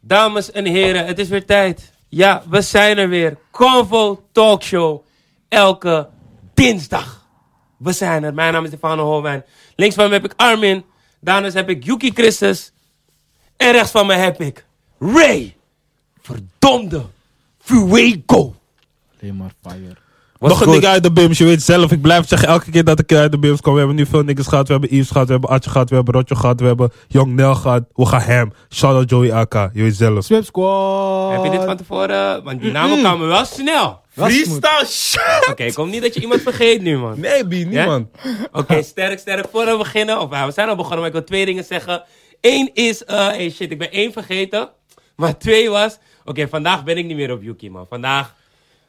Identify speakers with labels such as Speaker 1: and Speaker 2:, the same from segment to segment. Speaker 1: Dames en heren, het is weer tijd. Ja, we zijn er weer. Convo Talkshow. Elke dinsdag. We zijn er. Mijn naam is Stefano Holwijn. Links van me heb ik Armin. Daarnaast heb ik Yuki Christus. En rechts van me heb ik Ray. Verdomde Fuego.
Speaker 2: Alleen maar fire.
Speaker 3: Nog een ding uit de BIMS, je weet zelf. Ik blijf zeggen elke keer dat ik uit de BIMS kom. We hebben nu veel niggers gehad. We hebben Yves gehad, we hebben Atje gehad, we hebben Rotje gehad, we hebben Young Nel gehad. We gaan hem. Shout out Joey Aka, je weet zelf.
Speaker 2: Swim Squad.
Speaker 1: Heb je dit van tevoren? Want die namen kwamen wel snel.
Speaker 2: Was moet.
Speaker 1: Oké, kom niet dat je iemand vergeet nu, man.
Speaker 3: Nee, B, niemand.
Speaker 1: Oké, sterk, sterk. Voor we beginnen, of ja, we zijn al begonnen, maar ik wil twee dingen zeggen. Eén is, eh hey shit, ik ben één vergeten. Maar twee was, oké, vandaag ben ik niet meer op Yuki, man. Vandaag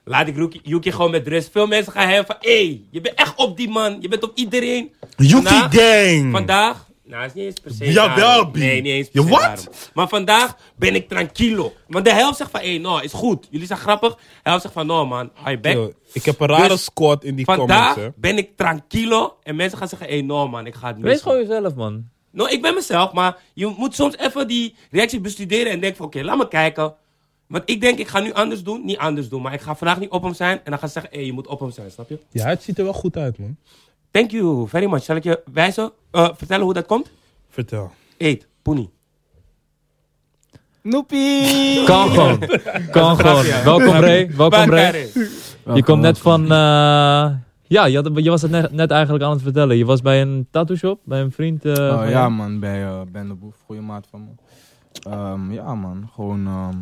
Speaker 1: laat ik Yuki, Yuki gewoon met rust. Veel mensen gaan hem van, hé, hey, je bent echt op die man. Je bent op iedereen.
Speaker 3: Yuki
Speaker 1: Vandaag-
Speaker 3: Gang.
Speaker 1: Vandaag, nou, is niet eens per se
Speaker 3: Jawel,
Speaker 1: daarom.
Speaker 3: B.
Speaker 1: Nee, niet eens per
Speaker 3: Je
Speaker 1: se
Speaker 3: wat?
Speaker 1: daarom. Maar vandaag ben ik tranquilo. Want de helft zegt van, hé, hey, nou, is goed. Jullie zijn grappig. De helft zegt van, nou, man, hou je back.
Speaker 3: Yo, ik heb een rare
Speaker 1: Dus
Speaker 3: squad in die
Speaker 1: Vandaag
Speaker 3: comments, hè.
Speaker 1: ben ik tranquilo en mensen gaan zeggen: hé, no man, ik ga het niet.
Speaker 2: Wees gewoon jezelf, man.
Speaker 1: Nou, ik ben mezelf, maar je moet soms even die reactie bestuderen en denken: van, oké, laat me kijken. Want ik denk, ik ga nu anders doen, niet anders doen. Maar ik ga vandaag niet op hem zijn en dan gaan ze zeggen: hé, je moet op hem zijn, snap je?
Speaker 3: Ja, het ziet er wel goed uit, man.
Speaker 1: Thank you very much. Zal ik je wijzen, eh, vertellen hoe dat komt?
Speaker 3: Vertel.
Speaker 1: Eet, poenie.
Speaker 2: Noepie. Kan gewoon. Kan gewoon.
Speaker 1: grapje, hè?
Speaker 2: Welkom Ray. Welkom Ray.
Speaker 1: Barbarie.
Speaker 2: Je komt net van... eh, ja, je, had, je was het net, net eigenlijk aan het vertellen. Je was bij een tattoo shop, bij een vriend. eh,
Speaker 4: Oh,
Speaker 2: van
Speaker 4: ja,
Speaker 2: jou.
Speaker 4: man, bij eh Ben de Boef, goede maat van me. Ehm, ja, man, gewoon ehm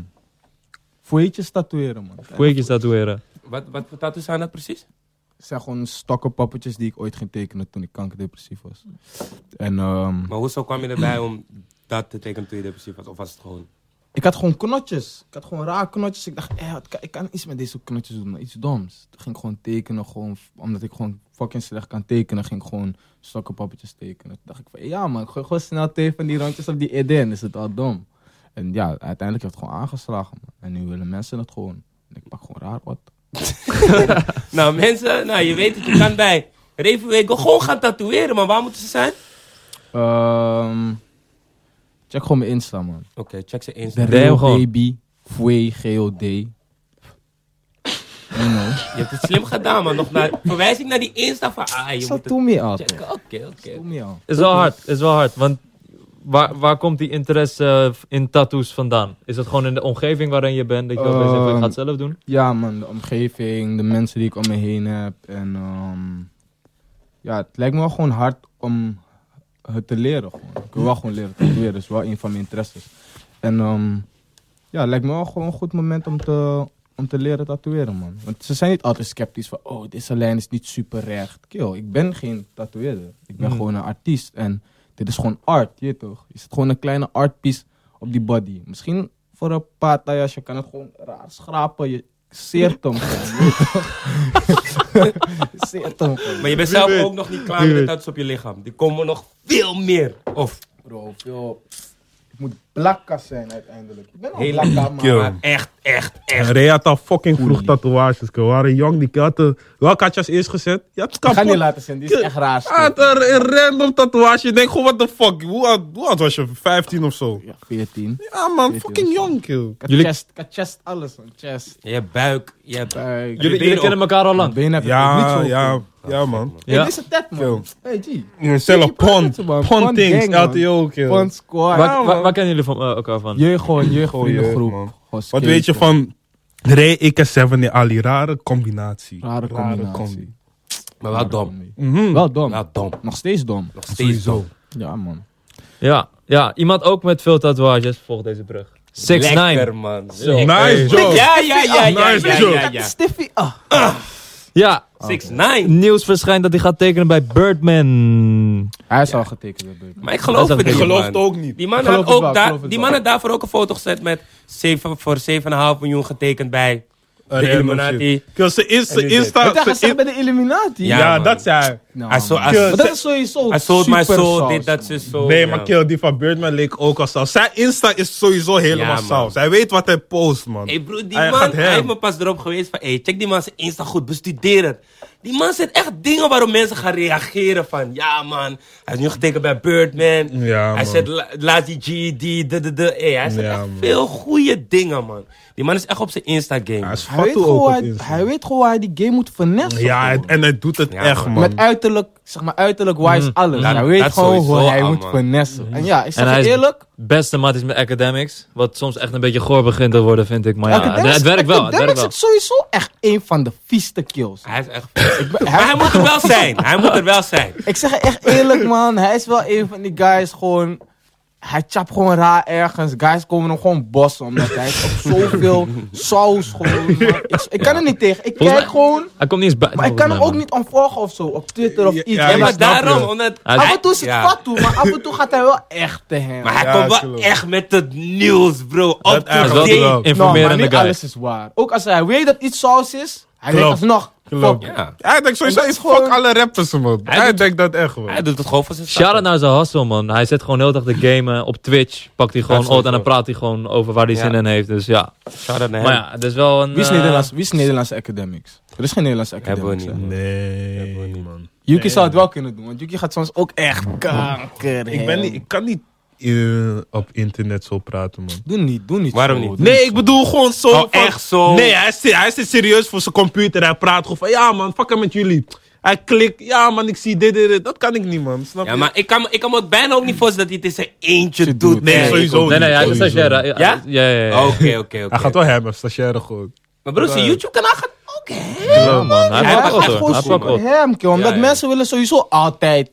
Speaker 4: fouetjes tatoeëren, man.
Speaker 2: Kweekjes tatoeëren.
Speaker 1: Wat, wat voor tattoos zijn dat precies?
Speaker 4: Het zijn gewoon stokkenpappetjes die ik ooit ging tekenen toen ik kankerdepressief was. En ehm,
Speaker 1: Maar hoezo kwam je erbij om dat te tekenen toen je depressief was? Of was het gewoon.
Speaker 4: ik had gewoon knotjes. Ik had gewoon raar knotjes. Ik dacht, eh, wat kan- ik kan iets met deze knotjes doen, maar iets doms. Toen ging ik gewoon tekenen, gewoon, f- omdat ik gewoon fucking slecht kan tekenen, ging ik gewoon stokkenpappetjes tekenen. Toen dacht ik van, ja man, gooi gewoon snel twee van die rondjes op die Eden, is het al dom. En ja, uiteindelijk heeft het gewoon aangeslagen, man. En nu willen mensen het gewoon. En ik pak gewoon raar wat.
Speaker 1: Nou, mensen, nou, je weet het, je kan bij Revenwego gewoon gaan tatoeëren, maar waar moeten ze zijn?
Speaker 4: Ehm check gewoon mijn Insta, man.
Speaker 1: Oké, check ze eens.
Speaker 4: De
Speaker 2: Damn,
Speaker 4: Real
Speaker 2: gewoon.
Speaker 4: Baby Fue GOD. You know.
Speaker 1: Je hebt het slim gedaan, man. Nog naar, verwijs ik naar die Insta van, ah, je
Speaker 4: Zo
Speaker 1: moet het
Speaker 4: doe me al.
Speaker 1: checken. Oké, oké.
Speaker 4: Doe me al.
Speaker 2: Is wel hard. Is wel hard. Want waar, waar komt die interesse eh, in tattoos vandaan? Is dat gewoon in de omgeving waarin je bent? Dat je opeens denkt, ik ga het zelf doen?
Speaker 4: Ja, man, de omgeving, de mensen die ik om me heen heb. En ehm, ja, het lijkt me wel gewoon hard om het te leren. Gewoon. Ik wil wel gewoon leren tatoeëren. Dat is wel een van mijn interesses. En ehm, ja, het lijkt me wel gewoon een goed moment om te, om te leren tatoeëren, man. Want ze zijn niet altijd sceptisch van, oh, deze lijn is niet super recht. Kill, ik ben geen tatoeëerder. Ik ben
Speaker 2: Mm.
Speaker 4: gewoon een artiest. En dit is gewoon art, je weet toch? Is het gewoon een kleine art piece op die body. Misschien voor een paar taillas, je kan het gewoon raar schrapen. Je zeert hem gewoon, je weet toch? Je zeert hem gewoon.
Speaker 1: Maar je bent zelf ook nog niet klaar met de tattoos op je lichaam. Die komen nog veel meer. Of,
Speaker 4: Bro, veel... Ik moet blakka zijn uiteindelijk. Ik ben al
Speaker 1: Heel
Speaker 4: blakka, man.
Speaker 3: Kill.
Speaker 1: maar echt, echt, echt.
Speaker 3: En Ray had al fucking vroeg
Speaker 4: Oei.
Speaker 3: tatoeages. We waren jong, die had de- Welke had je als eerst gezet? Je had
Speaker 4: Ik ga
Speaker 3: kapot. Ah,
Speaker 4: niet laten zien, die is echt raar.
Speaker 3: Hij had een een random tatoeage. Je denkt gewoon, what the fuck? Hoe oud, hoe oud was je? 15 of zo?
Speaker 4: Ja, 14.
Speaker 3: Ja man,
Speaker 4: 14
Speaker 3: fucking
Speaker 4: of zo.
Speaker 3: jong, kill.
Speaker 4: Ik had
Speaker 2: Jullie-
Speaker 4: chest, ik had chest alles, man. Chest.
Speaker 1: Je buik, je buik.
Speaker 4: Kijk.
Speaker 1: Jullie-
Speaker 2: Jullie,
Speaker 1: benen
Speaker 2: kennen elkaar al
Speaker 4: Mijn
Speaker 2: lang.
Speaker 4: benen heb ik ook
Speaker 3: Ja,
Speaker 4: niet zo.
Speaker 3: ja, ja man.
Speaker 4: Hey,
Speaker 2: Ja.
Speaker 4: dit is een tet, man. Hey, G.
Speaker 3: Zelf
Speaker 4: Je praat met
Speaker 3: pond,
Speaker 4: ze, man.
Speaker 3: pond
Speaker 4: Pond
Speaker 3: things,
Speaker 4: gang, man.
Speaker 3: LTO, kill.
Speaker 4: Pond squad.
Speaker 2: Waar,
Speaker 3: man.
Speaker 2: waar, waar kennen jullie van, eh, elkaar van?
Speaker 4: Je gewoon, je gewoon in de
Speaker 3: Goeie,
Speaker 4: groep.
Speaker 3: man.
Speaker 4: Gewoon
Speaker 3: Wat weet je
Speaker 4: skaten.
Speaker 3: van Ray, ik en Seven in Ali? Rare combinatie.
Speaker 4: Rare combinatie.
Speaker 3: combi.
Speaker 1: Maar wel dom.
Speaker 3: Mhm.
Speaker 4: Wel dom.
Speaker 1: Wel dom.
Speaker 4: Nog steeds dom.
Speaker 1: Nog steeds dom.
Speaker 4: Ja, man.
Speaker 2: Ja, ja, iemand ook met veel tatoeages volgt deze brug. 6 9
Speaker 1: Lekker, man.
Speaker 3: Nice
Speaker 1: Ja,
Speaker 3: job.
Speaker 1: ja, ja, ja, ja,
Speaker 3: Nice
Speaker 1: ja,
Speaker 3: joke.
Speaker 1: ja, ja.
Speaker 4: Stiffy. Ah.
Speaker 2: Ja,
Speaker 1: 6'9".
Speaker 2: nieuws verschijnt dat hij gaat tekenen bij Birdman.
Speaker 4: Hij is al getekend. door Beuk.
Speaker 1: Maar ik geloof
Speaker 2: Dat
Speaker 1: het
Speaker 2: is
Speaker 1: niet,
Speaker 2: ook-
Speaker 3: Geloof
Speaker 1: man.
Speaker 3: het ook niet.
Speaker 1: Die man,
Speaker 4: Ik geloof
Speaker 1: had
Speaker 4: het
Speaker 1: ook
Speaker 4: wel, ik
Speaker 1: daar-
Speaker 4: geloof het
Speaker 1: die
Speaker 4: wel.
Speaker 1: man had daarvoor ook een foto gezet met 7, voor 7,5 miljoen getekend bij
Speaker 3: Een
Speaker 1: de
Speaker 3: random
Speaker 1: Illuminati.
Speaker 3: shit. Kill, Ze is-
Speaker 1: En nu
Speaker 3: ze
Speaker 1: dit.
Speaker 3: Insta...
Speaker 4: Wat hij
Speaker 3: ze
Speaker 4: gezegd
Speaker 3: in-
Speaker 4: bij de Illuminati?
Speaker 1: Ja,
Speaker 3: Ja,
Speaker 1: man.
Speaker 3: dat zei hij.
Speaker 4: Nou,
Speaker 1: Hij zo-
Speaker 4: man.
Speaker 1: hij-
Speaker 4: maar dat is sowieso
Speaker 1: Hij sold my
Speaker 4: super
Speaker 1: soul,
Speaker 4: saus,
Speaker 1: dit, dat,
Speaker 4: man.
Speaker 1: ze zo.
Speaker 3: Nee,
Speaker 1: ja.
Speaker 3: maar kill, die van Birdman leek ook al saus. Zijn Insta is sowieso helemaal
Speaker 1: Ja, man.
Speaker 3: saus. Hij weet wat hij post, man.
Speaker 1: Hey broer, die
Speaker 3: Hij
Speaker 1: man,
Speaker 3: Ah, gaat
Speaker 1: hij
Speaker 3: hem.
Speaker 1: heeft me pas erop geweest van, hey, check die man zijn Insta goed, bestudeer het. Die man zet echt dingen waarop mensen gaan reageren van, ja man, hij is nu getekend bij Birdman.
Speaker 3: Ja,
Speaker 1: hij
Speaker 3: man.
Speaker 1: zet la- laatst die GED, de, de, de. Hey, hij zet
Speaker 3: Ja,
Speaker 1: echt
Speaker 3: man.
Speaker 1: veel goede dingen, man. Die man is echt op zijn Insta game.
Speaker 3: Hij is
Speaker 4: Hij weet,
Speaker 3: fatsoen
Speaker 4: gewoon
Speaker 3: ook
Speaker 4: hoe
Speaker 3: op
Speaker 4: hij,
Speaker 3: Insta.
Speaker 4: hij weet gewoon hoe hij die game moet vernesten.
Speaker 3: Ja,
Speaker 4: gewoon.
Speaker 3: het- en hij doet het
Speaker 1: Ja,
Speaker 3: echt,
Speaker 1: man.
Speaker 3: man. Mm.
Speaker 4: Met uiterlijk, zeg maar uiterlijk wise alles.
Speaker 1: dat-
Speaker 4: hij weet
Speaker 1: dat
Speaker 4: gewoon
Speaker 1: sowieso
Speaker 4: hoe hij
Speaker 1: al,
Speaker 4: moet
Speaker 1: man.
Speaker 4: vernesten. En ja, ik
Speaker 2: En
Speaker 4: zeg
Speaker 2: hij
Speaker 4: je
Speaker 2: is- Oh
Speaker 4: eerlijk,
Speaker 2: Beste maat is met academics. Wat soms echt een beetje goor begint te worden, vind ik. Maar ja,
Speaker 4: Academics-
Speaker 2: het, het werkt wel. Het
Speaker 4: Academics
Speaker 2: werkt wel.
Speaker 4: is sowieso echt een van de vieste kills.
Speaker 1: Hij is echt...
Speaker 4: Ik ben-
Speaker 1: maar hij moet er wel zijn, hij moet er wel zijn.
Speaker 4: Ik zeg je echt eerlijk, man. Hij is wel een van die guys gewoon. Hij chapt gewoon raar ergens. Guys komen hem gewoon bossen. Omdat hij is op zoveel saus gewoon. man. Ik, ik kan er niet tegen. Ik
Speaker 2: Volgens
Speaker 4: kijk
Speaker 2: mij-
Speaker 4: gewoon.
Speaker 2: Hij komt niet eens bij.
Speaker 4: Maar ik kan hem ook niet ontvolgen of zo. Op Twitter of
Speaker 3: Ja,
Speaker 4: iets.
Speaker 3: ja,
Speaker 1: Ja,
Speaker 4: En
Speaker 3: ik
Speaker 1: maar
Speaker 4: maar
Speaker 3: snap je.
Speaker 1: daarom, omdat...
Speaker 2: Hij-
Speaker 4: af en toe zit
Speaker 1: Ja.
Speaker 4: Ah, wat toe. Maar af en toe gaat hij wel echt te hem. Nou,
Speaker 1: Maar hij
Speaker 3: Ja,
Speaker 1: komt wel
Speaker 3: klopt.
Speaker 1: echt met het nieuws, bro. Op
Speaker 3: echt
Speaker 1: to
Speaker 3: wel.
Speaker 1: date.
Speaker 4: Nou, maar
Speaker 2: informerende
Speaker 4: niet
Speaker 2: guy.
Speaker 4: alles is waar. Ook als hij weet dat iets saus is. Hij weet
Speaker 3: Klopt.
Speaker 4: alsnog.
Speaker 3: Klopt.
Speaker 4: fuck.
Speaker 1: Ja.
Speaker 3: Hij denkt sowieso,
Speaker 4: En dat
Speaker 3: is
Speaker 4: is gewoon-
Speaker 3: fuck alle rappers, man.
Speaker 1: Hij
Speaker 3: Hij,
Speaker 1: doet-
Speaker 3: denkt dat echt, man.
Speaker 1: Hij doet het gewoon voor zijn
Speaker 2: Shout-out
Speaker 1: stad.
Speaker 2: naar zijn hustle, man. Hij zit gewoon heel dag te gamen op Twitch. Pakt hij gewoon
Speaker 1: sowieso.
Speaker 2: oud en dan praat hij gewoon over waar hij
Speaker 1: Ja.
Speaker 2: zin in heeft. Dus ja.
Speaker 1: Shout-out naar
Speaker 2: Maar
Speaker 1: hem.
Speaker 2: ja, het is wel een...
Speaker 4: Wie is,
Speaker 2: eh,
Speaker 4: Nederlands, wie is Nederlandse academics? Er is geen Nederlandse
Speaker 1: Hebben we
Speaker 4: academics.
Speaker 1: niet,
Speaker 4: hè?
Speaker 1: man.
Speaker 3: Nee, man.
Speaker 4: Yuki zou het wel kunnen doen, want Yuki gaat soms ook echt kanker.
Speaker 3: Ik, ben niet, ik kan niet eh, op internet zo praten, man.
Speaker 4: Doe niet, doe niet.
Speaker 1: Waarom
Speaker 4: zo,
Speaker 1: niet?
Speaker 4: doe
Speaker 3: Nee, ik bedoel gewoon zo.
Speaker 1: Oh, echt zo?
Speaker 3: Nee, hij zit, hij zit serieus voor zijn computer. Hij praat gewoon van, ja man, fuck hem met jullie. Hij klikt, ja man, ik zie dit, dit, dit. Dat kan ik niet, man. Snap
Speaker 1: Ja,
Speaker 3: je?
Speaker 1: maar ik kan, me- ik kan me ook bijna ook niet voorstellen dat hij het in zijn eentje
Speaker 4: Shit
Speaker 1: doet.
Speaker 4: doet.
Speaker 3: Nee, sowieso
Speaker 2: Nee, nee, hij is een
Speaker 3: Sowieso.
Speaker 2: stagiair. hè.
Speaker 1: Ja? Oh,
Speaker 2: Ja, ja, ja.
Speaker 1: Oké, oké, oké.
Speaker 3: Hij gaat wel hebben, stagiaire gewoon.
Speaker 1: Maar broer, zijn
Speaker 3: Ja.
Speaker 1: YouTube-kanaal gaat ook hè?
Speaker 2: Ja, man.
Speaker 4: Ja,
Speaker 2: Hij
Speaker 1: pakt
Speaker 2: pakt
Speaker 1: wat,
Speaker 4: hij
Speaker 2: op,
Speaker 1: hoor.
Speaker 4: gaat
Speaker 2: hoor.
Speaker 4: gewoon
Speaker 2: Hij pakt
Speaker 4: zoeken
Speaker 2: op.
Speaker 4: hem, kill, omdat
Speaker 1: Ja, ja.
Speaker 4: mensen willen sowieso altijd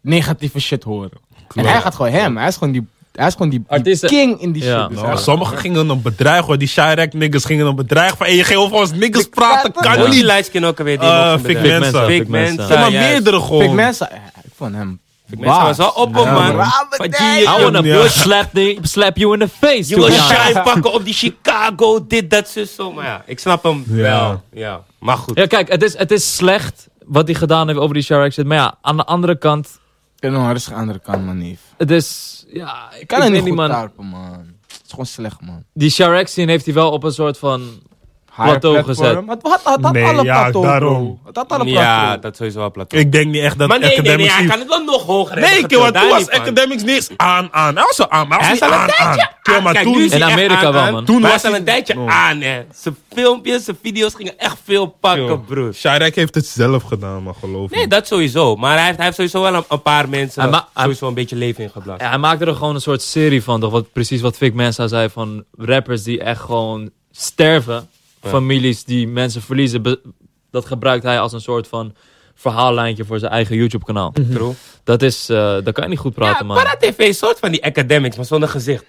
Speaker 4: negatieve shit horen. En hij gaat gewoon hem, hij is gewoon die, hij is gewoon die, die
Speaker 2: Artiesten-
Speaker 4: king in die
Speaker 2: Ja.
Speaker 4: shit. Dus
Speaker 3: Nou,
Speaker 4: hij-
Speaker 3: sommigen gingen een bedrijf, hoor. Die Shirek niggas gingen een bedrijf van, hey, je ging over ons niggas praten,
Speaker 4: praten.
Speaker 1: Hoe
Speaker 3: kan
Speaker 1: is die
Speaker 3: niet.
Speaker 1: lijstje ook alweer? Die
Speaker 3: Eh,
Speaker 1: nog van
Speaker 3: Fik
Speaker 1: bedrijf?
Speaker 3: Mensa.
Speaker 1: Fik Mensa.
Speaker 3: Zeg maar
Speaker 1: Ja, juist.
Speaker 3: meerdere
Speaker 4: Pik
Speaker 3: gewoon.
Speaker 4: mensen, eh, ik vond hem.
Speaker 1: Fik Mensa was wel
Speaker 4: baas.
Speaker 1: op, op man.
Speaker 3: man.
Speaker 1: Van G-
Speaker 2: I
Speaker 1: je-
Speaker 2: wanna
Speaker 3: Ja.
Speaker 2: bitch slap, the- slap you in the face.
Speaker 1: Je
Speaker 2: to
Speaker 1: wil
Speaker 2: be honest.
Speaker 1: shine pakken op die Chicago, dit, dat, zus, zo. Maar ja, ik snap hem
Speaker 3: Ja.
Speaker 1: wel. Ja, maar goed.
Speaker 2: Ja, kijk, het is, het is slecht wat hij gedaan heeft over die Shark shit. Maar ja, aan de andere kant,
Speaker 4: Ik ben nog eens aan de andere kant, man. neef.
Speaker 2: het is... Ja, ik
Speaker 4: Ik kan
Speaker 2: weet
Speaker 4: er niet goed
Speaker 2: man.
Speaker 4: tarpen, man. Het is gewoon slecht, man.
Speaker 2: Die Shark scene heeft hij wel op een soort van... Plateau
Speaker 4: Higher platform.
Speaker 2: gezet.
Speaker 4: Maar Het had, het had
Speaker 3: Nee,
Speaker 4: alle
Speaker 3: ja,
Speaker 4: plateau,
Speaker 3: daarom.
Speaker 4: bro. Het had alle
Speaker 1: Ja,
Speaker 4: plateau.
Speaker 1: dat sowieso wel plat.
Speaker 3: Ik denk niet echt dat
Speaker 1: Maar nee, nee, nee,
Speaker 3: academics...
Speaker 1: hij
Speaker 3: hier-
Speaker 1: kan het wel nog hoger hebben
Speaker 3: Nee,
Speaker 1: getild,
Speaker 3: kill, want
Speaker 1: daar
Speaker 3: toen was
Speaker 1: niet van.
Speaker 3: academics niks aan, aan. Hij was al aan, maar hij
Speaker 1: Hij
Speaker 3: was
Speaker 1: is
Speaker 3: niet
Speaker 1: al een
Speaker 3: aan,
Speaker 1: tijdje
Speaker 3: aan. Kill, maar
Speaker 1: Kijk, nu
Speaker 3: toen...
Speaker 1: is hij
Speaker 2: In
Speaker 1: echt
Speaker 2: Amerika
Speaker 1: aan,
Speaker 2: wel,
Speaker 1: aan.
Speaker 2: man.
Speaker 3: Toen
Speaker 1: Maar hij
Speaker 3: was
Speaker 1: is al
Speaker 3: hij-
Speaker 1: een tijdje
Speaker 3: Oh.
Speaker 1: aan, hè. Zijn filmpjes, zijn video's gingen echt veel pakken, broer.
Speaker 3: Shirek heeft het zelf gedaan, maar geloof me.
Speaker 1: Nee, dat sowieso. Maar hij heeft, hij heeft sowieso wel een, een paar mensen
Speaker 2: Hij ma- hij-
Speaker 1: sowieso een beetje leven ingeblazen.
Speaker 2: Ja, hij maakte er gewoon een soort serie van, toch? Wat, precies wat Vic Mensa zei van rappers die echt gewoon sterven. Families die mensen verliezen. Be- dat gebruikt hij als een soort van verhaallijntje voor zijn eigen YouTube-kanaal.
Speaker 1: True.
Speaker 2: Dat is... eh daar kan je niet goed praten,
Speaker 1: Ja,
Speaker 2: man.
Speaker 1: Para TV is soort van die academics, maar zonder gezicht.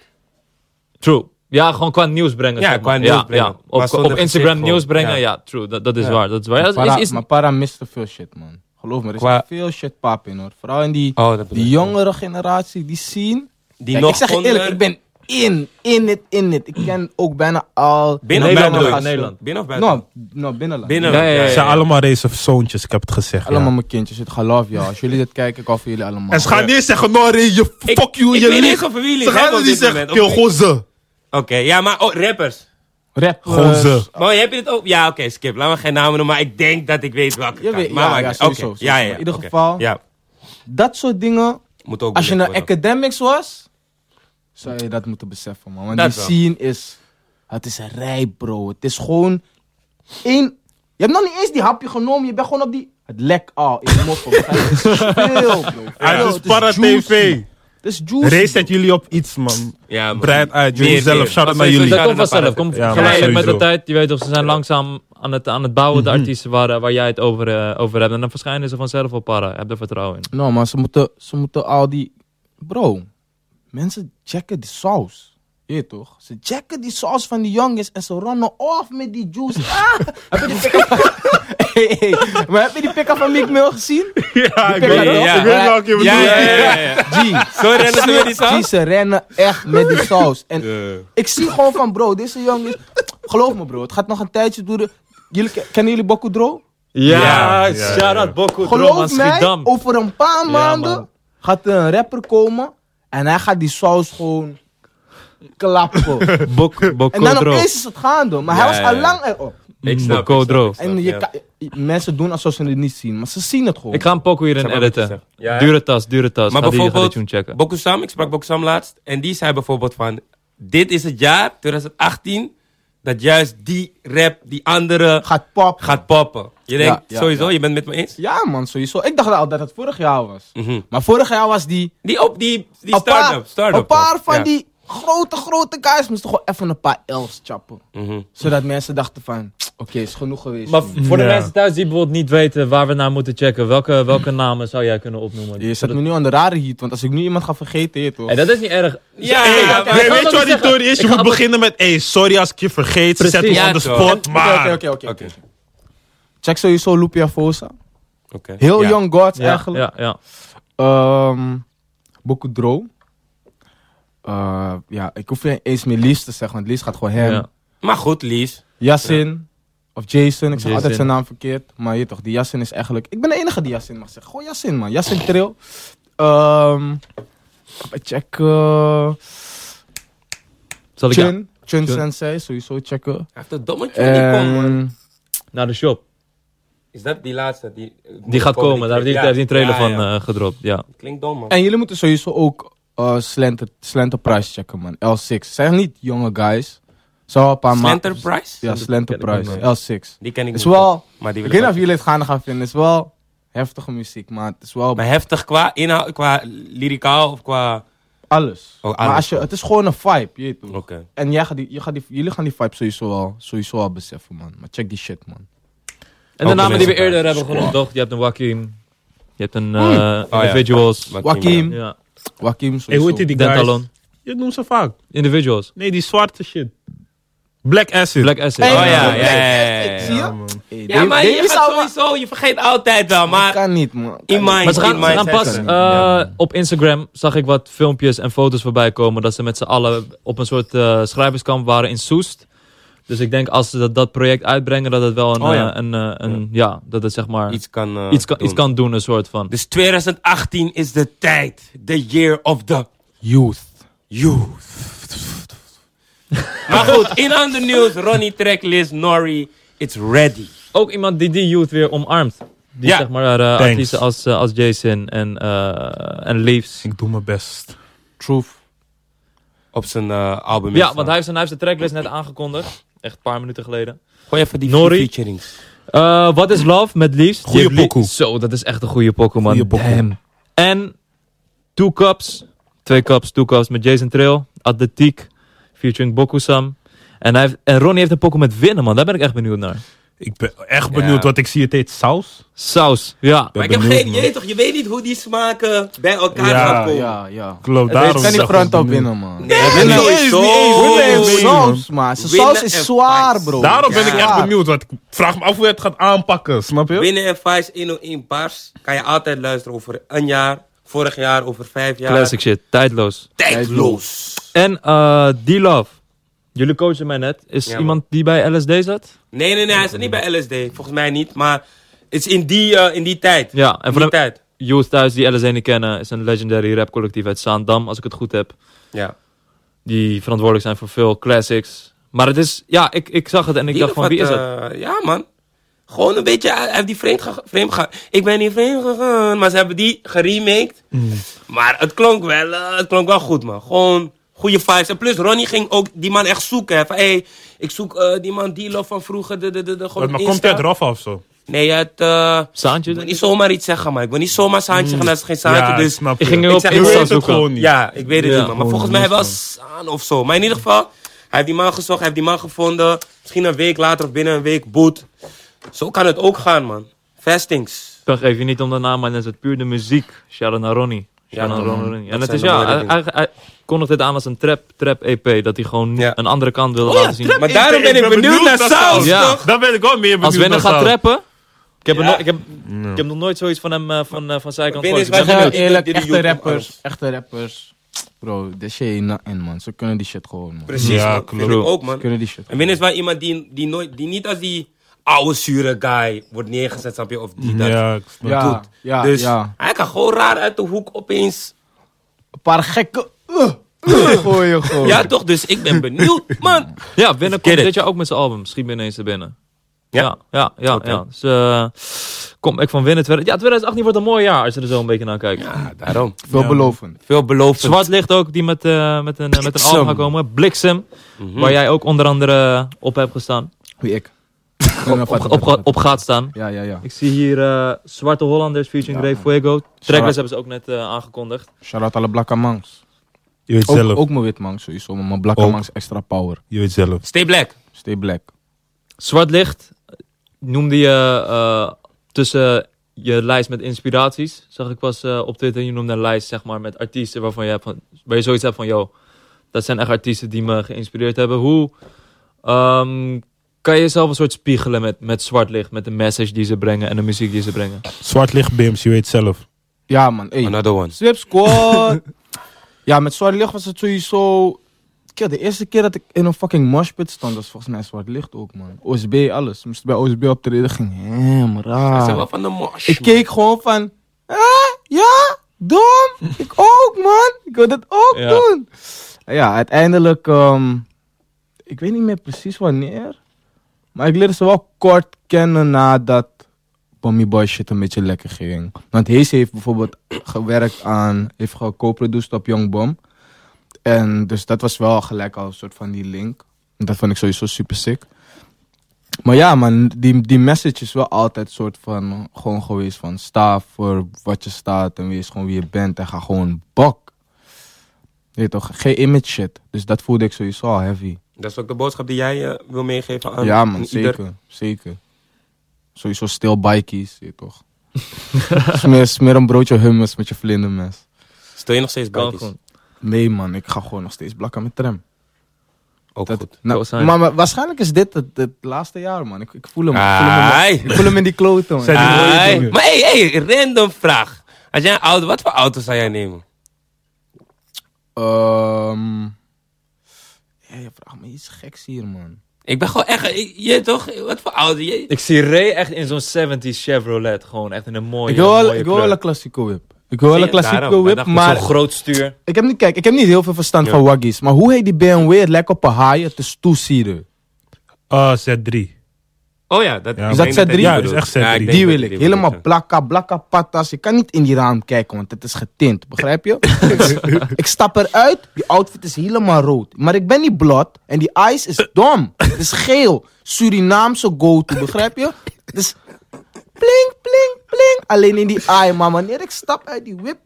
Speaker 2: True. Ja, gewoon qua nieuws brengen.
Speaker 1: Ja,
Speaker 2: zeg maar.
Speaker 1: qua nieuws brengen.
Speaker 2: ja.
Speaker 1: Maar
Speaker 2: Op,
Speaker 1: zonder
Speaker 2: op Instagram
Speaker 1: gezicht
Speaker 2: nieuws
Speaker 1: gewoon.
Speaker 2: brengen, ja,
Speaker 1: Ja.
Speaker 2: true. Dat, dat is
Speaker 1: Ja.
Speaker 2: waar. Dat is waar. Ja, dat
Speaker 4: Para,
Speaker 2: is, is,
Speaker 4: Maar Para mist te veel shit, man. Geloof me, er is
Speaker 1: Qua-
Speaker 4: veel shit pap in, hoor. Vooral in die,
Speaker 1: Oh, dat
Speaker 4: die jongere generatie, die zien...
Speaker 1: Die
Speaker 4: Kijk,
Speaker 1: nog
Speaker 4: ik zeg je
Speaker 1: onder-
Speaker 4: eerlijk, ik ben in, in it, in it. Ik ken ook bijna al...
Speaker 1: Binnen of
Speaker 2: Nederland
Speaker 1: buiten?
Speaker 2: ook,
Speaker 1: gasten?
Speaker 2: Nederland.
Speaker 1: Binnen of buiten?
Speaker 4: Nou, nou binnenland.
Speaker 1: Binnen.
Speaker 2: Ja, ja, ja,
Speaker 3: Het zijn allemaal deze zoontjes, ik heb het gezegd.
Speaker 4: Allemaal
Speaker 3: ja.
Speaker 4: mijn kindjes, het geloof je. Als jullie dit kijken, ik hou voor jullie allemaal.
Speaker 3: En ze gaan niet zeggen, no, Ray, je
Speaker 1: Ik-
Speaker 3: fuck you,
Speaker 1: ik weet
Speaker 3: je
Speaker 1: niet eens
Speaker 3: liegt.
Speaker 1: of we jullie
Speaker 3: Ze gaan
Speaker 1: hebben
Speaker 3: het
Speaker 1: op
Speaker 3: niet
Speaker 1: dit
Speaker 3: zeggen,
Speaker 1: moment,
Speaker 3: kill,
Speaker 1: of-
Speaker 3: gozer.
Speaker 1: Oké, ja, maar oh, rappers.
Speaker 4: Rap.
Speaker 3: Gewoon ze.
Speaker 1: Maar heb je dit ook? Ja, oké, skip. Laat me geen namen noemen, maar ik denk dat ik weet welke.
Speaker 4: Je
Speaker 1: kant.
Speaker 4: weet-
Speaker 1: maar,
Speaker 4: ja,
Speaker 1: maar-
Speaker 4: ja,
Speaker 1: oké,
Speaker 4: sowieso, sowieso.
Speaker 1: Ja, ja,
Speaker 4: In ieder
Speaker 1: oké.
Speaker 4: geval-
Speaker 1: Ja,
Speaker 4: Dat soort dingen.
Speaker 1: moet ook
Speaker 4: Als je
Speaker 1: belicht
Speaker 4: naar
Speaker 1: worden.
Speaker 4: academics was, zou je dat moeten beseffen, man. Want
Speaker 1: Dat
Speaker 4: die
Speaker 1: wel.
Speaker 4: scene is... Het is rijp, bro. Het is gewoon één... Je hebt nog niet eens die hapje genomen. Je bent gewoon op die... Het lek al in je mond. Het is veel, bro.
Speaker 3: Ja,
Speaker 4: Veel.
Speaker 3: het is para
Speaker 4: juicy.
Speaker 3: TV.
Speaker 4: Het is juicy.
Speaker 3: Race
Speaker 4: bro.
Speaker 3: zet jullie op iets, man.
Speaker 1: Ja, maar-
Speaker 3: Breid uit, jullie
Speaker 1: Meer,
Speaker 3: ah, zelf.
Speaker 1: meer.
Speaker 3: Shout-out
Speaker 1: Maar
Speaker 3: naar
Speaker 1: sowieso
Speaker 3: jullie.
Speaker 2: Dat komt
Speaker 1: shout-out naar
Speaker 2: vanzelf. Komt
Speaker 3: Ja, maar
Speaker 2: geleidelijk met de
Speaker 3: sowieso.
Speaker 2: tijd. Je weet toch, ze zijn langzaam aan het, aan het bouwen, de artiesten waar, waar jij het over, eh, over hebt. En dan verschijnen ze vanzelf op para. Heb er vertrouwen in.
Speaker 4: Nou, maar ze moeten, ze moeten al die... Bro, mensen checken die saus. Je weet toch? Ze checken die saus van die jongens en ze runnen off met die juice. Ah, heb je die pick-up van... Hey, hey, Maar heb je die pick-up van Meek Mill gezien?
Speaker 3: Ja, ik
Speaker 4: Die
Speaker 3: weet
Speaker 1: pikken
Speaker 3: wel-
Speaker 1: dat
Speaker 3: ik
Speaker 1: op.
Speaker 3: weet welke je
Speaker 1: Ja, ja, ja,
Speaker 3: bedoelt.
Speaker 1: ja, ja.
Speaker 4: G.
Speaker 1: Zo rennen ze met die
Speaker 4: G,
Speaker 1: saus?
Speaker 4: ze rennen echt met die saus. En ik zie gewoon van, bro, deze jongens... Geloof me, bro, het gaat nog een tijdje duren. Jullie, kennen jullie Bokudro?
Speaker 2: Ja,
Speaker 3: Ja, ja,
Speaker 2: shout-out
Speaker 3: ja.
Speaker 2: Bokko Drom aan
Speaker 4: Geloof mij,
Speaker 2: Schiedam.
Speaker 4: over een paar maanden
Speaker 2: man.
Speaker 4: gaat er een rapper komen en hij gaat die saus gewoon klappen.
Speaker 2: Bok-
Speaker 4: en
Speaker 2: Bokko
Speaker 4: dan
Speaker 2: Drom.
Speaker 4: opeens is het gaande, maar
Speaker 2: Ja,
Speaker 4: hij was
Speaker 2: ja, ja.
Speaker 4: al lang erop.
Speaker 2: Ik
Speaker 1: snap,
Speaker 2: snap, Bokko
Speaker 1: ik snap,
Speaker 2: Drom.
Speaker 1: ik snap.
Speaker 4: En je
Speaker 1: ja.
Speaker 4: ka- mensen doen alsof ze het niet zien, maar ze zien het gewoon.
Speaker 2: Ik ga een Bokko hierin
Speaker 1: Snap wat je
Speaker 2: editen.
Speaker 1: zegt. Ja, hè?
Speaker 2: Dure tas, dure tas.
Speaker 1: Maar
Speaker 2: ga die, ga die
Speaker 1: bijvoorbeeld-
Speaker 2: tune checken.
Speaker 1: Bokusam, ik sprak Bokusam laatst. En die zei bijvoorbeeld van... Dit is het jaar, 2018... dat juist die rap, die andere...
Speaker 4: Gaat pop.
Speaker 1: gaat poppen. Je
Speaker 4: Ja,
Speaker 1: denkt,
Speaker 4: ja,
Speaker 1: sowieso,
Speaker 4: ja.
Speaker 1: je bent het met me eens?
Speaker 4: Ja man, sowieso. Ik dacht al dat het vorig jaar was.
Speaker 2: Mm.
Speaker 1: Mhm.
Speaker 4: Maar vorig jaar was die...
Speaker 1: Die, op, die, die
Speaker 4: een paar-
Speaker 1: start-up. start-up
Speaker 4: Een paar
Speaker 1: toch?
Speaker 4: van
Speaker 1: Ja.
Speaker 4: die grote, grote guys moesten gewoon even een paar L's chappen.
Speaker 1: Mhm.
Speaker 4: Zodat mensen dachten van, oké, is genoeg geweest.
Speaker 2: Maar
Speaker 4: nu.
Speaker 2: voor de
Speaker 3: Ja.
Speaker 2: mensen thuis die bijvoorbeeld niet weten waar we naar moeten checken, welke, welke namen zou jij kunnen opnoemen?
Speaker 4: Je zet me nu aan de rare heat, want als ik nu iemand ga vergeten, heet hoor.
Speaker 2: En dat is niet erg.
Speaker 1: Ja,
Speaker 3: Hey,
Speaker 1: ja,
Speaker 3: nee,
Speaker 1: maar-
Speaker 2: ik ga
Speaker 3: weet je
Speaker 2: dat
Speaker 3: wat
Speaker 2: niet
Speaker 3: die tour is?
Speaker 2: zeggen.
Speaker 3: Je
Speaker 2: Ik
Speaker 3: moet
Speaker 2: ga dat-
Speaker 3: beginnen met, hey, sorry als ik je vergeet. Ze
Speaker 2: Precies.
Speaker 3: zetten me
Speaker 1: Ja,
Speaker 3: on the
Speaker 1: toch.
Speaker 3: spot,
Speaker 4: Oké, Oké,
Speaker 3: maar...
Speaker 4: oké,
Speaker 1: Oké,
Speaker 4: oké. Check sowieso Lupia Fosa.
Speaker 1: oké.
Speaker 4: Heel
Speaker 3: Ja.
Speaker 4: Young Gods
Speaker 2: Ja,
Speaker 4: eigenlijk.
Speaker 2: ja, ja.
Speaker 4: Ehm Boku Dro. Eh, ja, ik hoef je eens meer Lies te zeggen, want Lies gaat gewoon hem.
Speaker 2: Ja.
Speaker 1: Maar goed, Lies.
Speaker 4: Yassin of Jason, ik zeg
Speaker 2: Jason.
Speaker 4: altijd zijn naam verkeerd. Maar je toch, die Yassin is eigenlijk... Ik ben de enige die Yassin mag zeggen. Gewoon Yassin, man. Yassin Trail. Ehm check... eh,
Speaker 2: Zal ik
Speaker 4: Chun. Chun
Speaker 2: Chun.
Speaker 4: Sensei, sowieso checken.
Speaker 1: Hij heeft een dommetje in die
Speaker 4: Ehm,
Speaker 1: kom, hoor.
Speaker 4: En...
Speaker 2: naar de shop?
Speaker 1: Is dat die laatste? Die,
Speaker 2: Die gaat komen, daar heeft hij- daar heeft hij een trailer
Speaker 1: Ja,
Speaker 2: van
Speaker 1: ja.
Speaker 2: eh, gedropt. Ja.
Speaker 1: Klinkt dom, man.
Speaker 4: En jullie moeten sowieso ook eh Slenter, Slenter Price checken, man. L6. Zijn niet jonge guys. Zo een paar maanden.
Speaker 1: Slenter Price?
Speaker 4: Ja, Slenter
Speaker 2: ken ik
Speaker 4: Price.
Speaker 2: niet.
Speaker 4: L6.
Speaker 1: Die ken ik
Speaker 4: Is
Speaker 1: niet.
Speaker 4: wel...
Speaker 1: Maar die wil
Speaker 4: Ik
Speaker 1: ik
Speaker 4: weet niet
Speaker 1: ook
Speaker 4: of jullie het gaan gaan vinden. Is wel heftige muziek, maar het is wel
Speaker 1: Maar heftig qua inhoud, qua lyricaal of qua...
Speaker 4: alles.
Speaker 1: Oh, alles.
Speaker 4: Maar als je, het is gewoon een vibe, je Oh, weet toch.
Speaker 1: Oké.
Speaker 4: En jij gaat die, je gaat die, jullie gaan die vibe sowieso al, sowieso al beseffen, man. Maar check die shit, man.
Speaker 2: En de
Speaker 1: Ook
Speaker 2: namen die we
Speaker 1: mensen
Speaker 2: eerder
Speaker 1: thuis.
Speaker 2: hebben genoemd, toch? Je hebt een Joachim, je hebt een eh, Individuals,
Speaker 1: Oh, Wat-
Speaker 4: Joachim.
Speaker 2: ja.
Speaker 4: Joachim
Speaker 3: Hey,
Speaker 4: sowieso.
Speaker 3: hoe heet die, die guys?
Speaker 2: Dentalon,
Speaker 3: Je noemt ze vaak.
Speaker 2: Individuals,
Speaker 3: Nee, die zwarte shit. Black Acid.
Speaker 2: Black Acid.
Speaker 4: Hey,
Speaker 1: Oh ja, ja,
Speaker 4: man.
Speaker 1: ja, ja,
Speaker 4: Zie
Speaker 1: ja.
Speaker 4: je?
Speaker 3: man.
Speaker 4: Hey,
Speaker 1: Ja,
Speaker 4: Dave-
Speaker 1: maar
Speaker 4: Dave
Speaker 1: je
Speaker 4: is
Speaker 1: gaat
Speaker 4: al-
Speaker 1: sowieso, je vergeet altijd wel,
Speaker 4: Dat
Speaker 1: maar...
Speaker 4: kan niet, man. Kan
Speaker 1: In
Speaker 4: niet.
Speaker 1: mind,
Speaker 2: Maar ze
Speaker 1: in
Speaker 2: gaan, ze gaan
Speaker 1: mind.
Speaker 2: pas
Speaker 4: zijn.
Speaker 2: eh, op Instagram zag ik wat filmpjes en foto's voorbij komen dat ze met z'n allen op een soort eh, schrijverskamp waren in Soest. Dus ik denk als ze dat, dat project uitbrengen, dat het wel een,
Speaker 1: Oh ja.
Speaker 2: eh, een, eh, een ja. dat het zeg maar iets,
Speaker 1: Iets kan, eh,
Speaker 2: kan, iets
Speaker 1: doen.
Speaker 2: kan doen, een soort van.
Speaker 1: Dus 2018 is de tijd. The year of the
Speaker 4: Youth.
Speaker 1: youth. maar goed, in ander nieuws. Ronnie Tracklist, Nori. It's ready.
Speaker 2: Ook iemand die die youth weer omarmt. Die
Speaker 1: Ja.
Speaker 2: zeg maar eh,
Speaker 3: Thanks.
Speaker 2: artiesten als, eh, als Jason en, eh en Leaves.
Speaker 3: Ik doe mijn best.
Speaker 4: Truth.
Speaker 1: Op zijn eh, album.
Speaker 2: Ja, want hij heeft zijn, hij heeft zijn tracklist net aangekondigd. Echt een paar minuten geleden.
Speaker 1: Gooi even die
Speaker 2: Nori.
Speaker 1: featurings.
Speaker 2: Eh, What is Love met Liefst.
Speaker 3: Goeie
Speaker 2: Die heeft Lie-
Speaker 3: pokoe.
Speaker 2: Zo, dat is echt een goede pokoe, man.
Speaker 3: Goeie pokoe.
Speaker 2: Damn. En Two Cups. Twee Cups, Two Cups met Jason Trail. Atletiek. Featuring Bokusam. En, hij heeft, en Ronnie heeft een pokoe met winnen, man. Daar ben ik echt benieuwd naar.
Speaker 3: Ik ben echt
Speaker 1: Ja.
Speaker 3: benieuwd, want ik zie het heet Saus.
Speaker 2: Saus, ja.
Speaker 1: Maar ik heb geen idee toch, je weet niet hoe die smaken bij elkaar
Speaker 3: Ja,
Speaker 1: gaan komen.
Speaker 4: Ja, ja.
Speaker 3: Klopt,
Speaker 2: Het heet
Speaker 3: daarom
Speaker 4: Kan
Speaker 3: zeg
Speaker 4: die
Speaker 3: ik
Speaker 4: front op
Speaker 3: benieuwd.
Speaker 4: winnen, man.
Speaker 1: Nee,
Speaker 3: winnen
Speaker 1: sowieso.
Speaker 3: is niet eens.
Speaker 4: Winnen heeft
Speaker 3: Nee,
Speaker 4: saus, man. Zijn
Speaker 1: Winnen
Speaker 4: saus
Speaker 1: en
Speaker 4: is zwaar,
Speaker 1: fights.
Speaker 4: bro.
Speaker 3: Daarom ben
Speaker 1: Ja.
Speaker 3: ik echt benieuwd, want ik vraag me af hoe je het gaat aanpakken, snap je?
Speaker 1: Binnen en Vice 101 bars kan je altijd luisteren over een jaar, vorig jaar, over vijf jaar.
Speaker 2: Classic shit, tijdloos.
Speaker 1: Tijdloos.
Speaker 2: En eh D-Love. Jullie coachen mij net. Is
Speaker 1: Ja, man.
Speaker 2: iemand die bij LSD zat?
Speaker 1: Nee, nee, nee, hij zit niet bij LSD. Volgens mij niet, maar het is in die, eh, in die tijd.
Speaker 2: Ja, en
Speaker 1: in
Speaker 2: voor
Speaker 1: die
Speaker 2: de
Speaker 1: tijd.
Speaker 2: youth thuis die LSD niet kennen... is een legendary rapcollectief uit Zaandam, als ik het goed heb.
Speaker 1: Ja.
Speaker 2: die verantwoordelijk zijn voor veel classics. Maar het is, ja, ik, ik zag het en ik
Speaker 1: Die
Speaker 2: dacht
Speaker 1: nog
Speaker 2: van wie
Speaker 1: wat,
Speaker 2: is dat?
Speaker 1: eh, ja, man. Gewoon een beetje, hij heeft die frame, ge- frame gegaan. Ik ben niet frame gegaan, maar ze hebben die geremaked.
Speaker 2: Mm.
Speaker 1: Maar het klonk, wel, eh, het klonk wel goed, man. Gewoon goede vibes. En plus, Ronnie ging ook die man echt zoeken. hè. Van, hey, ik zoek eh, die man die love van vroeger. De, de, de, de, gewoon
Speaker 3: Maar
Speaker 1: op
Speaker 3: komt
Speaker 1: Insta.
Speaker 3: het eraf of zo?
Speaker 1: Nee, het... eh,
Speaker 2: Saantje?
Speaker 1: ik wil niet zomaar iets zeggen, maar ik wil niet zomaar Saantje gaan. Dat is geen Saantje,
Speaker 3: ja,
Speaker 1: dus...
Speaker 3: snap
Speaker 2: Ik ging
Speaker 3: je.
Speaker 2: er op
Speaker 1: zeg-
Speaker 3: Je
Speaker 1: Ik
Speaker 2: Insta
Speaker 3: weet het
Speaker 2: zoeken.
Speaker 3: gewoon niet.
Speaker 1: Ja, ik weet het
Speaker 2: Ja,
Speaker 1: niet, man. Maar
Speaker 3: gewoon
Speaker 1: volgens mij wel
Speaker 3: losgaan.
Speaker 1: Saan of zo. Maar in ieder geval, hij heeft die man gezocht, hij heeft die man gevonden. Misschien een week later of binnen een week boet. Zo kan het ook gaan, man. Fastings.
Speaker 2: Dan geef je niet om de naam, maar dan is het puur de muziek. Sharon naar Ronnie. Shout-out
Speaker 1: Ja,
Speaker 2: naar
Speaker 1: man.
Speaker 2: Ronnie.
Speaker 1: Dat
Speaker 2: En het
Speaker 1: zijn
Speaker 2: is
Speaker 1: de
Speaker 2: ja,
Speaker 1: mooie
Speaker 2: hij, hij, hij kondigt dit aan als een trap, trap EP. Dat hij gewoon
Speaker 1: Ja.
Speaker 2: een andere kant wilde laten zien.
Speaker 1: Maar daarom ben ik benieuwd naar Saus,
Speaker 2: Ja.
Speaker 1: toch?
Speaker 3: Dan ben ik wel meer benieuwd
Speaker 2: Als Winnen
Speaker 3: naar
Speaker 2: gaat
Speaker 3: Saus.
Speaker 2: trappen. Ik heb,
Speaker 1: Ja.
Speaker 2: er no- ik, heb, ik heb nog nooit zoiets van hem eh, van, eh, van zijkant
Speaker 1: Winnen is
Speaker 2: gehoord.
Speaker 1: wel
Speaker 2: Ik
Speaker 1: gek.
Speaker 4: Zeg
Speaker 2: ben benieuwd.
Speaker 1: benieuwd.
Speaker 4: eerlijk,
Speaker 1: Die- die
Speaker 4: echte
Speaker 1: doet
Speaker 4: rappers,
Speaker 1: alles.
Speaker 4: echte rappers. Bro, this shit ain't nothing, man. Ze kunnen die shit gewoon, man.
Speaker 1: Precies,
Speaker 3: Ja,
Speaker 1: man. Vind
Speaker 3: klopt.
Speaker 1: ik ook,
Speaker 4: Ze
Speaker 1: man.
Speaker 4: kunnen die shit
Speaker 1: En Win is wel iemand die, die, nooit, die niet als die oude zure guy wordt neergezet, snap je? Of die dat.
Speaker 3: Ja, ik snap.
Speaker 4: Ja,
Speaker 1: doet.
Speaker 4: ja,
Speaker 1: dus
Speaker 4: ja.
Speaker 1: hij kan gewoon raar uit de hoek opeens.
Speaker 4: Een paar gekke... Uh, uh, gooien gewoon.
Speaker 1: Ja, toch? Dus ik ben benieuwd, man.
Speaker 2: Ja, binnenkort
Speaker 1: Get it.
Speaker 2: dit jaar ook met zijn album. Schiet me ineens er binnen.
Speaker 1: Ja?
Speaker 2: Ja, ja, ja.
Speaker 1: Oké.
Speaker 2: ja. Dus eh, kom ik van winnen. Twer- Ja, 2018 wordt een mooi jaar als je er zo een beetje naar kijkt.
Speaker 1: Ja, daarom.
Speaker 4: Veelbelovend.
Speaker 1: Veel beloofd.
Speaker 2: Zwart ligt ook, die met, eh, met, een, eh, met een
Speaker 1: Bliksem. Mm.
Speaker 2: album gaat komen. Bliksem,
Speaker 1: Mhm.
Speaker 2: waar jij ook onder andere eh, op hebt gestaan.
Speaker 4: Wie ik.
Speaker 2: Op, op, op gaat staan.
Speaker 4: Ja, ja, ja.
Speaker 2: Ik zie hier eh, Zwarte Hollanders featuring
Speaker 4: Ja.
Speaker 2: Grey Fuego.
Speaker 4: Shout-out.
Speaker 2: Tracklist hebben ze ook net eh, aangekondigd.
Speaker 4: Shout-out alle blakke mangs.
Speaker 3: Je weet
Speaker 4: Ook,
Speaker 3: zelf.
Speaker 4: ook mijn wit mangs sowieso, maar mijn blakke
Speaker 3: Ook.
Speaker 4: mangs extra power.
Speaker 3: Je weet zelf.
Speaker 1: Stay black.
Speaker 4: Stay black.
Speaker 2: Zwart licht noemde je eh, tussen je lijst met inspiraties. Zag ik pas eh, op Twitter. Je noemde een lijst zeg maar, met artiesten waarvan je, hebt van, waar je zoiets hebt van... Yo, dat zijn echt artiesten die me geïnspireerd hebben. Hoe ehm, kan je jezelf een soort spiegelen met, met zwart licht? Met de message die ze brengen en de muziek die ze brengen?
Speaker 3: Zwart licht, Bims, je weet zelf.
Speaker 4: Ja, man. Hey.
Speaker 1: Another one.
Speaker 4: Slip Squad. ja, met Zwart Licht was het sowieso... Kijk, de eerste keer dat ik in een fucking moshpit stond, was volgens mij Zwart Licht ook, man. OSB, alles. Moest bij OSB optreden, ging hem
Speaker 1: Ze zijn wel
Speaker 4: raar.
Speaker 1: van de mosh.
Speaker 4: Ah. Ik keek gewoon van... Ah, ja, dom. Ik ook, man. Ik wil dat ook
Speaker 2: Ja.
Speaker 4: doen. En Ja, uiteindelijk... ehm, ik weet niet meer precies wanneer. Maar ik leerde ze wel kort kennen nadat Bommy Boy shit een beetje lekker ging. Want Hees heeft bijvoorbeeld gewerkt aan, heeft geco-produced op Young Bomb. En dus dat was wel gelijk al een soort van die link. En Dat vond ik sowieso super sick. Maar ja, man, die, die message is wel altijd soort van gewoon geweest van sta voor wat je staat en wees gewoon wie je bent en ga gewoon bak. Nee toch, geen image shit. Dus dat voelde ik sowieso al heavy.
Speaker 1: Dat is ook de boodschap die jij eh, wil meegeven aan
Speaker 4: ja,
Speaker 1: aan
Speaker 4: man,
Speaker 1: ieder.
Speaker 4: zeker. Zeker. Sowieso stil bikies, je toch? smeer, smeer een broodje hummus met je vlindermes.
Speaker 1: Stel je nog steeds
Speaker 2: Kan
Speaker 1: bij.
Speaker 2: gewoon.
Speaker 4: Nee, man, ik ga gewoon nog steeds blakken met tram.
Speaker 1: Ook
Speaker 4: Dat-
Speaker 1: goed.
Speaker 4: nou,
Speaker 2: Zo zijn.
Speaker 4: maar, maar waarschijnlijk is dit het, het laatste jaar, man. Ik, ik voel hem. ik, voel hem in,
Speaker 1: Ai.
Speaker 4: ik voel hem in die kloten, man.
Speaker 3: Zijn die mooie
Speaker 1: Ai.
Speaker 3: dingen?
Speaker 1: Maar hey, hey, random vraag. Als jij een auto, wat voor auto zou jij nemen?
Speaker 4: Ehm, ja, je vraagt me iets geks hier, man.
Speaker 1: Ik ben gewoon echt, eh, ik- je toch, wat voor auto? Je,
Speaker 2: Ik zie Ray echt in zo'n 70s Chevrolet. Gewoon echt in een mooie,
Speaker 4: ik wil wel,
Speaker 2: mooie
Speaker 4: ik wil wel
Speaker 2: kleur.
Speaker 4: een Classico whip. Ik wil wel
Speaker 1: Zie
Speaker 4: een
Speaker 1: je, daarom,
Speaker 4: Classico whip,
Speaker 1: maar dat-
Speaker 4: maar
Speaker 2: Zo'n groot stuur.
Speaker 4: ik heb, niet, kijk, ik heb niet heel veel verstand
Speaker 1: Ja.
Speaker 4: van waggies. Maar hoe heet die BMW? Het lijkt op een haai, het is toesieren.
Speaker 3: Ah, Z3.
Speaker 1: oh ja, dat
Speaker 3: Ja.
Speaker 1: ik
Speaker 3: Is
Speaker 1: denk
Speaker 4: dat Z3?
Speaker 1: die
Speaker 4: Ja,
Speaker 1: bedoelt.
Speaker 3: is echt Z3.
Speaker 1: ik denk
Speaker 4: Die
Speaker 1: dat
Speaker 4: wil
Speaker 1: die
Speaker 4: ik. Helemaal
Speaker 1: bedoelt,
Speaker 4: blakka, blakka patas. Je kan niet in die raam kijken, want het is getint. Begrijp je? ik stap eruit, die outfit is helemaal rood. Maar ik ben niet blot en die ice is dom. Het is geel. Surinaamse go-to, begrijp je? Dus pling, pling, pling. Alleen in die eye, maar wanneer ik stap uit die whip...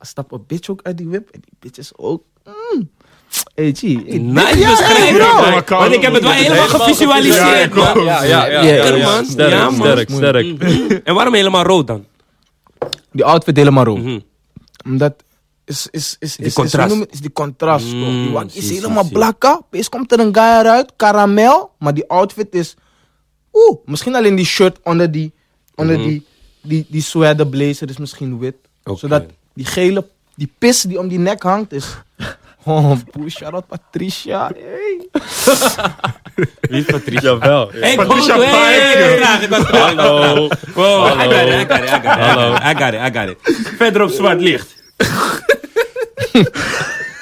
Speaker 4: Stap een bitch ook uit die whip en die bitch is ook... Mm. Hey, G. hey,
Speaker 1: ja.
Speaker 4: dit-
Speaker 1: Nice
Speaker 4: Ja, hey,
Speaker 1: beschrijving,
Speaker 4: bro.
Speaker 1: man. Want ik heb het wel helemaal gevisualiseerd,
Speaker 3: Ja,
Speaker 1: man.
Speaker 2: Ja, ja, ja.
Speaker 4: Ja, Mm.
Speaker 2: ja,
Speaker 1: lekker,
Speaker 2: ja.
Speaker 1: man.
Speaker 2: Sterk,
Speaker 1: Ja, man.
Speaker 2: sterk, sterk.
Speaker 1: Mhm. En waarom helemaal rood dan?
Speaker 4: Die outfit helemaal rood.
Speaker 1: Mhm.
Speaker 4: Omdat is, is, is, is, is,
Speaker 1: contrast.
Speaker 4: hoe noem je- is die contrast.
Speaker 1: Mm,
Speaker 4: toch? Die wang is
Speaker 1: zie,
Speaker 4: helemaal
Speaker 1: zie,
Speaker 4: blakka. Opeens komt er een guy eruit, karamel. Maar die outfit is... Oeh, misschien alleen die shirt onder die, onder die, die, die sweater blazer is misschien wit.
Speaker 1: Mhm. Oké.
Speaker 4: Zodat die gele, die pis die om die nek hangt is... Oh, boe, shout-out Patricia. Hey.
Speaker 1: Wie is Patricia?
Speaker 2: Jawel.
Speaker 1: Hey,
Speaker 3: Patricia
Speaker 1: goed, hey,
Speaker 3: Pike.
Speaker 1: ik vraag, ik was vraag.
Speaker 3: Oh.
Speaker 2: Hallo.
Speaker 1: Wow, Oh, I got it, I got it, I got it.
Speaker 2: Hallo.
Speaker 1: I got it, I got it. Verder op zwart licht.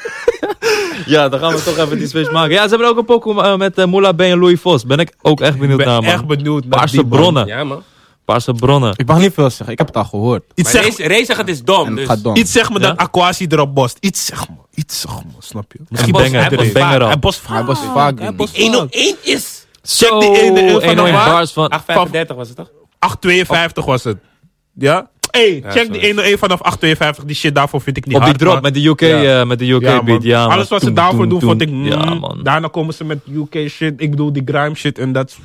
Speaker 2: Ja, dan gaan we toch even die switch maken. Ja, ze hebben ook een Pokémon eh, met Moula Moola B en Louis Vos. Ben ik ook echt
Speaker 3: Ik
Speaker 2: benieuwd
Speaker 3: ben
Speaker 2: naar, Nou, man.
Speaker 3: echt benieuwd naar
Speaker 2: Paarse
Speaker 3: die man.
Speaker 2: bronnen.
Speaker 1: Ja, man.
Speaker 2: Paarse bronnen.
Speaker 4: Ik mag niet veel zeggen, ik heb het al gehoord.
Speaker 3: Iets
Speaker 1: Maar
Speaker 3: zeg,
Speaker 1: Ray- Ray zegt het is dom,
Speaker 4: En het
Speaker 1: dus...
Speaker 4: gaat dom.
Speaker 3: iets zeg me
Speaker 2: Ja?
Speaker 3: dat Aquasi erop bost. Iets zeg me. Iets zeg me, snap je?
Speaker 2: Een
Speaker 1: was-
Speaker 2: banger,
Speaker 1: hij was
Speaker 2: een banger
Speaker 3: Hij
Speaker 2: al.
Speaker 3: bost vaak.
Speaker 4: Ah, Hij was vaak in.
Speaker 3: bost
Speaker 1: 101 is...
Speaker 2: Zo,
Speaker 3: die ene in van de
Speaker 2: 101
Speaker 3: waar.
Speaker 2: bars van...
Speaker 1: 835 was het toch?
Speaker 3: 8,52 was het. Ja? Hey, check
Speaker 1: sorry.
Speaker 3: die 101 vanaf 8,52. Die shit daarvoor vind ik niet
Speaker 2: Op die
Speaker 3: hard,
Speaker 2: drop
Speaker 3: maar-
Speaker 2: met de UK,
Speaker 3: Ja.
Speaker 2: eh, met de UK
Speaker 3: Ja, man.
Speaker 2: beat. Ja, man.
Speaker 3: Alles wat ze
Speaker 2: Toen,
Speaker 3: daarvoor
Speaker 2: toen,
Speaker 3: doen,
Speaker 2: toen.
Speaker 3: vond ik... mm,
Speaker 2: Ja, man.
Speaker 3: Daarna komen ze met UK shit. Ik bedoel, die grime shit en dat...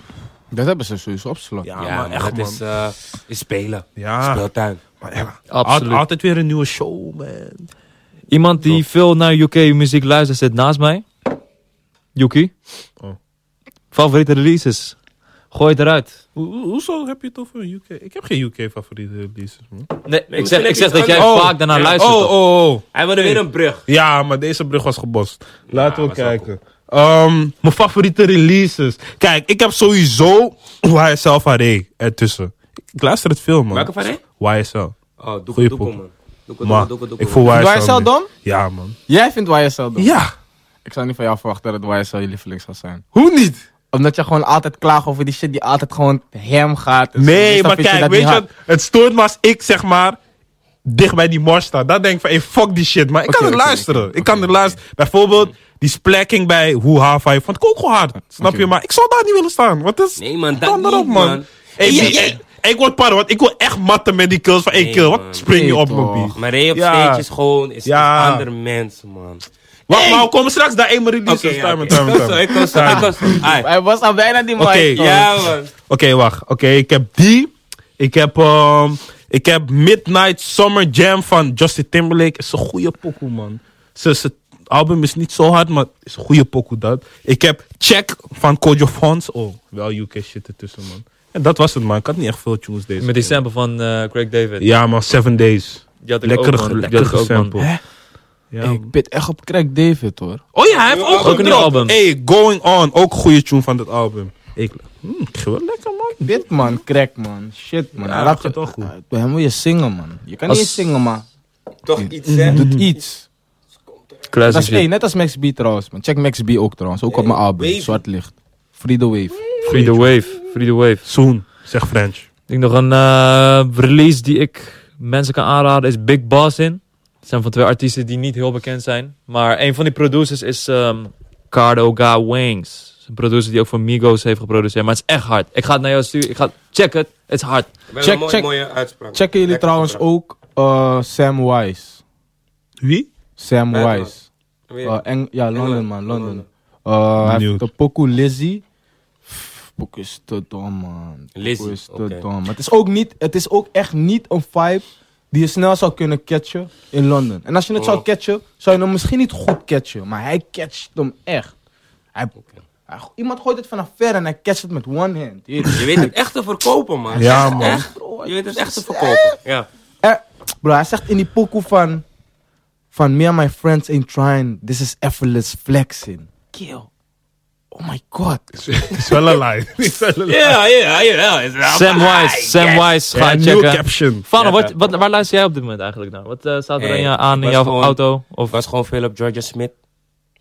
Speaker 4: Dat hebben ze sowieso op slot.
Speaker 3: Ja,
Speaker 1: Ja,
Speaker 3: man,
Speaker 1: maar
Speaker 3: echt,
Speaker 1: het
Speaker 3: man.
Speaker 1: Ah, is, eh, Ah. is spelen.
Speaker 3: Ja.
Speaker 1: Speeltuin.
Speaker 3: Maar ja,
Speaker 2: Absoluut.
Speaker 3: al- altijd weer een nieuwe show, man.
Speaker 2: Iemand die veel naar UK-muziek luistert zit naast mij. Yuki.
Speaker 3: Oh.
Speaker 2: Favoriete releases. Gooi het eruit.
Speaker 3: Hoe- hoe- Hoezo heb je het over UK? Ik heb geen UK-favoriete releases, man.
Speaker 2: Nee, ik
Speaker 1: misschien
Speaker 2: zeg,
Speaker 1: heb
Speaker 2: ik
Speaker 1: je
Speaker 2: zeg
Speaker 1: iets
Speaker 2: dat jij
Speaker 1: anders.
Speaker 2: vaak daarna
Speaker 1: Ja.
Speaker 2: luistert.
Speaker 3: Oh, oh, oh.
Speaker 1: Hij wilde weer een brug.
Speaker 3: Ja, maar deze brug was gebost. Laten
Speaker 1: Ja,
Speaker 3: we
Speaker 1: was wel
Speaker 3: kijken. Ehm, mijn favoriete releases. Kijk, ik heb sowieso YSL van Ray ertussen. Ik luister het veel, man.
Speaker 1: Welke van Ray?
Speaker 3: YSL.
Speaker 1: Oh, doe
Speaker 3: Goeie
Speaker 1: doe
Speaker 3: poep.
Speaker 1: man. Doe
Speaker 3: Maar
Speaker 1: doe doe
Speaker 3: ik voel YSL.
Speaker 4: Doe YSL
Speaker 3: meer.
Speaker 4: dom?
Speaker 3: Ja, man.
Speaker 4: Jij vindt YSL dom?
Speaker 3: Ja.
Speaker 4: Ik zou niet van jou verwachten dat het YSL je lievelings gaat zijn.
Speaker 3: Hoe niet?
Speaker 4: Omdat je gewoon altijd klaagt over die shit die altijd gewoon hem gaat. Dus
Speaker 3: Nee,
Speaker 4: meestal
Speaker 3: maar
Speaker 4: vind
Speaker 3: kijk,
Speaker 4: dat
Speaker 3: weet je
Speaker 4: niet
Speaker 3: wat?
Speaker 4: hard.
Speaker 3: Het stoort me als ik, zeg maar, dicht bij die mars sta. Dan denk ik van, hey, fuck die shit, maar ik kan
Speaker 4: Oké,
Speaker 3: er
Speaker 4: oké,
Speaker 3: luisteren.
Speaker 4: oké,
Speaker 3: ik kan
Speaker 4: oké,
Speaker 3: er
Speaker 4: oké.
Speaker 3: luisteren. Bijvoorbeeld, die splacking bij Hoe Hava, vond ik ook gewoon hard. Snap
Speaker 4: Oké.
Speaker 3: je? Maar ik zou daar niet willen staan. Wat is...
Speaker 1: Nee, man, dat
Speaker 3: Kom erop,
Speaker 1: niet,
Speaker 3: man.
Speaker 1: man.
Speaker 3: Hey,
Speaker 1: Hey,
Speaker 3: nee,
Speaker 1: jij-
Speaker 3: hey, ik word pardon, want ik wil echt matten met die kills van één
Speaker 1: Nee,
Speaker 3: kill. Wat
Speaker 1: man.
Speaker 3: spring je
Speaker 4: Nee,
Speaker 3: op,
Speaker 4: toch.
Speaker 3: mijn
Speaker 1: Maar Ray op
Speaker 3: Ja.
Speaker 1: stage is gewoon is
Speaker 3: Ja.
Speaker 1: een ander mens, man.
Speaker 3: Wacht, maar we komen straks daar één release.
Speaker 1: Oké, ja, oké.
Speaker 3: Time,
Speaker 1: Ik
Speaker 3: time,
Speaker 1: was zo,
Speaker 3: time.
Speaker 1: ik was zo, ik was zo. Ai.
Speaker 4: Hij was al bijna die mic.
Speaker 3: Oké,
Speaker 4: man.
Speaker 1: Ja, man.
Speaker 3: Oké, wacht. Oké, ik heb die. Ik heb, ehm, ik heb Midnight Summer Jam van Justin Timberlake. Is een goede pokoe, man. Ze- ze- Het album is niet zo hard, maar het is een goede pokoe dat. Ik heb Check van Kojo Fons. Oh, wel UK shit ertussen, man. En dat was het, man. Ik had niet echt veel tunes deze
Speaker 2: Met die
Speaker 3: keer.
Speaker 2: sample van eh, Craig David.
Speaker 3: Ja, man. Seven Days.
Speaker 2: Die had ik
Speaker 3: Lekkere,
Speaker 2: ook, man.
Speaker 3: lekkere,
Speaker 2: Die had ik ook, man.
Speaker 3: sample.
Speaker 4: Hè?
Speaker 3: Ja,
Speaker 4: Hey,
Speaker 3: man.
Speaker 4: Ik bid echt op Craig David hoor.
Speaker 3: Oh ja, hij heeft
Speaker 1: Ook
Speaker 3: ook,
Speaker 2: een nieuw
Speaker 3: gedropt.
Speaker 2: album.
Speaker 3: Hey, Going On, ook een goede tune van dat album. Ik, hmm, ik wel lekker man.
Speaker 4: Dit man, Craig man. Shit man.
Speaker 3: Ja,
Speaker 4: Hij
Speaker 3: dat
Speaker 4: laat
Speaker 3: gaat
Speaker 4: je
Speaker 3: wel goed.
Speaker 4: Bij hem moet je zingen man. Je kan
Speaker 2: Als-
Speaker 4: niet eens zingen maar
Speaker 1: Toch iets, hè?
Speaker 4: doet iets. Dat
Speaker 2: Classic
Speaker 4: is hey,
Speaker 2: shit.
Speaker 4: net als Max B trouwens man. Check Max B ook trouwens. Ook op mijn album. Zwart licht. Free the wave.
Speaker 2: Free the wave. Free the wave.
Speaker 3: Soon, zegt French.
Speaker 2: Ik denk nog een eh, release die ik mensen kan aanraden is Big Boss in. Het zijn van twee artiesten die niet heel bekend zijn. Maar een van die producers is ehm Cardo Ga Wings. Een producer die ook voor Migos heeft geproduceerd. Maar het is echt hard. Ik ga het naar jou sturen. Ik ga check het. Het is hard.
Speaker 1: Wel
Speaker 4: Check,
Speaker 1: een mooie,
Speaker 4: check.
Speaker 1: mooie uitspraak.
Speaker 4: Checken jullie
Speaker 1: Lekker
Speaker 4: trouwens
Speaker 1: uitspraak.
Speaker 4: ook eh, Sam Wise.
Speaker 3: Wie?
Speaker 4: Sam
Speaker 1: Ja,
Speaker 4: Wise.
Speaker 1: Weer.
Speaker 4: Eh, Eng- ja, London
Speaker 1: Engeland,
Speaker 4: man,
Speaker 1: Londen.
Speaker 4: London. Eh, Hij
Speaker 3: Benieuwd.
Speaker 4: heeft de Poku Lizzy. Pff, Poku is te dom man. Poku
Speaker 1: Lizzy,
Speaker 4: is te
Speaker 1: oké.
Speaker 4: dom. Maar het is, ook niet, het is ook echt niet een vibe die je snel zou kunnen catchen in Londen. En als je het
Speaker 1: Oh.
Speaker 4: zou catchen, zou je hem misschien niet goed catchen. Maar hij catcht hem echt. Hij, hij- iemand gooit het vanaf ver en hij catcht het met one hand. Je weet-
Speaker 1: Je weet het echt te verkopen, man.
Speaker 3: Ja,
Speaker 1: Echt,
Speaker 3: man.
Speaker 1: echt. Je weet het echt te verkopen. Ja.
Speaker 4: Eh, bro, hij zegt in die pokoe van... Van me and my friends ain't trying. This is effortless flexing. Kill. Oh my god.
Speaker 3: Is wel een lie. Is wel een lie.
Speaker 1: Ja, ja, ja.
Speaker 2: Sam Wise. Sam Wise. Ga
Speaker 3: Ja,
Speaker 2: het
Speaker 3: nieuwe
Speaker 2: checken.
Speaker 3: caption.
Speaker 2: Fano,
Speaker 1: Ja,
Speaker 2: wat, wat, waar luister jij op dit moment eigenlijk naar? Wat eh, staat er
Speaker 1: Hey,
Speaker 2: aan, je, aan
Speaker 1: ik
Speaker 2: in
Speaker 1: was
Speaker 2: jouw
Speaker 1: gewoon-
Speaker 2: auto? Of,
Speaker 1: Ik was gewoon veel op Georgia Smith.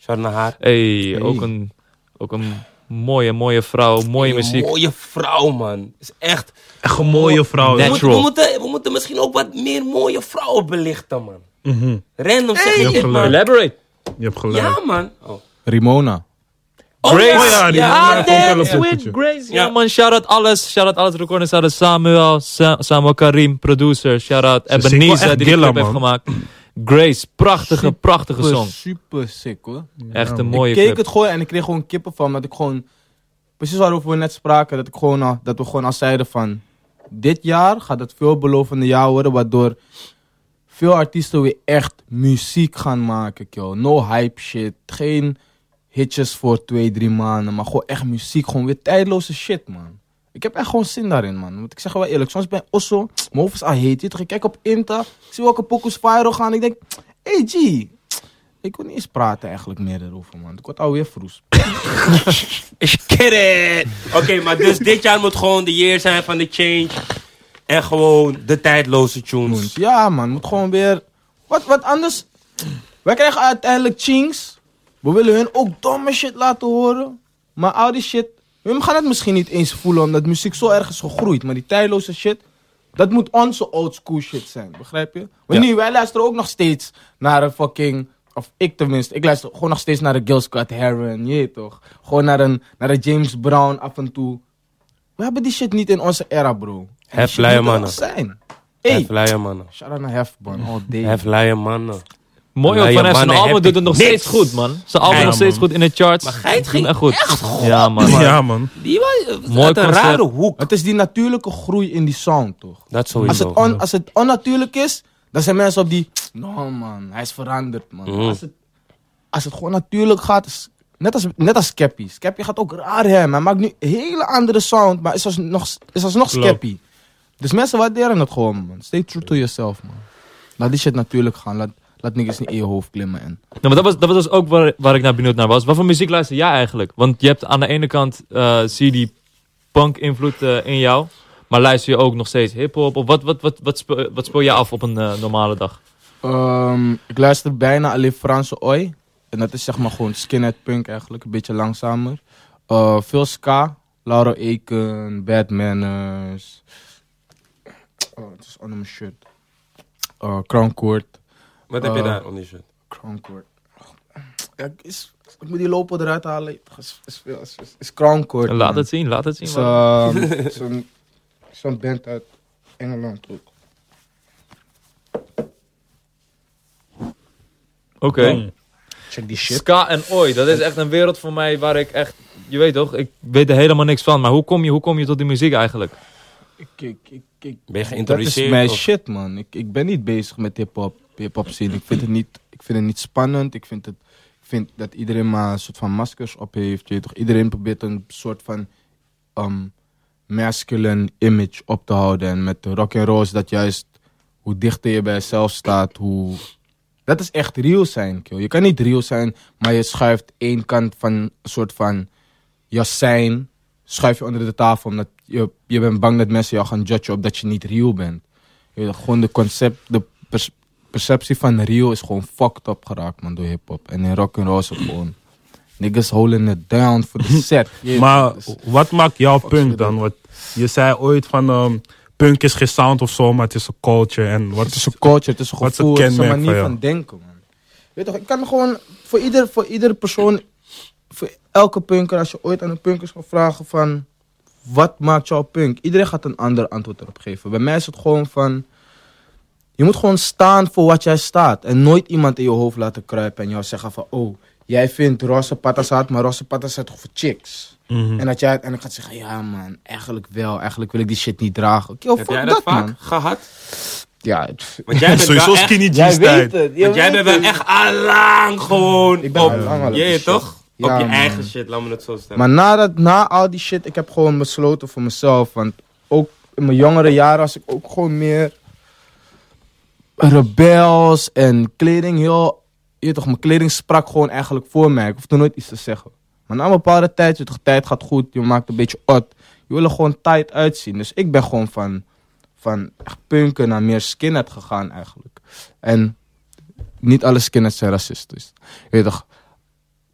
Speaker 1: Shout naar haar.
Speaker 2: hey, Ook, een, ook een mooie, mooie vrouw. Mooie muziek.
Speaker 1: Mooie vrouw, man. Is echt.
Speaker 3: Echt een mooie vrouw.
Speaker 1: We
Speaker 2: Natural.
Speaker 1: moeten, we, moeten, we moeten misschien ook wat meer mooie vrouwen belichten, man. Random zeg
Speaker 3: Je
Speaker 1: ik
Speaker 3: hebt
Speaker 1: dit,
Speaker 3: gelijk.
Speaker 1: man.
Speaker 2: Elaborate.
Speaker 3: Je hebt gelijk.
Speaker 1: Ja, man. Oh.
Speaker 4: Rimona.
Speaker 1: Oh,
Speaker 2: Grace.
Speaker 1: ja.
Speaker 3: Oh ja, die
Speaker 1: Ja,
Speaker 3: ja,
Speaker 1: damn.
Speaker 3: ook wel een
Speaker 2: With
Speaker 3: pokoetje.
Speaker 2: Grace.
Speaker 1: Ja.
Speaker 2: Ja, man. Shout-out alles. Shout-out alles. Recording shout-out Samuel. Sa- Samuel Karim, producer. Shout-out
Speaker 3: Ze zingt wel
Speaker 2: Ebenezer,
Speaker 3: echt
Speaker 2: die de
Speaker 3: gilla,
Speaker 2: clip heeft
Speaker 3: man.
Speaker 2: gemaakt. Grace. Prachtige, prachtige
Speaker 4: Super,
Speaker 2: song.
Speaker 4: super sick hoor.
Speaker 2: Echt een
Speaker 3: man.
Speaker 2: mooie
Speaker 4: ik keek
Speaker 2: clip.
Speaker 4: het gewoon en ik kreeg gewoon kippen van. Dat ik gewoon... Precies waarover we net spraken. Dat, ik gewoon al- dat we gewoon al zeiden van... Dit jaar gaat het veelbelovende jaar worden. Waardoor veel artiesten weer echt muziek gaan maken. Kill. No hype shit. Geen hitjes voor twee, drie maanden. Maar gewoon echt muziek. Gewoon weer tijdloze shit man. Ik heb echt gewoon zin daarin, man. Want ik zeg je wel eerlijk, soms ben ik Osso, mijn hoofd is al heet. je toch? Ik kijk op Inta, ik zie welke pokus viral gaan. Ik denk, hey G, ik wil niet eens praten eigenlijk meer erover, man. Ik word alweer vroes.
Speaker 1: Is kidding. Oké, maar dus dit jaar moet gewoon de year zijn van de change. En gewoon de tijdloze tunes.
Speaker 4: Ja, man, moet gewoon weer. Wat, wat anders? Wij krijgen uiteindelijk chinks. We willen hun ook domme shit laten horen. Maar al die shit, hun gaan het misschien niet eens voelen omdat muziek zo erg is gegroeid. Maar die tijdloze shit, dat moet onze old school shit zijn, begrijp je? Want nu, wij luisteren ook nog steeds naar een fucking. Of ik tenminste, ik luister gewoon nog steeds naar de Gil Scott Heron, je weet toch? Gewoon naar een, naar een James Brown af en toe. We hebben die shit niet in onze era, bro. En die shit
Speaker 1: Heflije
Speaker 4: moet er
Speaker 1: mannen.
Speaker 4: nog zijn. Hey,
Speaker 1: Heflije mannen.
Speaker 4: Shout out naar Hefban, all day.
Speaker 1: Heflije mannen.
Speaker 2: Mooi
Speaker 1: Ja,
Speaker 2: ook
Speaker 1: je
Speaker 2: van hem. Zijn
Speaker 1: mannen
Speaker 2: album
Speaker 1: heb
Speaker 2: doet
Speaker 1: ik
Speaker 2: het nog
Speaker 1: niks.
Speaker 2: steeds goed, man. Zijn album
Speaker 1: Ja,
Speaker 2: nog steeds
Speaker 3: man.
Speaker 2: goed in de charts. Maar
Speaker 1: Geit ging
Speaker 2: echt goed. Ja, man.
Speaker 3: Ja, man.
Speaker 1: Die was
Speaker 2: Mooi
Speaker 1: uit een
Speaker 2: concert.
Speaker 1: rare hoek.
Speaker 4: het is die natuurlijke groei in die sound, toch?
Speaker 1: Dat
Speaker 4: Als het,
Speaker 1: sowieso.
Speaker 4: on- als het onnatuurlijk is, dan zijn mensen op die... No man, hij is veranderd, man.
Speaker 1: Mhm.
Speaker 4: Als, het, als het gewoon natuurlijk gaat, is- net als, net als Skeppy. Skeppy gaat ook raar hem. Hij maakt nu een hele andere sound, maar is alsnog, is alsnog
Speaker 3: Klopt.
Speaker 4: Skeppy. Dus mensen waarderen het gewoon, man. Stay true to yourself, man. Laat die shit natuurlijk gaan. Laat, laat niks niet in je hoofd klimmen. En
Speaker 2: Nou, maar dat was, dat was dus ook waar, waar ik naar benieuwd naar was. Wat voor muziek luister jij eigenlijk? Want je hebt aan de ene kant eh, zie je die punk-invloed eh, in jou. Maar luister je ook nog steeds hip-hop? Of wat, wat, wat, wat, speel, wat speel je af op een eh, normale dag?
Speaker 4: Ehm, ik luister bijna alleen Franse oi. En dat is zeg maar gewoon skinhead punk eigenlijk, een beetje langzamer. Eh, veel ska, Laura Eken, Bad Manners. Oh, het is onder mijn shirt. Eh Crown Court.
Speaker 1: Wat heb je
Speaker 4: Eh,
Speaker 1: daar onder je shirt?
Speaker 4: Crown Court. Ja, ik- is, ik moet die lopen eruit halen. Is, is, veel- is, is, is Crown Court.
Speaker 2: Laat
Speaker 4: man.
Speaker 2: het zien, laat het zien.
Speaker 4: Is,
Speaker 2: man.
Speaker 4: ehm, Zo'n zo'n band uit Engeland ook.
Speaker 2: Oké.
Speaker 3: Mm.
Speaker 4: Check die shit.
Speaker 2: Ska en Oi, dat is echt een wereld voor mij waar ik echt... Je weet toch, ik weet er helemaal niks van. Maar hoe kom je, hoe kom je tot die muziek eigenlijk?
Speaker 4: Ik, ik, ik, ik,
Speaker 1: Ben je
Speaker 4: dat is
Speaker 1: geïntroduceerd?
Speaker 4: mijn
Speaker 1: of-
Speaker 4: shit, man. Ik, ik ben niet bezig met hip-hop hip scene. Ik vind, het niet, ik vind het niet spannend. Ik vind, het, ik vind dat iedereen maar een soort van maskers op heeft. Je weet toch? Iedereen probeert een soort van ehm, masculine image op te houden. En met rock and roll is dat juist hoe dichter je bij jezelf staat, hoe. Dat is echt real zijn, kill. Je kan niet real zijn, maar je schuift één kant van een soort van je zijn schuif je onder de tafel. Omdat je, je bent bang dat mensen jou gaan judgen op dat je niet real bent. Je weet, gewoon de concept, de pers- perceptie van real is gewoon fucked up geraakt, man, door hip-hop. En in rock and roll is het gewoon. Niggas holding it down voor de set. Je-
Speaker 3: Maar
Speaker 4: dus-
Speaker 3: wat maakt jou
Speaker 4: Fuck, shit,
Speaker 3: punk dan? Want je zei ooit van ehm, punk is geen sound of zo, maar het is een culture. En wat
Speaker 4: Het is een culture, het is een
Speaker 3: Wat is het
Speaker 4: gevoel, het is een
Speaker 3: kenmerk van
Speaker 4: manier van,
Speaker 3: jou?
Speaker 4: denken, man. Weet toch, ik kan gewoon voor ieder, voor ieder persoon, voor elke punker, als je ooit aan een punkers gaat vragen van, wat maakt jou punk? Iedereen gaat een ander antwoord erop geven. Bij mij is het gewoon van, je moet gewoon staan voor wat jij staat. En nooit iemand in je hoofd laten kruipen en jou zeggen van, oh, jij vindt roze patas hard, maar roze patas zijn toch voor chicks?
Speaker 3: Mhm.
Speaker 4: En dat jij uiteindelijk gaat zeggen, ja man, eigenlijk wel, eigenlijk wil ik die shit niet dragen. Oké,
Speaker 1: Heb
Speaker 4: fuck
Speaker 1: jij
Speaker 4: dat,
Speaker 1: dat, vaak
Speaker 4: man.
Speaker 1: gehad?
Speaker 4: Ja, het-
Speaker 1: Want jij bent
Speaker 3: Sowieso
Speaker 1: wel echt,
Speaker 3: skinny jeans tijd.
Speaker 4: het.
Speaker 1: want jij bent wel echt allang gewoon
Speaker 4: Ik ben
Speaker 1: op,
Speaker 4: al lang al op
Speaker 1: je
Speaker 4: die shit.
Speaker 1: toch?
Speaker 4: Ja,
Speaker 1: op je
Speaker 4: man.
Speaker 1: eigen shit, laat me het zo stellen.
Speaker 4: Maar nadat, na al die shit, ik heb gewoon besloten voor mezelf. Want ook in mijn jongere jaren was ik ook gewoon meer rebels en kleding heel... Je weet toch, mijn kleding sprak gewoon eigenlijk voor mij. Ik hoefde nooit iets te zeggen. Maar na een bepaalde tijd, je weet toch, tijd gaat goed, je maakt een beetje ot. Je wil er gewoon tight uitzien. Dus ik ben gewoon van, van echt punken naar meer skinhead gegaan eigenlijk. En niet alle skinheads zijn racistisch. Je weet toch...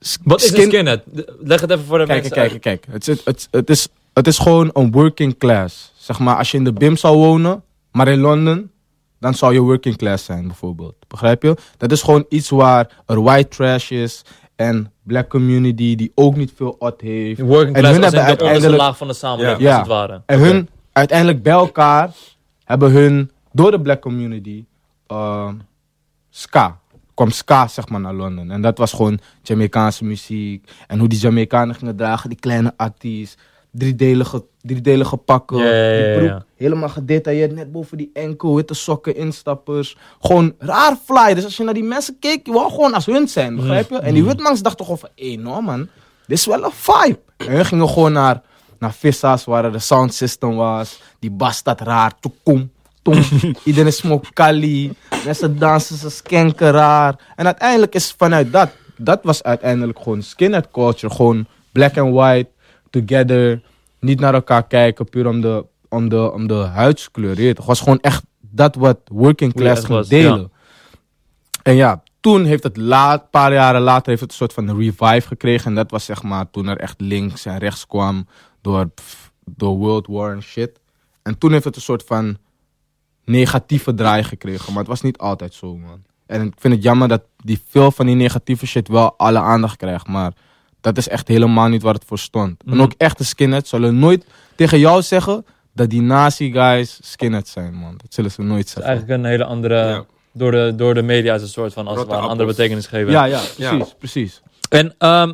Speaker 4: s-
Speaker 2: Wat is
Speaker 4: skin-
Speaker 2: een skinhead? De- Leg het even voor de
Speaker 4: Kijk, kijk,
Speaker 2: mensen
Speaker 4: kijk. Het, is- het, het, is, het is gewoon een working class. Zeg maar, als je in de BIM zou wonen, maar in Londen, dan zou je working class zijn, bijvoorbeeld. Begrijp je? Dat is gewoon iets waar er white trash is en black community die ook niet veel ot heeft.
Speaker 2: uit. Working
Speaker 4: En
Speaker 2: class
Speaker 4: hun
Speaker 2: als in de
Speaker 4: hebben
Speaker 2: onderste
Speaker 4: uiteindelijk-
Speaker 2: laag van de samenleving,
Speaker 4: Ja.
Speaker 2: als het ware.
Speaker 4: En hun, uiteindelijk bij elkaar, hebben hun door de black community ehm, ska. Kwam ska, zeg maar, naar Londen. En dat was gewoon Jamaicaanse muziek. En hoe die Jamaicanen gingen dragen, die kleine atties. Driedelige, driedelige pakken.
Speaker 2: Ja, ja, ja,
Speaker 4: die
Speaker 2: ja,
Speaker 4: broek
Speaker 2: ja.
Speaker 4: helemaal gedetailleerd, net boven die enkel. Witte sokken, instappers. Gewoon raar fly. Dus als je naar die mensen keek, je wou gewoon als hun zijn, begrijp je? En die witmans dachten gewoon van, hé, no man. Dit is wel een vibe. En hun gingen gewoon naar, naar Vissa's, waar de sound system was. Die bas staat raar. Toekom, tom. Iedereen smokt kali. Mensen dansen, ze skanken raar. En uiteindelijk is vanuit dat, dat was uiteindelijk gewoon skinhead culture. Gewoon black and white, together. Niet naar elkaar kijken, puur om de, om de, om de huidskleur. je weet toch. Het was gewoon echt dat wat working
Speaker 2: Hoe je
Speaker 4: class
Speaker 2: echt
Speaker 4: ging
Speaker 2: was,
Speaker 4: delen. En ja, toen heeft het laat, paar jaren later heeft het een soort van revive gekregen. En dat was zeg maar toen er echt links en rechts kwam door, pff, door World War en shit. En toen heeft het een soort van negatieve draai gekregen. Maar het was niet altijd zo, man. En ik vind het jammer dat die veel van die negatieve shit wel alle aandacht krijgt. Maar dat is echt helemaal niet waar het voor stond. En
Speaker 2: Mm.
Speaker 4: ook echte skinheads zullen nooit tegen jou zeggen dat die nazi guys skinheads zijn, man. Dat zullen ze nooit
Speaker 2: Het is
Speaker 4: zeggen.
Speaker 2: eigenlijk een hele andere...
Speaker 1: Ja.
Speaker 2: Door, de, door de media is een soort van, als het
Speaker 1: Rotte
Speaker 2: ware, een andere
Speaker 1: appels.
Speaker 2: betekenis gegeven.
Speaker 4: Ja, ja, precies,
Speaker 1: Ja.
Speaker 4: precies.
Speaker 2: En ehm,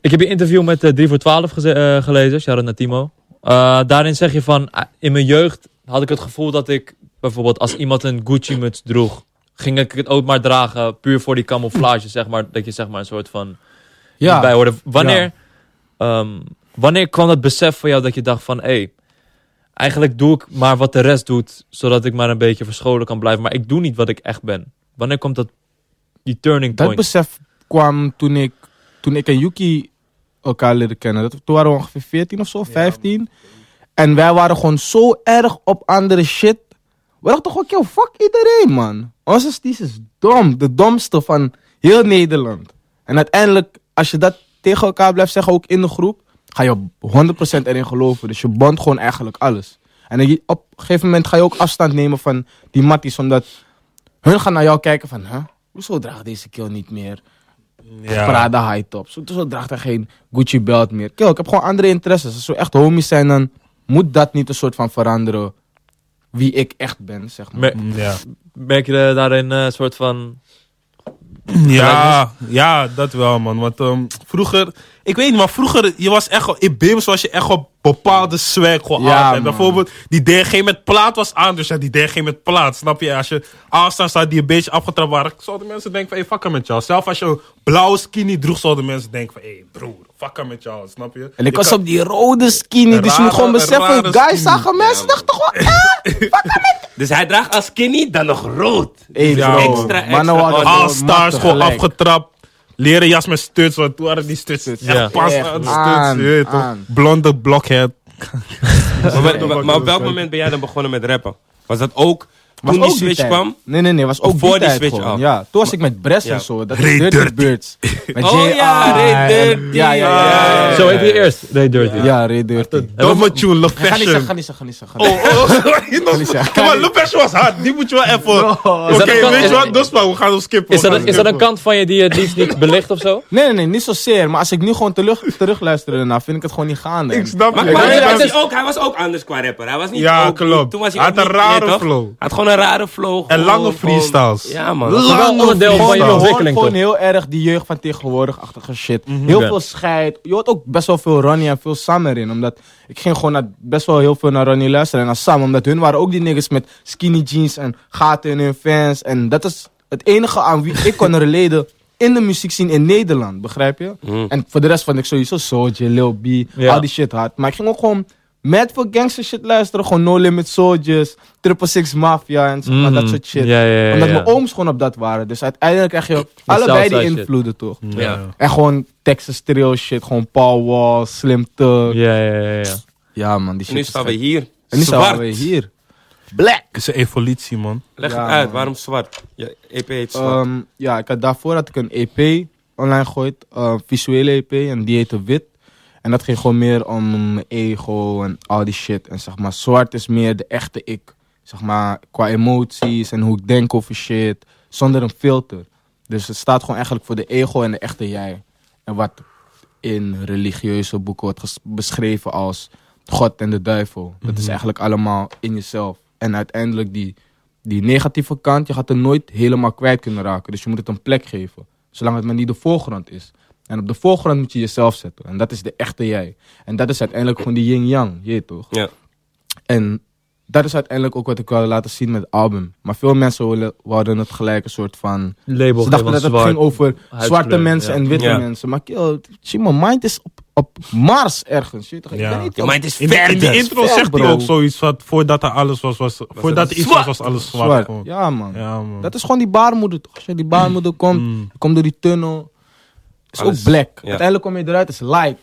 Speaker 2: ik heb je interview met eh, 3 voor 12 geze- eh, gelezen, shout-out naar Timo. Eh, daarin zeg je van, ah, in mijn jeugd had ik het gevoel dat ik bijvoorbeeld als iemand een Gucci-muts droeg, ging ik het ook maar dragen puur voor die camouflage, zeg maar. Dat je zeg maar een soort van
Speaker 4: Ja.
Speaker 2: bij hoorde. Wanneer, ehm, wanneer kwam dat besef voor jou dat je dacht van, hé, hey, eigenlijk doe ik maar wat de rest doet, zodat ik maar een beetje verscholen kan blijven, maar ik doe niet wat ik echt ben. Wanneer komt dat die turning
Speaker 4: Dat
Speaker 2: point.
Speaker 4: besef kwam toen ik, toen ik en Yuki elkaar leren kennen. Dat, toen waren we ongeveer 14 of zo, 15. En wij waren gewoon zo erg op andere shit. We dachten gewoon, yo, fuck iedereen, man. Onze sties is dus dom. De domste van heel Nederland. En uiteindelijk, als je dat tegen elkaar blijft zeggen, ook in de groep, ga je op 100% erin geloven. Dus je bond gewoon eigenlijk alles. En je- op een gegeven moment ga je ook afstand nemen van die matties, omdat hun gaan naar jou kijken van, huh? hoezo draagt deze kill niet meer
Speaker 3: Ja.
Speaker 4: Prada high tops? Hoezo draagt hij geen Gucci belt meer? Kill, ik heb gewoon andere interesses. Als we echt homies zijn, dan moet dat niet een soort van veranderen wie ik echt ben, zeg maar.
Speaker 2: Mer-
Speaker 3: Ja.
Speaker 2: merk je eh, daarin eh, een soort van...
Speaker 3: Ja, ja, dat wel, man. Want ehm, vroeger, ik weet niet, maar vroeger, je was echt, op- in Bims was je echt op bepaalde swag gewoon
Speaker 4: Ja,
Speaker 3: aan.
Speaker 4: man.
Speaker 3: En bijvoorbeeld, die DRG met plaat was aan, dus ja, die DRG met plaat, snap je? Als je aanstaan staat die een beetje afgetrapt waren, zouden mensen denken van, hé, hey, fucker met jou. Zelf als je een blauwe skinny droeg, zouden mensen denken van, hé, hey, broer, fucker met jou, snap je?
Speaker 4: En ik
Speaker 3: Je
Speaker 4: was
Speaker 3: kan-
Speaker 4: op die rode skinny, dus je moet
Speaker 3: Rare-
Speaker 4: gewoon
Speaker 3: rare
Speaker 4: beseffen,
Speaker 3: skinny.
Speaker 4: guys zagen mensen, dachten gewoon, eh,
Speaker 1: Dus hij draagt als skinny dan nog rood.
Speaker 4: Hey,
Speaker 3: Ja,
Speaker 4: bro,
Speaker 1: extra, extra
Speaker 4: mannen waren
Speaker 1: all-
Speaker 4: nou gewoon
Speaker 3: All-stars
Speaker 4: matten
Speaker 3: gewoon
Speaker 4: Oh, gelijk.
Speaker 3: afgetrapt. Leren jas met studs, want toen waren die studs echt
Speaker 2: Ja.
Speaker 3: pas
Speaker 4: Echt,
Speaker 3: aan de
Speaker 4: aan,
Speaker 3: studs. je weet toch?
Speaker 4: aan.
Speaker 3: Blonde blockhead.
Speaker 1: Maar, maar- maar- maar op welk moment ben jij dan begonnen met rappen? Was dat ook
Speaker 4: Was
Speaker 1: toen
Speaker 4: ook
Speaker 1: die switch
Speaker 4: tijd.
Speaker 1: kwam?
Speaker 4: Nee, nee, nee. Was ook
Speaker 1: voor
Speaker 4: die,
Speaker 1: die
Speaker 4: tijd
Speaker 1: switch
Speaker 4: gewoon.
Speaker 1: af?
Speaker 4: Ja, toen was ik met Bres en zo. Dat
Speaker 3: Ray
Speaker 4: is Dirty
Speaker 3: Dirty.
Speaker 4: Birds. Met
Speaker 1: Oh
Speaker 4: JR.
Speaker 1: ja, Ray Dirty.
Speaker 4: Ja, ja, ja.
Speaker 3: Ja.
Speaker 2: Zo heet die eerst. Nee, Dirty.
Speaker 4: Ja, ja Ray Dirty.
Speaker 3: Domme tune, Le
Speaker 4: Ga niet zeggen,
Speaker 3: Fashion.
Speaker 4: ga niet zeggen, ga niet zeggen.
Speaker 3: Oh, oh, sorry. nog-
Speaker 4: niet zeggen.
Speaker 3: Kom maar, Le Fashion was hard. Die moet je wel even... Oh, Oké,
Speaker 2: Is dat een-
Speaker 3: weet
Speaker 2: is-
Speaker 3: je wat? Dus maar, we gaan hem skippen.
Speaker 2: Is,
Speaker 3: we
Speaker 2: dat,
Speaker 3: gaan
Speaker 2: een- is dat een
Speaker 3: skippen.
Speaker 2: kant van je die je het liefst niet belicht of zo?
Speaker 4: Nee, nee, nee, niet zozeer. Maar als ik nu gewoon terug, terugluister ernaar, vind ik het gewoon niet gaande.
Speaker 3: Ik snap
Speaker 1: Maar,
Speaker 3: je.
Speaker 1: maar
Speaker 3: Ik
Speaker 1: hij,
Speaker 3: ben-
Speaker 1: was dus ook, hij was ook anders qua rapper. Hij was niet
Speaker 3: Ja,
Speaker 1: ook-
Speaker 3: klopt.
Speaker 1: Toen was hij
Speaker 3: Hij
Speaker 1: ook
Speaker 3: had een
Speaker 1: niet-
Speaker 3: rare
Speaker 1: ja, toch?
Speaker 3: flow.
Speaker 1: Hij had gewoon een rare flow.
Speaker 3: En
Speaker 1: gewoon-
Speaker 3: lange
Speaker 1: gewoon-
Speaker 3: freestyles.
Speaker 1: Ja, man.
Speaker 2: wel
Speaker 3: Lange
Speaker 4: Gewoon, je
Speaker 2: onderdeel van je
Speaker 3: freestyle.
Speaker 2: hoofd.
Speaker 4: hoort
Speaker 2: ontwikkeling
Speaker 4: gewoon
Speaker 2: toch? Mhm.
Speaker 4: heel erg die jeugd van tegenwoordig-achtige shit. Heel
Speaker 2: Oké.
Speaker 4: veel scheid. Je hoort ook best wel veel Ronnie en veel Sam erin. Omdat ik ging gewoon naar, best wel heel veel naar Ronnie luisteren en naar Sam. Omdat hun waren ook die niggas met skinny jeans en gaten in hun fans. En dat is het enige aan wie ik kon relaten in de muziek zien in Nederland. Begrijp je? En voor de rest vond ik sowieso Soulja, Lil B,
Speaker 2: Mhm. Ja.
Speaker 4: al die shit hard. Maar ik ging ook gewoon... Met veel gangster shit luisteren, gewoon No Limit Soldiers, Triple Six Mafia en zeg maar, Ah, dat
Speaker 2: Mhm.
Speaker 4: soort shit.
Speaker 2: Ja, ja, ja,
Speaker 4: Omdat
Speaker 2: ja.
Speaker 4: mijn ooms gewoon op dat waren. Dus uiteindelijk krijg je allebei die
Speaker 2: Southside shit. Mm.
Speaker 4: invloeden, toch?
Speaker 1: Ja.
Speaker 4: En gewoon Texas Trail shit, gewoon Paul Wall, Slim Thug. Ja,
Speaker 2: Ja, ja, ja. ja.
Speaker 4: man, die
Speaker 1: En
Speaker 4: shit
Speaker 1: nu
Speaker 4: is
Speaker 1: staan we
Speaker 4: gek.
Speaker 1: hier.
Speaker 4: En nu staan
Speaker 1: zwart.
Speaker 4: we weer hier. Black!
Speaker 3: Het is een evolutie, man.
Speaker 1: Leg
Speaker 4: Ja,
Speaker 1: het uit,
Speaker 4: man.
Speaker 1: waarom zwart? E Je EP heet zwart.
Speaker 4: Ehm, ja, ik had daarvoor had ik een EP online gegooid, eh, visuele EP, en die heette Wit. En dat ging gewoon meer om mijn ego en al die shit. En zeg maar, zwart is meer de echte ik. Zeg maar, qua emoties en hoe ik denk over shit, zonder een filter. Dus het staat gewoon eigenlijk voor de ego en de echte jij. En wat in religieuze boeken wordt ges- beschreven als God en de duivel. Dat is eigenlijk allemaal in jezelf. En uiteindelijk die die negatieve kant, je gaat er nooit helemaal kwijt kunnen raken. Dus je moet het een plek geven. Zolang het maar niet de voorgrond is. En op de voorgrond moet je jezelf zetten. En dat is de echte jij. En dat is uiteindelijk gewoon die yin-yang, je weet toch?
Speaker 1: Ja.
Speaker 4: En dat is uiteindelijk ook wat ik wil laten zien met het album. Maar veel mensen willen, wouden het gelijk een soort van...
Speaker 2: Label
Speaker 4: Ze dachten
Speaker 2: geven
Speaker 4: dat het
Speaker 2: als
Speaker 4: ging
Speaker 2: zwart.
Speaker 4: over zwarte
Speaker 2: huidskleur,
Speaker 4: mensen
Speaker 2: ja.
Speaker 4: en witte
Speaker 1: Ja.
Speaker 4: mensen. Maar kill, zie, mijn mind is op, op Mars ergens. Je weet toch? Ik
Speaker 3: Ja.
Speaker 4: ben niet
Speaker 1: Ja,
Speaker 4: op
Speaker 1: maar het is
Speaker 3: In de,
Speaker 1: verder.
Speaker 3: in de intro
Speaker 4: Ver,
Speaker 3: zegt hij
Speaker 4: bro.
Speaker 3: ook zoiets van... Voordat er alles was, was... voordat er iets was, was alles zwart.
Speaker 4: zwart.
Speaker 3: gewoon.
Speaker 4: Ja, man.
Speaker 3: Ja, man.
Speaker 4: Dat is gewoon die baarmoeder. Toch? Als je die baarmoeder komt,
Speaker 3: Mm.
Speaker 4: je komt door die tunnel. Het is
Speaker 1: Alles.
Speaker 4: ook black.
Speaker 1: Ja.
Speaker 4: Uiteindelijk kom je eruit, het is light.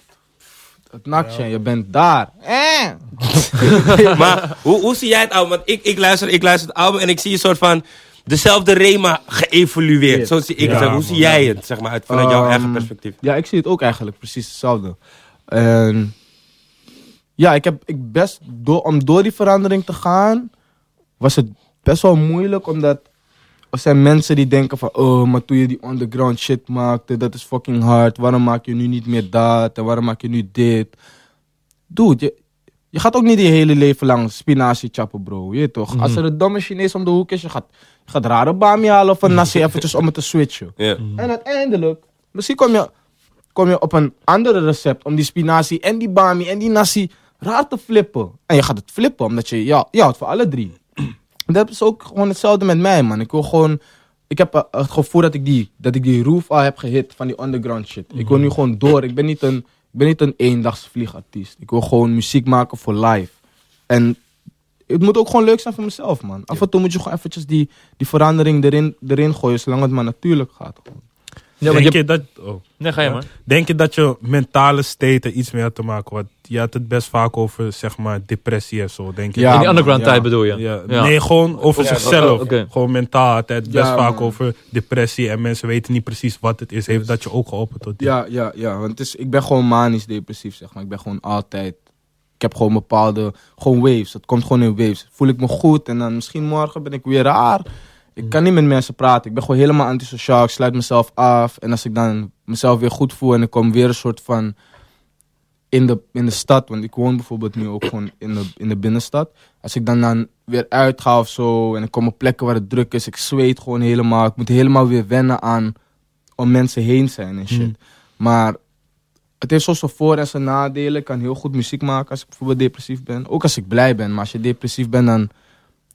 Speaker 4: Het nakt je, je bent daar. Eh.
Speaker 1: Maar hoe, hoe zie jij het album? Want ik, ik, luister, ik luister het album en ik zie een soort van dezelfde Rema geëvolueerd. Zo zie ik het.
Speaker 3: Ja,
Speaker 1: Hoe
Speaker 3: man.
Speaker 1: zie jij het, zeg maar, uit, vanuit jouw
Speaker 4: Ehm,
Speaker 1: eigen perspectief?
Speaker 4: Ja, ik zie het ook eigenlijk precies hetzelfde. En ja, ik heb ik best door, om door die verandering te gaan, was het best wel moeilijk omdat er zijn mensen die denken van, oh, maar toen je die underground shit maakte, dat is fucking hard. Waarom maak je nu niet meer dat? En waarom maak je nu dit? Dude, je, je gaat ook niet je hele leven lang spinazie chappen, bro. Je weet toch?
Speaker 1: Mhm.
Speaker 4: Als er een domme Chinees om de hoek is, je gaat, je gaat rare bami halen of een nasi eventjes om het te switchen.
Speaker 1: Ja.
Speaker 4: En uiteindelijk, Mm. misschien kom je, kom je op een andere recept om die spinazie en die bami en die nasi raar te flippen. En je gaat het flippen, omdat je, ja, je houdt voor alle drie. Dat is ook gewoon hetzelfde met mij, man. Ik wil gewoon, ik heb eh, het gevoel dat ik die, dat ik die roof al heb gehit van die underground shit. Ik wil nu gewoon door. Ik ben niet een, ik ben niet een eendagsvliegartiest. Ik wil gewoon muziek maken voor live. En het moet ook gewoon leuk zijn voor mezelf, man. Af en toe moet je gewoon eventjes die, die verandering erin, erin gooien, zolang het maar natuurlijk gaat.
Speaker 2: Ja, want
Speaker 3: denk,
Speaker 2: je...
Speaker 3: je dat, oh,
Speaker 2: Nee, ga je maar.
Speaker 3: denk je dat je mentale state er iets mee had te maken? Want je had het best vaak over, zeg maar, depressie en zo, denk je?
Speaker 4: Ja,
Speaker 2: In die
Speaker 4: man,
Speaker 2: underground
Speaker 4: ja.
Speaker 2: tijd bedoel je?
Speaker 3: Ja, Nee, gewoon over
Speaker 2: Ja,
Speaker 3: zichzelf.
Speaker 2: oké, oké.
Speaker 3: Gewoon mentaal. Het best
Speaker 4: Ja,
Speaker 3: vaak
Speaker 4: man.
Speaker 3: over depressie en mensen weten niet precies wat het is. Heeft dat je ook geholpen tot dit?
Speaker 4: Ja, ja, ja. Want het is, ik ben gewoon manisch depressief, zeg maar. Ik ben gewoon altijd... Ik heb gewoon bepaalde... Gewoon waves. Dat komt gewoon in waves. Voel ik me goed en dan misschien morgen ben ik weer raar. Ik kan niet met mensen praten. Ik ben gewoon helemaal antisociaal. Ik sluit mezelf af. En als ik dan mezelf weer goed voel en ik kom weer een soort van... In de, in de stad, want ik woon bijvoorbeeld nu ook gewoon in de, in de binnenstad. Als ik dan, dan weer uitga of zo en ik kom op plekken waar het druk is, ik zweet gewoon helemaal. Ik moet helemaal weer wennen aan om mensen heen zijn en shit. Maar het heeft zo zijn voor- en zijn nadelen. Ik kan heel goed muziek maken als ik bijvoorbeeld depressief ben. Ook als ik blij ben. Maar als je depressief bent, dan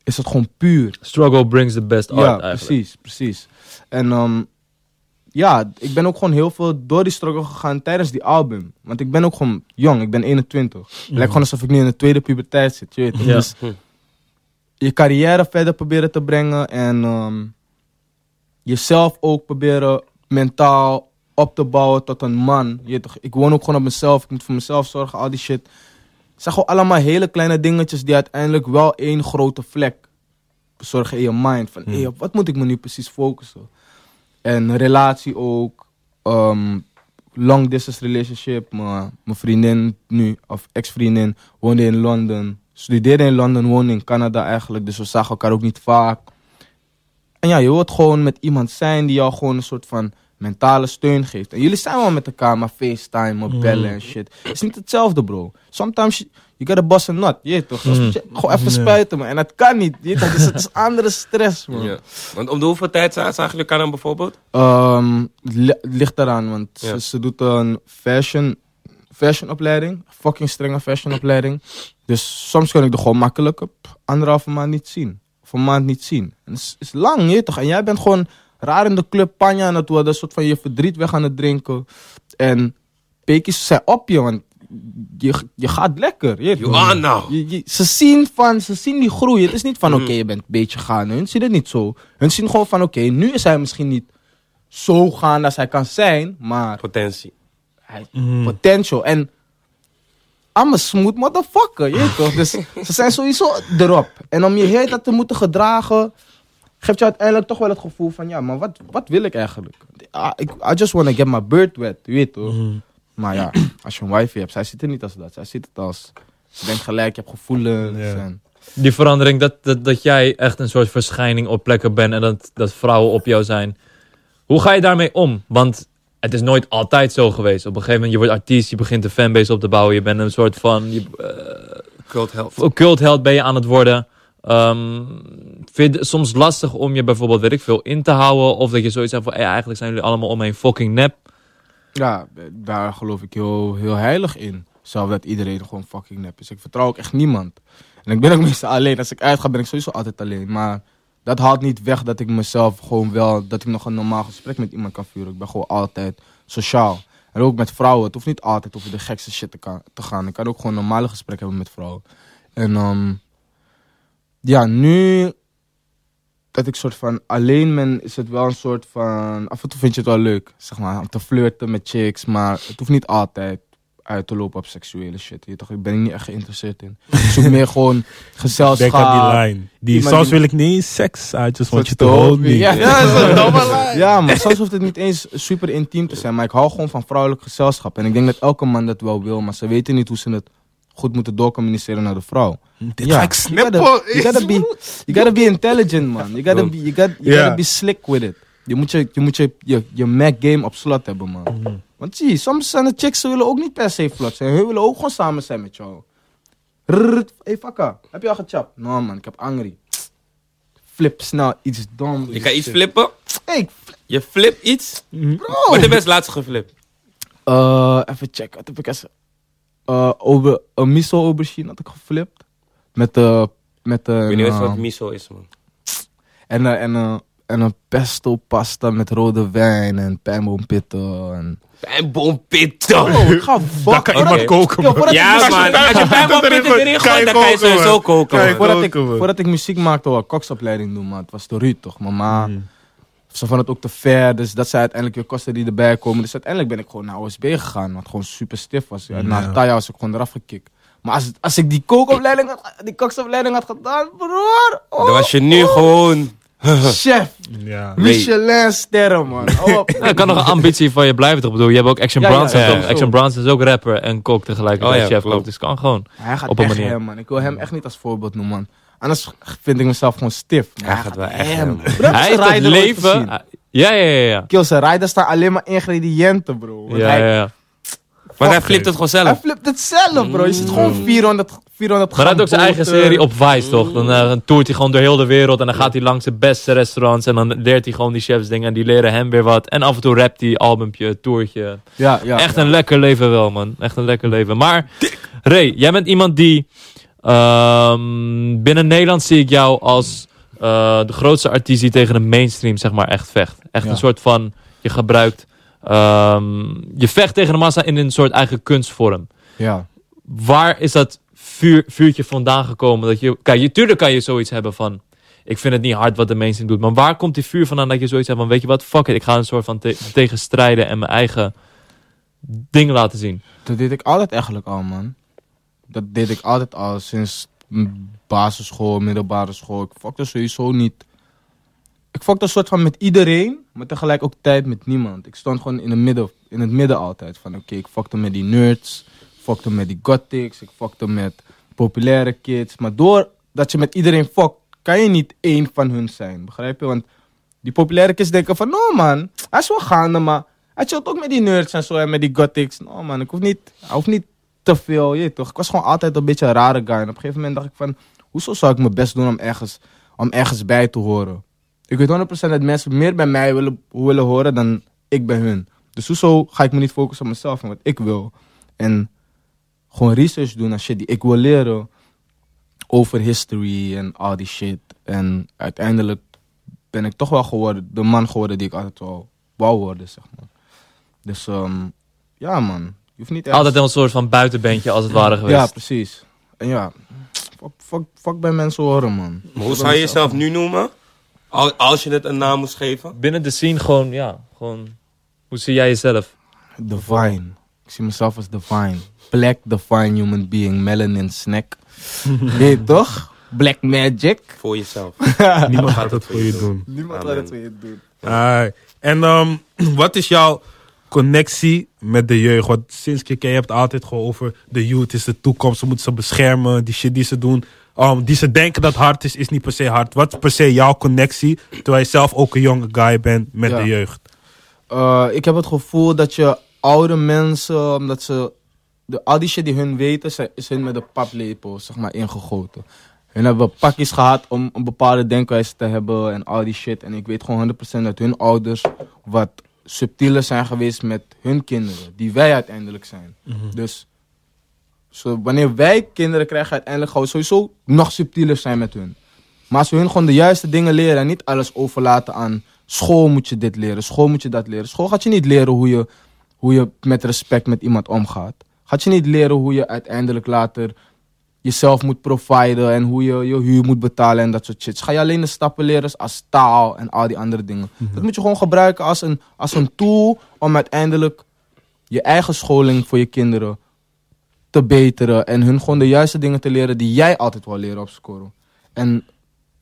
Speaker 4: is het gewoon puur.
Speaker 2: Struggle brings the best
Speaker 4: ja,
Speaker 2: art eigenlijk.
Speaker 4: precies, precies. En ehm, ja, ik ben ook gewoon heel veel door die struggle gegaan tijdens die album. Want ik ben ook gewoon jong, ik ben 21. Het lijkt gewoon alsof ik nu in de tweede puberteit zit, je weet het.
Speaker 2: Ja.
Speaker 4: Dus je carrière verder proberen te brengen en ehm, jezelf ook proberen mentaal op te bouwen tot een man. Je weet toch, ik woon ook gewoon op mezelf, ik moet voor mezelf zorgen, al die shit. Het zijn gewoon allemaal hele kleine dingetjes die uiteindelijk wel één grote vlek zorgen in je mind. Van, hey, op wat moet ik me nu precies focussen? En relatie ook. ehm, long distance relationship. Mijn mijn vriendin nu, of ex-vriendin, woonde in Londen. Studeerde in Londen, woonde in Canada eigenlijk. Dus we zagen elkaar ook niet vaak. En ja, je wilt gewoon met iemand zijn die jou gewoon een soort van mentale steun geeft. En jullie zijn wel met elkaar, maar FaceTime, maar bellen en shit. Het is niet hetzelfde, bro. Sometimes you you gotta bust a nut, je weet toch? Als- Gewoon even spuiten, man. En dat kan niet, je weet toch? Dus het is andere stress, man.
Speaker 1: Ja. Want om de hoeveel tijd za- zagen jullie elkaar dan bijvoorbeeld?
Speaker 4: Ehm, het li- het ligt eraan, want
Speaker 1: Ja.
Speaker 4: ze, ze doet een fashion, fashionopleiding. Fucking strenge fashionopleiding. Dus soms kan ik er gewoon makkelijk op anderhalve maand niet zien. Of een maand niet zien. En het is, is lang, je weet toch? En jij bent gewoon raar in de club panja aan het worden. Een soort van je verdriet weg aan het drinken. En pekies zijn op je, want je, je gaat lekker. Je weet
Speaker 1: You
Speaker 4: toch?
Speaker 1: are now.
Speaker 4: Je- je- ze, zien van, ze zien die groei. Het is niet van, oké, je bent een beetje gaande. Hun zien het niet zo. Hun zien gewoon van, oké, nu is hij misschien niet zo gaande als hij kan zijn. Maar
Speaker 1: Potentie.
Speaker 4: hij potential. En I'm a smooth motherfucker, je weet toch? Dus ze zijn sowieso erop. En om je heel dat te moeten gedragen... geeft je uiteindelijk toch wel het gevoel van... ja, maar wat, wat wil ik eigenlijk? Ah, ik, I just wanna get my bird wet, je weet toch?
Speaker 2: Mhm.
Speaker 4: Maar ja, als je een wifi hebt... zij ziet het niet als dat. Zij ziet het als... je bent gelijk, je hebt gevoelens.
Speaker 3: Ja.
Speaker 4: En,
Speaker 2: Die verandering, dat, dat, dat jij echt een soort verschijning op plekken bent en dat, dat vrouwen op jou zijn. Hoe ga je daarmee om? Want het is nooit altijd zo geweest. Op een gegeven moment, je wordt artiest, je begint een fanbase op te bouwen. Je bent een soort van je,
Speaker 1: Cult help.
Speaker 2: eh, cultheld ben je aan het worden. Ehm, vind je het soms lastig om je bijvoorbeeld, weet ik veel, in te houden? Of dat je zoiets hebt van, "Hey, eigenlijk zijn jullie allemaal om me heen fucking nep.
Speaker 4: ja, daar geloof ik heel, heel heilig in. Zelf dat iedereen gewoon fucking nep is. Ik vertrouw ook echt niemand. En ik ben ook meestal alleen. Als ik uitga ben ik sowieso altijd alleen. Maar dat haalt niet weg dat ik mezelf gewoon wel... dat ik nog een normaal gesprek met iemand kan voeren. Ik ben gewoon altijd sociaal. En ook met vrouwen. Het hoeft niet altijd over de gekste shit te, ka- te gaan. Ik kan ook gewoon normale gesprekken hebben met vrouwen. En ehm, ja, nu dat ik soort van alleen ben, is het wel een soort van... Af en toe vind je het wel leuk, zeg maar, om te flirten met chicks. Maar het hoeft niet altijd uit te lopen op seksuele shit. Je toch, ik ben hier niet echt geïnteresseerd in. Ik zoek meer gewoon
Speaker 3: Back up
Speaker 4: gezelschap.
Speaker 3: die line. Die,
Speaker 4: Iemand
Speaker 3: soms
Speaker 4: die-
Speaker 3: wil ik niet eens seks. I just want you
Speaker 4: Soort
Speaker 3: to hold
Speaker 4: dope.
Speaker 3: me.
Speaker 4: Ja,
Speaker 1: Ja, dat is een domme lijn.
Speaker 4: Ja, maar soms hoeft het niet eens super intiem te zijn. Maar ik hou gewoon van vrouwelijk gezelschap. En ik denk dat elke man dat wel wil. Maar ze weten niet hoe ze het goed moeten doorcommuniceren naar de vrouw.
Speaker 3: Dit
Speaker 4: Ja.
Speaker 3: ga ik
Speaker 4: You
Speaker 3: snappen.
Speaker 4: gotta, you gotta be, you gotta be intelligent, man. You gotta be, you gotta, you
Speaker 3: Ja.
Speaker 4: gotta be slick with it. Je moet je, je, moet je, je, je Mac game op slot hebben, man. Want zie, soms zijn de chicks, ze willen ook niet per se vlot zijn. Hun willen ook gewoon samen zijn met jou. Rrrr, hey, fakka, heb je al gechapt? No, man, ik heb angry. Flip snel, iets dom.
Speaker 1: Je kan iets flippen.
Speaker 4: Hey, ik
Speaker 1: Je flipt iets.
Speaker 4: Bro!
Speaker 1: Wat heb je als laatste geflipt?
Speaker 4: Eh, even checken, wat heb ik eens... Eh, over, een miso aubergine had ik geflipt. Met de... nou, met de
Speaker 1: Ik weet niet eens wat miso is, man.
Speaker 4: en, eh, en eh, en een pesto pasta met rode wijn en pijnboompitten. En...
Speaker 1: Pijnboompitten.
Speaker 4: Oh, ga
Speaker 3: Dan kan iemand koken, man.
Speaker 1: Ja, man. Als je pijnboompitten erin gooit, dan kan je sowieso koken.
Speaker 3: Kijk,
Speaker 1: man.
Speaker 4: Voordat ik,
Speaker 3: Koken, man.
Speaker 4: voordat ik muziek maakte, wou ik koksopleiding doen, maar het was te ruw toch. Mijn ma,
Speaker 3: Mm.
Speaker 4: ze vond het ook te ver, dus dat zijn uiteindelijk je kosten die erbij komen. Dus uiteindelijk ben ik gewoon naar OSB gegaan, wat gewoon super stif was. En na
Speaker 3: Ja.
Speaker 4: een paar jaar was ik gewoon eraf gekikt. Maar als, als ik die kookopleiding had, die koksopleiding had gedaan, broer. oh,
Speaker 1: Dan was je nu gewoon...
Speaker 4: Chef,
Speaker 3: Ja.
Speaker 4: Michelin sterren, man. Hou op.
Speaker 2: Nou, het kan nog een ambitie van je blijven toch? Ik bedoel, je hebt ook Action
Speaker 4: Ja, ja,
Speaker 2: Bronson.
Speaker 1: ja, ja.
Speaker 2: toch? Action Bronson is ook rapper en kok tegelijkertijd.
Speaker 1: Oh ja,
Speaker 2: chef
Speaker 1: klopt.
Speaker 2: kok, dus kan gewoon.
Speaker 4: Hij gaat
Speaker 2: Op een
Speaker 4: echt
Speaker 2: manier.
Speaker 4: hem, man. Ik wil hem echt niet als voorbeeld noemen, man. Anders vind ik mezelf gewoon stif. Maar
Speaker 1: Hij gaat wel echt hem.
Speaker 4: Bro, heb
Speaker 2: Hij
Speaker 4: zijn
Speaker 2: heeft het
Speaker 4: rider ooit
Speaker 2: leven.
Speaker 4: gezien?
Speaker 2: Ja, ja, ja, ja.
Speaker 4: Kill, zijn rider staan alleen maar ingrediënten, bro. Want
Speaker 2: ja,
Speaker 4: hij,
Speaker 2: ja, ja.
Speaker 1: Maar hij flipt het gewoon
Speaker 4: hij
Speaker 1: zelf.
Speaker 4: flipt het zelf, bro. Je zit gewoon 400, 400
Speaker 2: Mm. Maar hij had ook zijn eigen
Speaker 4: boter.
Speaker 2: serie op Vice, toch? Dan eh, dan toert hij gewoon door heel de wereld en dan gaat hij langs de beste restaurants en dan leert hij gewoon die chefs dingen en die leren hem weer wat. En af en toe rapt hij albumpje, toertje.
Speaker 4: Ja, ja.
Speaker 2: Echt een lekker leven wel, man. Echt een lekker leven. Maar, Ray, jij bent iemand die... ehm, binnen Nederland zie ik jou als eh, de grootste artiest die tegen de mainstream, zeg maar, echt vecht. Echt
Speaker 4: Ja.
Speaker 2: een soort van... Je gebruikt... ehm, je vecht tegen de massa in een soort eigen kunstvorm
Speaker 4: Ja.
Speaker 2: waar is dat vuur, vuurtje vandaan gekomen? Dat je, kijk, je, tuurlijk kan je zoiets hebben van... Ik vind het niet hard wat de mainstream doet. Maar waar komt die vuur vandaan dat je zoiets hebt van... Weet je wat, fuck it. Ik ga een soort van te- tegenstrijden en mijn eigen ding laten zien.
Speaker 4: Dat deed ik altijd eigenlijk al, man. Dat deed ik altijd al. Sinds m- basisschool, middelbare school. Ik fokte sowieso niet. Ik fokte een soort van met iedereen, maar tegelijk ook tijd met niemand. Ik stond gewoon in, het midden, in het midden altijd. Van oké, ik fokte met die nerds. Ik fokte met die gothics. Ik fokte met populaire kids. Maar doordat je met iedereen fokt, kan je niet één van hun zijn. Begrijp je? Want die populaire kids denken van... No man, hij is wel gaande, maar... Hij chillt ook met die nerds en zo en met die gothics. No man, ik hoef niet, hij hoeft niet te veel. Je weet toch? Ik was gewoon altijd een beetje een rare guy. En op een gegeven moment dacht ik van... Hoezo zou ik mijn best doen om ergens, om ergens bij te horen? Ik weet 100% dat mensen meer bij mij willen, willen horen dan ik bij hun. Dus hoezo ga ik me niet focussen op mezelf en wat ik wil? En gewoon research doen naar shit die ik wil leren. Over history en al die shit. En uiteindelijk ben ik toch wel geworden, de man geworden die ik altijd wel wou worden, zeg maar. Dus ehm, ja, man. Je hoeft niet echt...
Speaker 2: Altijd een soort van buitenbeentje als het ware geweest.
Speaker 4: Ja, precies. En ja, fuck, fuck, fuck bij mensen horen, man.
Speaker 1: Maar Hoe zou je jezelf nu noemen? Al- Als je het een naam moest geven?
Speaker 2: Binnen de scene gewoon, ja, gewoon... Hoe zie jij jezelf?
Speaker 4: Divine. Ik zie mezelf als divine. Black divine human being, melanin snack. Nee, toch? Black magic.
Speaker 1: Voor jezelf.
Speaker 3: Niemand gaat het voor je doen.
Speaker 4: Niemand
Speaker 1: laat het voor
Speaker 4: je doen.
Speaker 3: Ai. En ehm, wat is jouw connectie met de jeugd? Want sinds ik je ken, je hebt het altijd gewoon over de youth is de toekomst. Ze moeten ze beschermen. Die shit die ze doen, ehm, die ze denken dat hard is, is niet per se hard. Wat is per se jouw connectie, terwijl je zelf ook een jonge guy bent met
Speaker 4: Ja.
Speaker 3: de jeugd?
Speaker 4: Eh, ik heb het gevoel dat je oude mensen, omdat ze. De, al die shit die hun weten, zijn- is hun met een paplepel zeg maar, ingegoten. Hun hebben pakjes gehad om een bepaalde denkwijze te hebben en al die shit. En ik weet gewoon 100% dat hun ouders wat subtieler zijn geweest met hun kinderen, die wij uiteindelijk zijn. Dus zo, wanneer wij kinderen krijgen, uiteindelijk gaan we sowieso nog subtieler zijn met hun. Maar als we hun gewoon de juiste dingen leren en niet alles overlaten aan school moet je dit leren, school moet je dat leren. School gaat je niet leren hoe je, hoe je met respect met iemand omgaat. Gaat je niet leren hoe je uiteindelijk later jezelf moet providen en hoe je je huur moet betalen en dat soort shit. Ga je alleen de stappen leren als taal en al die andere dingen. Dat moet je gewoon gebruiken als een, als een tool om uiteindelijk je eigen scholing voor je kinderen te beteren en hun gewoon de juiste dingen te leren die jij altijd wil leren op school. En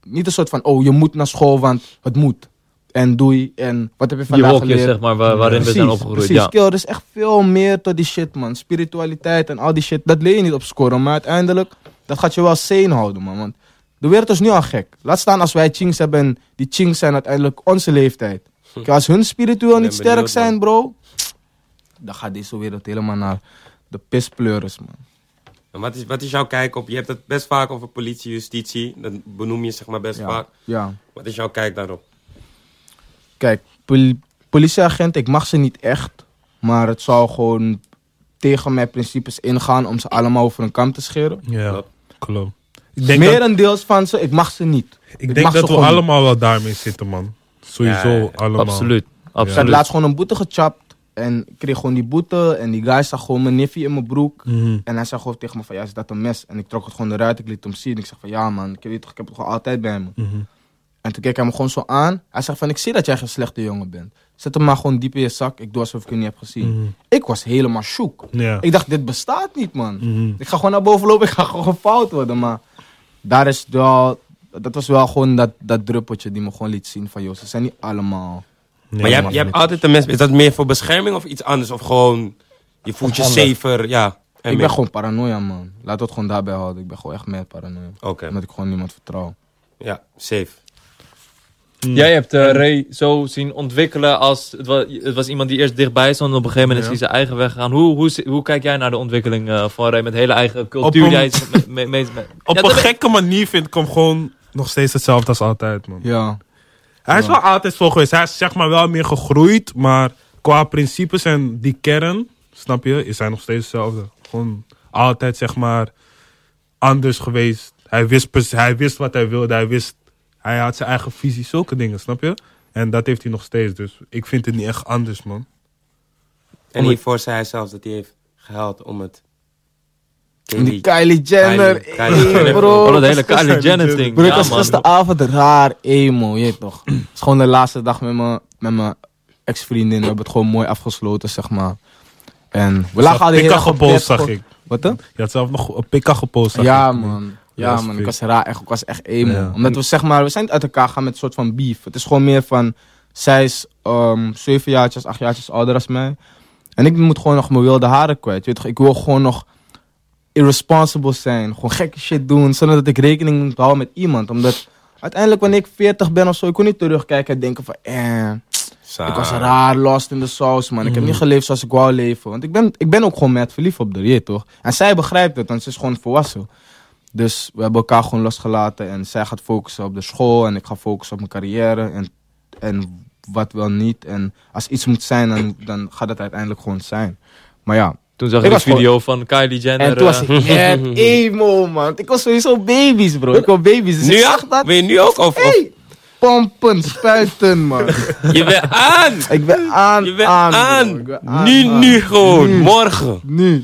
Speaker 4: niet een soort van, oh, je moet naar school, want het moet. En doei, en wat heb je
Speaker 2: Je
Speaker 4: vandaag
Speaker 2: wolkjes,
Speaker 4: geleerd?
Speaker 2: zeg maar, waar- waarin we zijn
Speaker 4: Precies,
Speaker 2: opgegroeid.
Speaker 4: Precies,
Speaker 2: Ja.
Speaker 4: Kill, er is echt veel meer tot die shit, man. Spiritualiteit en al die shit, dat leer je niet op scoren. Maar uiteindelijk, dat gaat je wel sane houden, man. Want de wereld is nu al gek. Laat staan als wij chinks hebben en die chinks zijn uiteindelijk onze leeftijd. Kijk, als hun spiritueel
Speaker 1: Ik ben
Speaker 4: niet sterk
Speaker 1: benieuwd,
Speaker 4: zijn, bro, dan gaat deze wereld helemaal naar de pispleuris, man.
Speaker 1: En Wat is, wat is jouw kijk op? Je hebt het best vaak over politie, justitie. Dat benoem je zeg maar best
Speaker 4: Ja.
Speaker 1: vaak.
Speaker 4: ja.
Speaker 1: Wat is jouw kijk daarop?
Speaker 4: Kijk, pol- politieagenten, ik mag ze niet echt. Maar het zou gewoon tegen mijn principes ingaan om ze allemaal over een kam te scheren.
Speaker 3: Ja,
Speaker 1: Klopt.
Speaker 3: klopt. Ik denk dat,
Speaker 4: Merendeels van ze, ik mag ze niet.
Speaker 3: ik denk
Speaker 4: mag
Speaker 3: dat
Speaker 4: ze
Speaker 3: we
Speaker 4: gewoon
Speaker 3: allemaal wel daarmee zitten, man. Sowieso
Speaker 1: Ja, ja, ja.
Speaker 3: allemaal.
Speaker 2: Absoluut.
Speaker 4: Ik had
Speaker 2: Absoluut.
Speaker 4: laatst gewoon een boete gechapt. En ik kreeg gewoon die boete. En die guy zag gewoon mijn niffie in mijn broek.
Speaker 3: Mhm.
Speaker 4: En hij zei gewoon tegen me van, ja, is dat een mes? En ik trok het gewoon eruit. Ik liet hem zien. Ik zeg van, ja man, ik, weet toch, ik heb het gewoon altijd bij me.
Speaker 3: Mhm.
Speaker 4: En toen keek hij me gewoon zo aan. Hij zegt van, ik zie dat jij geen slechte jongen bent. Zet hem maar gewoon diep in je zak. Ik doe alsof ik je niet heb gezien.
Speaker 3: Mhm.
Speaker 4: Ik was helemaal shook.
Speaker 3: Ja.
Speaker 4: Ik dacht, dit bestaat niet, man.
Speaker 3: Mhm.
Speaker 4: Ik ga gewoon naar boven lopen. Ik ga gewoon fout worden. Maar daar is wel... Dat was wel gewoon dat, dat druppeltje die me gewoon liet zien van... Joh, ze zijn niet allemaal...
Speaker 3: Ja,
Speaker 1: Maar jij hebt,
Speaker 4: man.
Speaker 1: jij hebt altijd een mes. Is dat meer voor bescherming of iets anders? Of gewoon je voelt je
Speaker 4: ander.
Speaker 1: safer? Ja. en
Speaker 4: ik
Speaker 1: meer.
Speaker 4: ben gewoon paranoia, man. Laat dat gewoon daarbij houden. Ik ben gewoon echt mad paranoia.
Speaker 1: Oké.
Speaker 4: Omdat ik gewoon niemand vertrouw.
Speaker 1: Ja, safe.
Speaker 2: Jij hebt eh, Ray zo zien ontwikkelen als... Het was, het was iemand die eerst dichtbij stond en op een gegeven moment is hij zijn eigen weg gegaan. Hoe, hoe, zi- hoe kijk jij naar de ontwikkeling eh, van Ray met hele eigen cultuur?
Speaker 3: Op een-
Speaker 2: die hij is- me- me- me- me-
Speaker 3: Op
Speaker 2: Ja,
Speaker 3: een
Speaker 2: dat-
Speaker 3: gekke manier vind ik hem gewoon nog steeds hetzelfde als altijd, man.
Speaker 4: Ja.
Speaker 3: Hij is
Speaker 4: Ja.
Speaker 3: wel altijd zo geweest. Hij is zeg maar wel meer gegroeid, maar qua principes en die kern, snap je, is hij nog steeds hetzelfde. Gewoon altijd zeg maar anders geweest. Hij wist, pers- hij wist wat hij wilde, hij wist, hij had zijn eigen visie, zulke dingen, snap je? En dat heeft hij nog steeds, dus ik vind het niet echt anders, man.
Speaker 1: En hiervoor zei hij zelfs dat hij heeft gehuild om het...
Speaker 4: En die Kylie Jenner.
Speaker 1: Kylie- Kylie
Speaker 4: eh,
Speaker 1: Jenner.
Speaker 4: bro.
Speaker 2: Oh, dat
Speaker 4: was
Speaker 2: hele
Speaker 4: gisteren-
Speaker 2: Kylie Jenner ding.
Speaker 4: Bro, ik
Speaker 2: Ja,
Speaker 4: was
Speaker 2: man.
Speaker 4: gisteravond raar emo, je weet toch. Het is gewoon de laatste dag met mijn met mijn ex-vriendin. We hebben het gewoon mooi afgesloten, zeg maar. En we lagen al de hele
Speaker 3: Pikka
Speaker 4: dag op bed,
Speaker 3: gepost, zag
Speaker 4: gewoon-
Speaker 3: ik.
Speaker 4: Wat dan?
Speaker 3: Je had zelf nog een pikka gepost, zag
Speaker 4: Ja,
Speaker 3: ik.
Speaker 4: man.
Speaker 3: Ja,
Speaker 4: Ja,
Speaker 3: is
Speaker 4: man.
Speaker 3: fake.
Speaker 4: Ik was raar. Echt, ik was echt emo.
Speaker 3: Ja.
Speaker 4: Omdat we zeg maar, we zijn niet uit elkaar gegaan met een soort van beef. Het is gewoon meer van, zij is ehm zeven jaartjes, acht jaartjes ouder als mij. En ik moet gewoon nog mijn wilde haren kwijt. Je weet toch, ik wil gewoon nog irresponsible zijn. Gewoon gekke shit doen, zonder dat ik rekening moet houden met iemand. Omdat uiteindelijk wanneer ik veertig ben of zo, ik kon niet terugkijken en denken van, eh... Ik was raar lost in de saus, man. Ik heb niet geleefd zoals ik wou leven. Want ik ben, ik ben ook gewoon met verliefd op de je weet toch? En zij begrijpt het, want ze is gewoon volwassen. Dus we hebben elkaar gewoon losgelaten. En zij gaat focussen op de school. En ik ga focussen op mijn carrière. En, en wat wel niet. En als iets moet zijn, dan, dan gaat het uiteindelijk gewoon zijn. Maar ja.
Speaker 2: Toen zag
Speaker 4: Ik
Speaker 2: ik een
Speaker 4: was gewoon-
Speaker 2: video van Kylie Jenner.
Speaker 4: En toen was
Speaker 2: eh,
Speaker 4: ik echt emo, man. Ik was sowieso baby's, bro. Ik wil baby's. Dus
Speaker 1: Nu
Speaker 4: ik zag
Speaker 1: ook?
Speaker 4: dat.
Speaker 1: Wil je nu ook? Of, of-
Speaker 4: Hey, pompen, spuiten, man.
Speaker 1: Je bent aan!
Speaker 4: Ik ben aan,
Speaker 1: Je bent
Speaker 4: aan,
Speaker 1: aan!
Speaker 4: bro. Ik ben aan,
Speaker 1: nu,
Speaker 4: aan.
Speaker 1: nu gewoon.
Speaker 4: Ah, Nu.
Speaker 1: Morgen.
Speaker 4: Nu.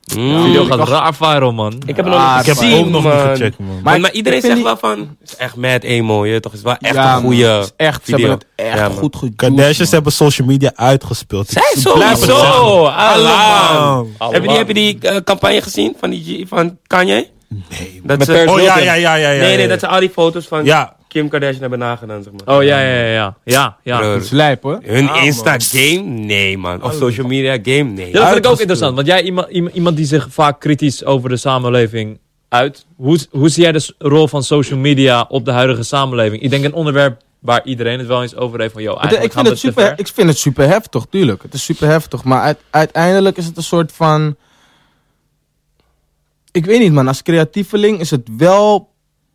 Speaker 2: de
Speaker 1: Mm.
Speaker 2: video gaat raar viral, man.
Speaker 1: Ik heb hem nog
Speaker 4: Ah,
Speaker 1: niet
Speaker 3: Ik heb
Speaker 1: gezien,
Speaker 3: hem ook nog
Speaker 1: man.
Speaker 3: niet gecheckt, man.
Speaker 1: Maar,
Speaker 4: Maar
Speaker 1: maar
Speaker 4: ik-
Speaker 1: iedereen
Speaker 4: ik vind
Speaker 1: zegt
Speaker 4: die-
Speaker 1: wel van... Het is echt mad emo, je toch? Het is wel echt
Speaker 4: Ja,
Speaker 1: een
Speaker 4: man. Het
Speaker 1: goede
Speaker 4: is echt, ze
Speaker 1: video.
Speaker 4: hebben het echt
Speaker 1: Ja, man.
Speaker 4: goed gejuiced.
Speaker 3: Kardashians
Speaker 4: man.
Speaker 3: hebben social media uitgespeeld.
Speaker 1: Zij
Speaker 3: Ik blijf het zeggen.
Speaker 1: sowieso! Alarm!
Speaker 3: Allemaal.
Speaker 1: Heb je die, heb je die eh, campagne gezien van, die, G- van Kanye? Nee. Dat
Speaker 2: Met
Speaker 1: ze-
Speaker 2: Paris
Speaker 3: Oh ja, ja, ja, ja. ja
Speaker 1: nee, nee,
Speaker 3: ja.
Speaker 1: dat ze al die foto's van
Speaker 3: Ja.
Speaker 1: Kim Kardashian hebben nagedaan, zeg maar.
Speaker 2: Oh ja, ja, ja, ja. Ja, ja.
Speaker 1: Bro,
Speaker 4: Dat is lijp, hoor.
Speaker 1: Hun
Speaker 3: man.
Speaker 1: Insta-game? Nee, man. Of social media-game? Nee.
Speaker 2: Ja, dat vind ik
Speaker 3: Uitgestuurd.
Speaker 2: ook interessant. Want jij, iemand, iem- iemand die zich vaak kritisch over de samenleving uit. Hoe, z- hoe zie jij de s- rol van social media op de huidige samenleving? Ik denk een onderwerp waar iedereen het wel eens over heeft. Van, yo,
Speaker 4: Het-
Speaker 2: eigenlijk
Speaker 4: Ik
Speaker 2: gaan
Speaker 4: vind,
Speaker 2: we
Speaker 4: het
Speaker 2: te
Speaker 4: super,
Speaker 2: ver.
Speaker 4: ik vind het super heftig, tuurlijk. Het is super heftig. Maar uit- uiteindelijk is het een soort van... Ik weet niet, man. Als creatieveling is het wel...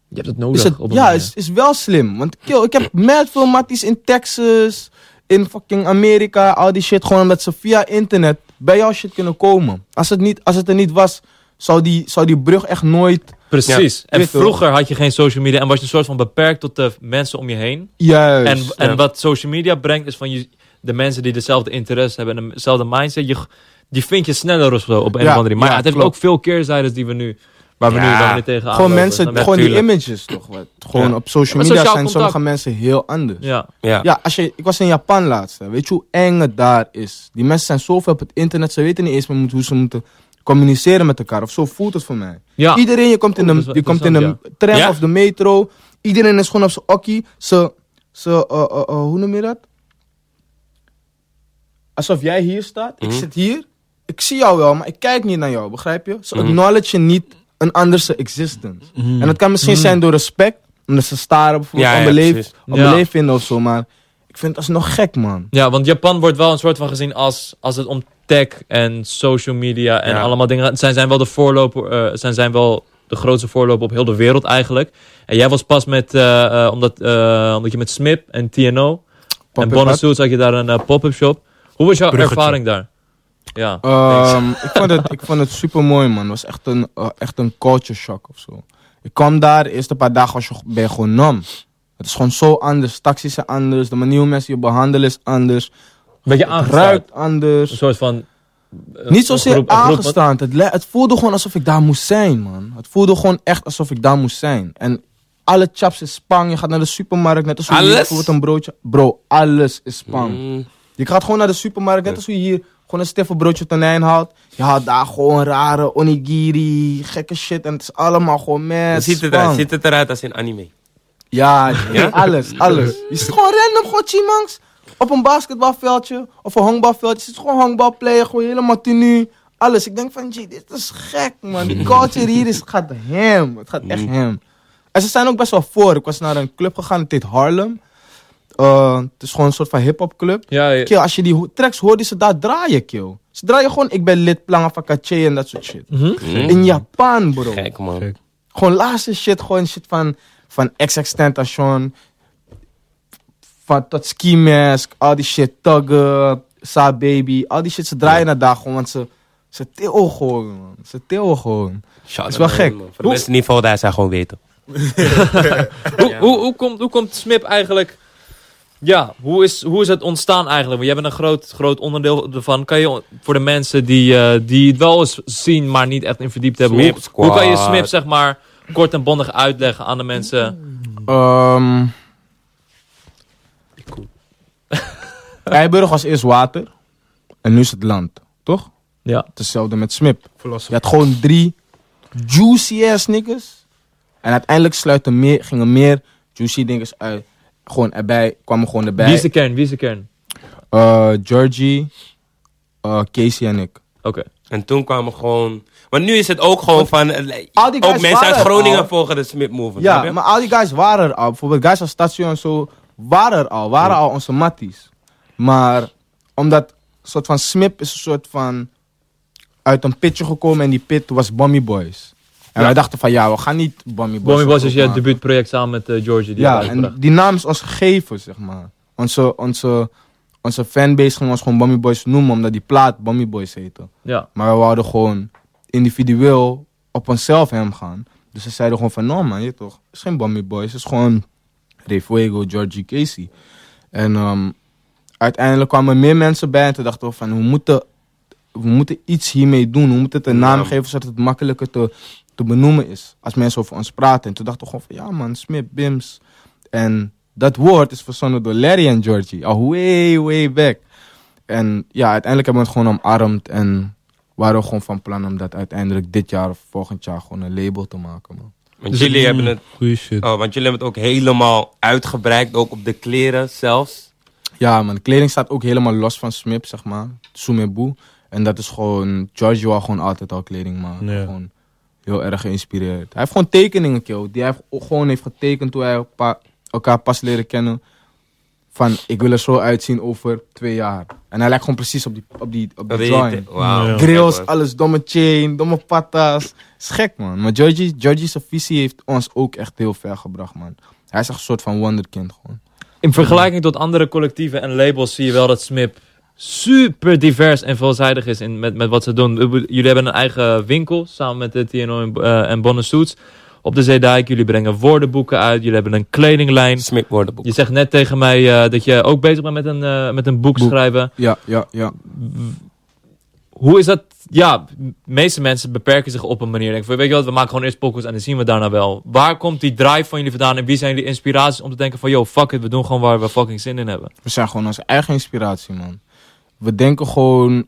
Speaker 2: Je hebt het
Speaker 4: Is
Speaker 2: nodig.
Speaker 4: het,
Speaker 2: op een
Speaker 4: ja,
Speaker 2: manier.
Speaker 4: is, is wel slim. Want kill, ik heb mad veel matties in Texas, in fucking Amerika, al die shit. Gewoon omdat ze via internet bij jouw shit kunnen komen. Als het, niet, als het er niet was, zou die, zou die brug echt nooit...
Speaker 2: Precies. En
Speaker 4: Weet je
Speaker 2: vroeger had je geen social media en was je een soort van beperkt tot de mensen om je heen. En,
Speaker 4: Juist.
Speaker 2: en
Speaker 1: ja.
Speaker 2: wat social media brengt is van je, de mensen die dezelfde interesse hebben en dezelfde mindset. Je, g- die vind je sneller of zo op een
Speaker 4: Ja,
Speaker 2: of andere manier. Maar
Speaker 4: ja,
Speaker 2: het heeft
Speaker 4: klopt.
Speaker 2: ook veel keerzijdes die we nu, waar we nu,
Speaker 1: Ja.
Speaker 2: waar we nu tegenaan
Speaker 4: Gewoon
Speaker 2: lopen.
Speaker 4: mensen,
Speaker 2: Snap je?
Speaker 4: gewoon die
Speaker 1: tuurlijk.
Speaker 4: images toch. Wat. Gewoon
Speaker 1: Ja.
Speaker 4: op social
Speaker 2: Maar
Speaker 4: media
Speaker 2: sociaal
Speaker 4: zijn
Speaker 2: contact.
Speaker 4: sommige mensen heel anders. Ja.
Speaker 2: Ja.
Speaker 1: Ja.
Speaker 4: als je, ik was in Japan laatst. hè. Weet je hoe eng het daar is? Die mensen zijn zoveel op het internet. Ze weten niet eens meer moet- hoe ze moeten communiceren met elkaar. Of zo voelt het voor mij.
Speaker 2: Ja.
Speaker 4: Iedereen, je komt in
Speaker 2: Oeh, dat is
Speaker 4: de,
Speaker 2: wel
Speaker 4: je komt in de
Speaker 2: interessant,
Speaker 4: tram
Speaker 1: Ja.
Speaker 4: of de metro. Iedereen is gewoon op zijn okkie. Ze, ze eh, eh, eh, hoe noem je dat? Alsof jij hier staat.
Speaker 1: Mhm.
Speaker 4: Ik zit hier. Ik zie jou wel, maar ik kijk niet naar jou, begrijp je? Ze
Speaker 1: Mhm.
Speaker 4: acknowledge je niet een anderse existence.
Speaker 3: Mhm.
Speaker 4: En dat kan misschien zijn door respect. Omdat ze staren bijvoorbeeld
Speaker 1: Mm. Ja, ja,
Speaker 4: onbeleefd,
Speaker 1: precies.
Speaker 4: onbeleefd
Speaker 2: Ja.
Speaker 4: vinden of zo. Maar ik vind dat is nog gek, man.
Speaker 2: Ja, want Japan wordt wel een soort van gezien als, als het om tech en social media en
Speaker 1: Ja.
Speaker 2: allemaal dingen gaat. Zij zijn wel de voorloper, eh, zij zijn wel de grootste voorloper op heel de wereld eigenlijk. En jij was pas met, eh, eh, omdat, eh, omdat je met Smip en TNO en
Speaker 4: Pop-up
Speaker 2: Bonnet
Speaker 4: had.
Speaker 2: Suits had je daar een eh, pop-up shop. Hoe was jouw
Speaker 3: Bruggetje.
Speaker 2: ervaring daar? Ja.
Speaker 4: Ehm, ik, vond het, ik vond het super mooi, man. Het was echt een, eh, echt een culture shock of zo. Ik kwam daar, de eerste paar dagen was je, ben je gewoon nam. Het is gewoon zo anders. Taxis zijn anders. De manier hoe mensen je behandelen is anders.
Speaker 2: Beetje
Speaker 4: Het
Speaker 2: aangestaard.
Speaker 4: ruikt
Speaker 2: Een
Speaker 4: anders.
Speaker 2: soort van... eh,
Speaker 4: Niet
Speaker 2: een
Speaker 4: zozeer
Speaker 2: groep- een groep-
Speaker 4: aangestaan. Het, le- het voelde gewoon alsof ik daar moest zijn, man. Het voelde gewoon echt alsof ik daar moest zijn. En alle chaps is Spang. Je gaat naar de supermarkt, net als hoe je hier
Speaker 1: Alles?
Speaker 4: bijvoorbeeld een broodje... Bro, alles is Spang.
Speaker 1: Mm.
Speaker 4: Je gaat gewoon naar de supermarkt, net als hoe je hier gewoon een stiffel broodje tonijn haalt. Je haalt daar gewoon rare onigiri, gekke shit. En het is allemaal gewoon
Speaker 1: Hoe
Speaker 4: mes.
Speaker 1: ziet het
Speaker 4: spang.
Speaker 1: eruit? Ziet het eruit als in anime?
Speaker 4: Ja,
Speaker 1: Ja?
Speaker 4: alles, alles. Je zit gewoon random, gewoon chimangs. Op een basketbalveldje of een honkbalveldje. Je zit gewoon honkbal playen, gewoon helemaal tenue. Alles. Ik denk van, jee, dit is gek, man. Die culture hier is, het gaat hem. Het gaat
Speaker 1: Mm.
Speaker 4: echt hem. En ze zijn ook best wel voor. Ik was naar een club gegaan, het heet Harlem. Eh, het is gewoon een soort van hip-hop club.
Speaker 2: Ja, ja.
Speaker 4: Kill, als je die ho- tracks hoort, die ze daar draaien, kill. Ze draaien gewoon Ik ben lid, plangen van Katje en dat soort shit.
Speaker 2: Mhm.
Speaker 4: In Japan, bro.
Speaker 1: Gek, man.
Speaker 3: Gek.
Speaker 4: Gewoon laatste shit, gewoon shit van, van XX Tentation, van tot Ski Mask, al die shit, Tugger, Sa Baby, al die shit, ze draaien naar daar gewoon, want ze, ze tillen gewoon, man. Ze tillen gewoon.
Speaker 1: Shout
Speaker 4: Is wel
Speaker 1: out,
Speaker 4: gek.
Speaker 1: man. Voor de
Speaker 4: Hoe-
Speaker 1: mensen in ieder geval daar zijn gewoon weten.
Speaker 2: Hoe, hoe, hoe, komt, hoe komt Smip eigenlijk... Ja, hoe is, hoe is het ontstaan eigenlijk? Want jij bent een groot, groot onderdeel ervan. Kan je on- voor de mensen die, eh, die het wel eens zien, maar niet echt in verdiept hebben...
Speaker 1: Smip
Speaker 2: Hoe,
Speaker 1: Squad.
Speaker 2: hoe kan je Smip, zeg maar, kort en bondig uitleggen aan de mensen?
Speaker 4: Ehm Eiburg was eerst water, en nu is het land, toch?
Speaker 2: Ja.
Speaker 4: Hetzelfde met Smip. Je
Speaker 3: Philosophy.
Speaker 4: had gewoon drie juicy ass niggas. En uiteindelijk sluiten meer, gingen meer juicy dinges uit. Gewoon erbij, kwamen gewoon
Speaker 2: Wie is
Speaker 4: erbij.
Speaker 2: de kern? Wie is de kern?
Speaker 4: Eh, Georgie, eh, Casey en ik.
Speaker 2: Oké.
Speaker 1: En toen kwamen gewoon... Want nu is het ook gewoon van... eh,
Speaker 4: Al die guys
Speaker 1: Ook mensen uit
Speaker 4: waren er
Speaker 1: Groningen
Speaker 4: al.
Speaker 1: volgen de Smith Movement. snap
Speaker 4: Ja,
Speaker 1: je?
Speaker 4: maar al die guys waren er al. Bijvoorbeeld guys als Station en zo waren er al. Waren al onze matties. Maar omdat soort van Smip is een soort van uit een pitje gekomen en die pit was Bommy Boys. En
Speaker 2: Ja.
Speaker 4: wij dachten van ja, we gaan niet Bommy Boys.
Speaker 2: Bommy Boss is jouw
Speaker 4: maken.
Speaker 2: debuutproject samen met eh, Georgie. Die
Speaker 4: Ja,
Speaker 2: je
Speaker 4: en
Speaker 2: uitbracht.
Speaker 4: die naam is ons gegeven, zeg maar. Onze, onze, onze fanbase ging ons gewoon Bummy Boys noemen, omdat die plaat Bummy Boys heette.
Speaker 2: ja.
Speaker 4: Maar we wouden gewoon individueel op onszelf hem gaan. Dus ze zeiden gewoon van, no man, je toch, het is geen Bummy Boys, het is gewoon Ray Fuego, Georgie Casey. En ehm, uiteindelijk kwamen meer mensen bij en toen dachten we van, we moeten, we moeten iets hiermee doen. We moeten het een naam
Speaker 1: Ja.
Speaker 4: geven, zodat het makkelijker te, te benoemen is. Als mensen over ons praten. En toen dachten we gewoon van, ja man, Smith, Bims. En dat woord is verzonnen door Larry en Georgie. Al way, way back. En ja, uiteindelijk hebben we het gewoon omarmd. En waren we gewoon van plan om dat uiteindelijk dit jaar of volgend jaar gewoon een label te maken, man.
Speaker 1: Want Dus
Speaker 4: Mhm.
Speaker 1: jullie hebben het...
Speaker 3: Goeie shit.
Speaker 1: Oh, want jullie hebben het ook helemaal uitgebreid. Ook op de kleren zelfs.
Speaker 4: Ja, man. De kleding staat ook helemaal los van Smip, zeg maar. Sumebu. En dat is gewoon... George wou gewoon altijd al kleding maken.
Speaker 3: Ja.
Speaker 4: Gewoon heel erg geïnspireerd. Hij heeft gewoon tekeningen, kill. Die hij heeft- gewoon heeft getekend toen hij elpa- elkaar pas leren kennen. Van, ik wil er zo uitzien over twee jaar. En hij lijkt gewoon precies op die, op die, op die drawing.
Speaker 1: Wauw.
Speaker 3: Ja.
Speaker 4: Grills, alles, domme chain, domme patas. Is gek, man. Maar Georgie, Georgie's visie heeft ons ook echt heel ver gebracht, man. Hij is echt een soort van wonderkind, gewoon.
Speaker 2: In vergelijking tot andere collectieven en labels zie je wel dat Smip super divers en veelzijdig is in, met, met wat ze doen. Ik bedoel, Jullie hebben een eigen winkel samen met de TNO en, eh, en Bonne Suits op de Zeedijk. Jullie brengen woordenboeken uit, jullie hebben een kledinglijn.
Speaker 1: Smith woordenboek.
Speaker 2: Je zegt net tegen mij eh, dat je ook bezig bent met een, eh, met een boek,
Speaker 4: Boek.
Speaker 2: schrijven.
Speaker 4: Ja, ja, ja.
Speaker 2: Hoe is dat? Ja, de meeste mensen beperken zich op een manier. Denk, van, weet je wat, we maken gewoon eerst pokus en dan zien we daarna wel. Waar komt die drive van jullie vandaan en wie zijn jullie inspiraties om te denken van... ...yo, fuck it, we doen gewoon waar we fucking zin in hebben.
Speaker 4: We zijn gewoon onze eigen inspiratie, man. We denken gewoon.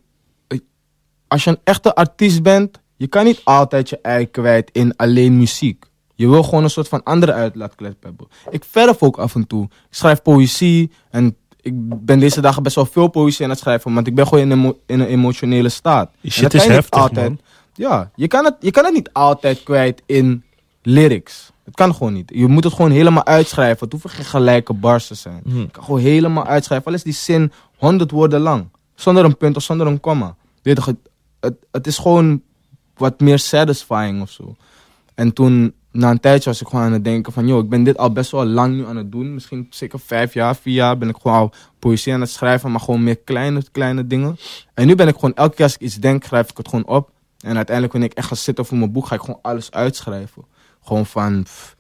Speaker 4: eh, Als je een echte artiest bent, je kan niet altijd je ei kwijt in alleen muziek. Je wil gewoon een soort van andere uitlaatklep hebben. Ik verf ook af en toe. Ik schrijf poëzie en ik ben deze dagen best wel veel poëzie aan het schrijven, want ik ben gewoon in een, emo- in een emotionele staat.
Speaker 3: Die
Speaker 4: En dat
Speaker 3: shit is
Speaker 4: kan je niet
Speaker 3: heftig,
Speaker 4: altijd,
Speaker 3: man.
Speaker 4: Ja, je kan, het, je kan het niet altijd kwijt in lyrics. Het kan gewoon niet. Je moet het gewoon helemaal uitschrijven. Het hoeven geen gelijke bars te zijn.
Speaker 3: Hmm.
Speaker 2: Mhm.
Speaker 4: Ik kan gewoon helemaal uitschrijven. Al is die zin 100 woorden lang. Zonder een punt of zonder een komma. Weet je, het, het, het is gewoon wat meer satisfying of zo. En toen, na een tijdje, was ik gewoon aan het denken van... joh, ik ben dit al best wel lang nu aan het doen. Misschien zeker vijf jaar, vier jaar ben ik gewoon al poëzie aan het schrijven. Maar gewoon meer kleine, kleine dingen. En nu ben ik gewoon, elke keer als ik iets denk, schrijf ik het gewoon op. En uiteindelijk, wanneer ik echt ga zitten voor mijn boek, ga ik gewoon alles uitschrijven. Gewoon van... pff,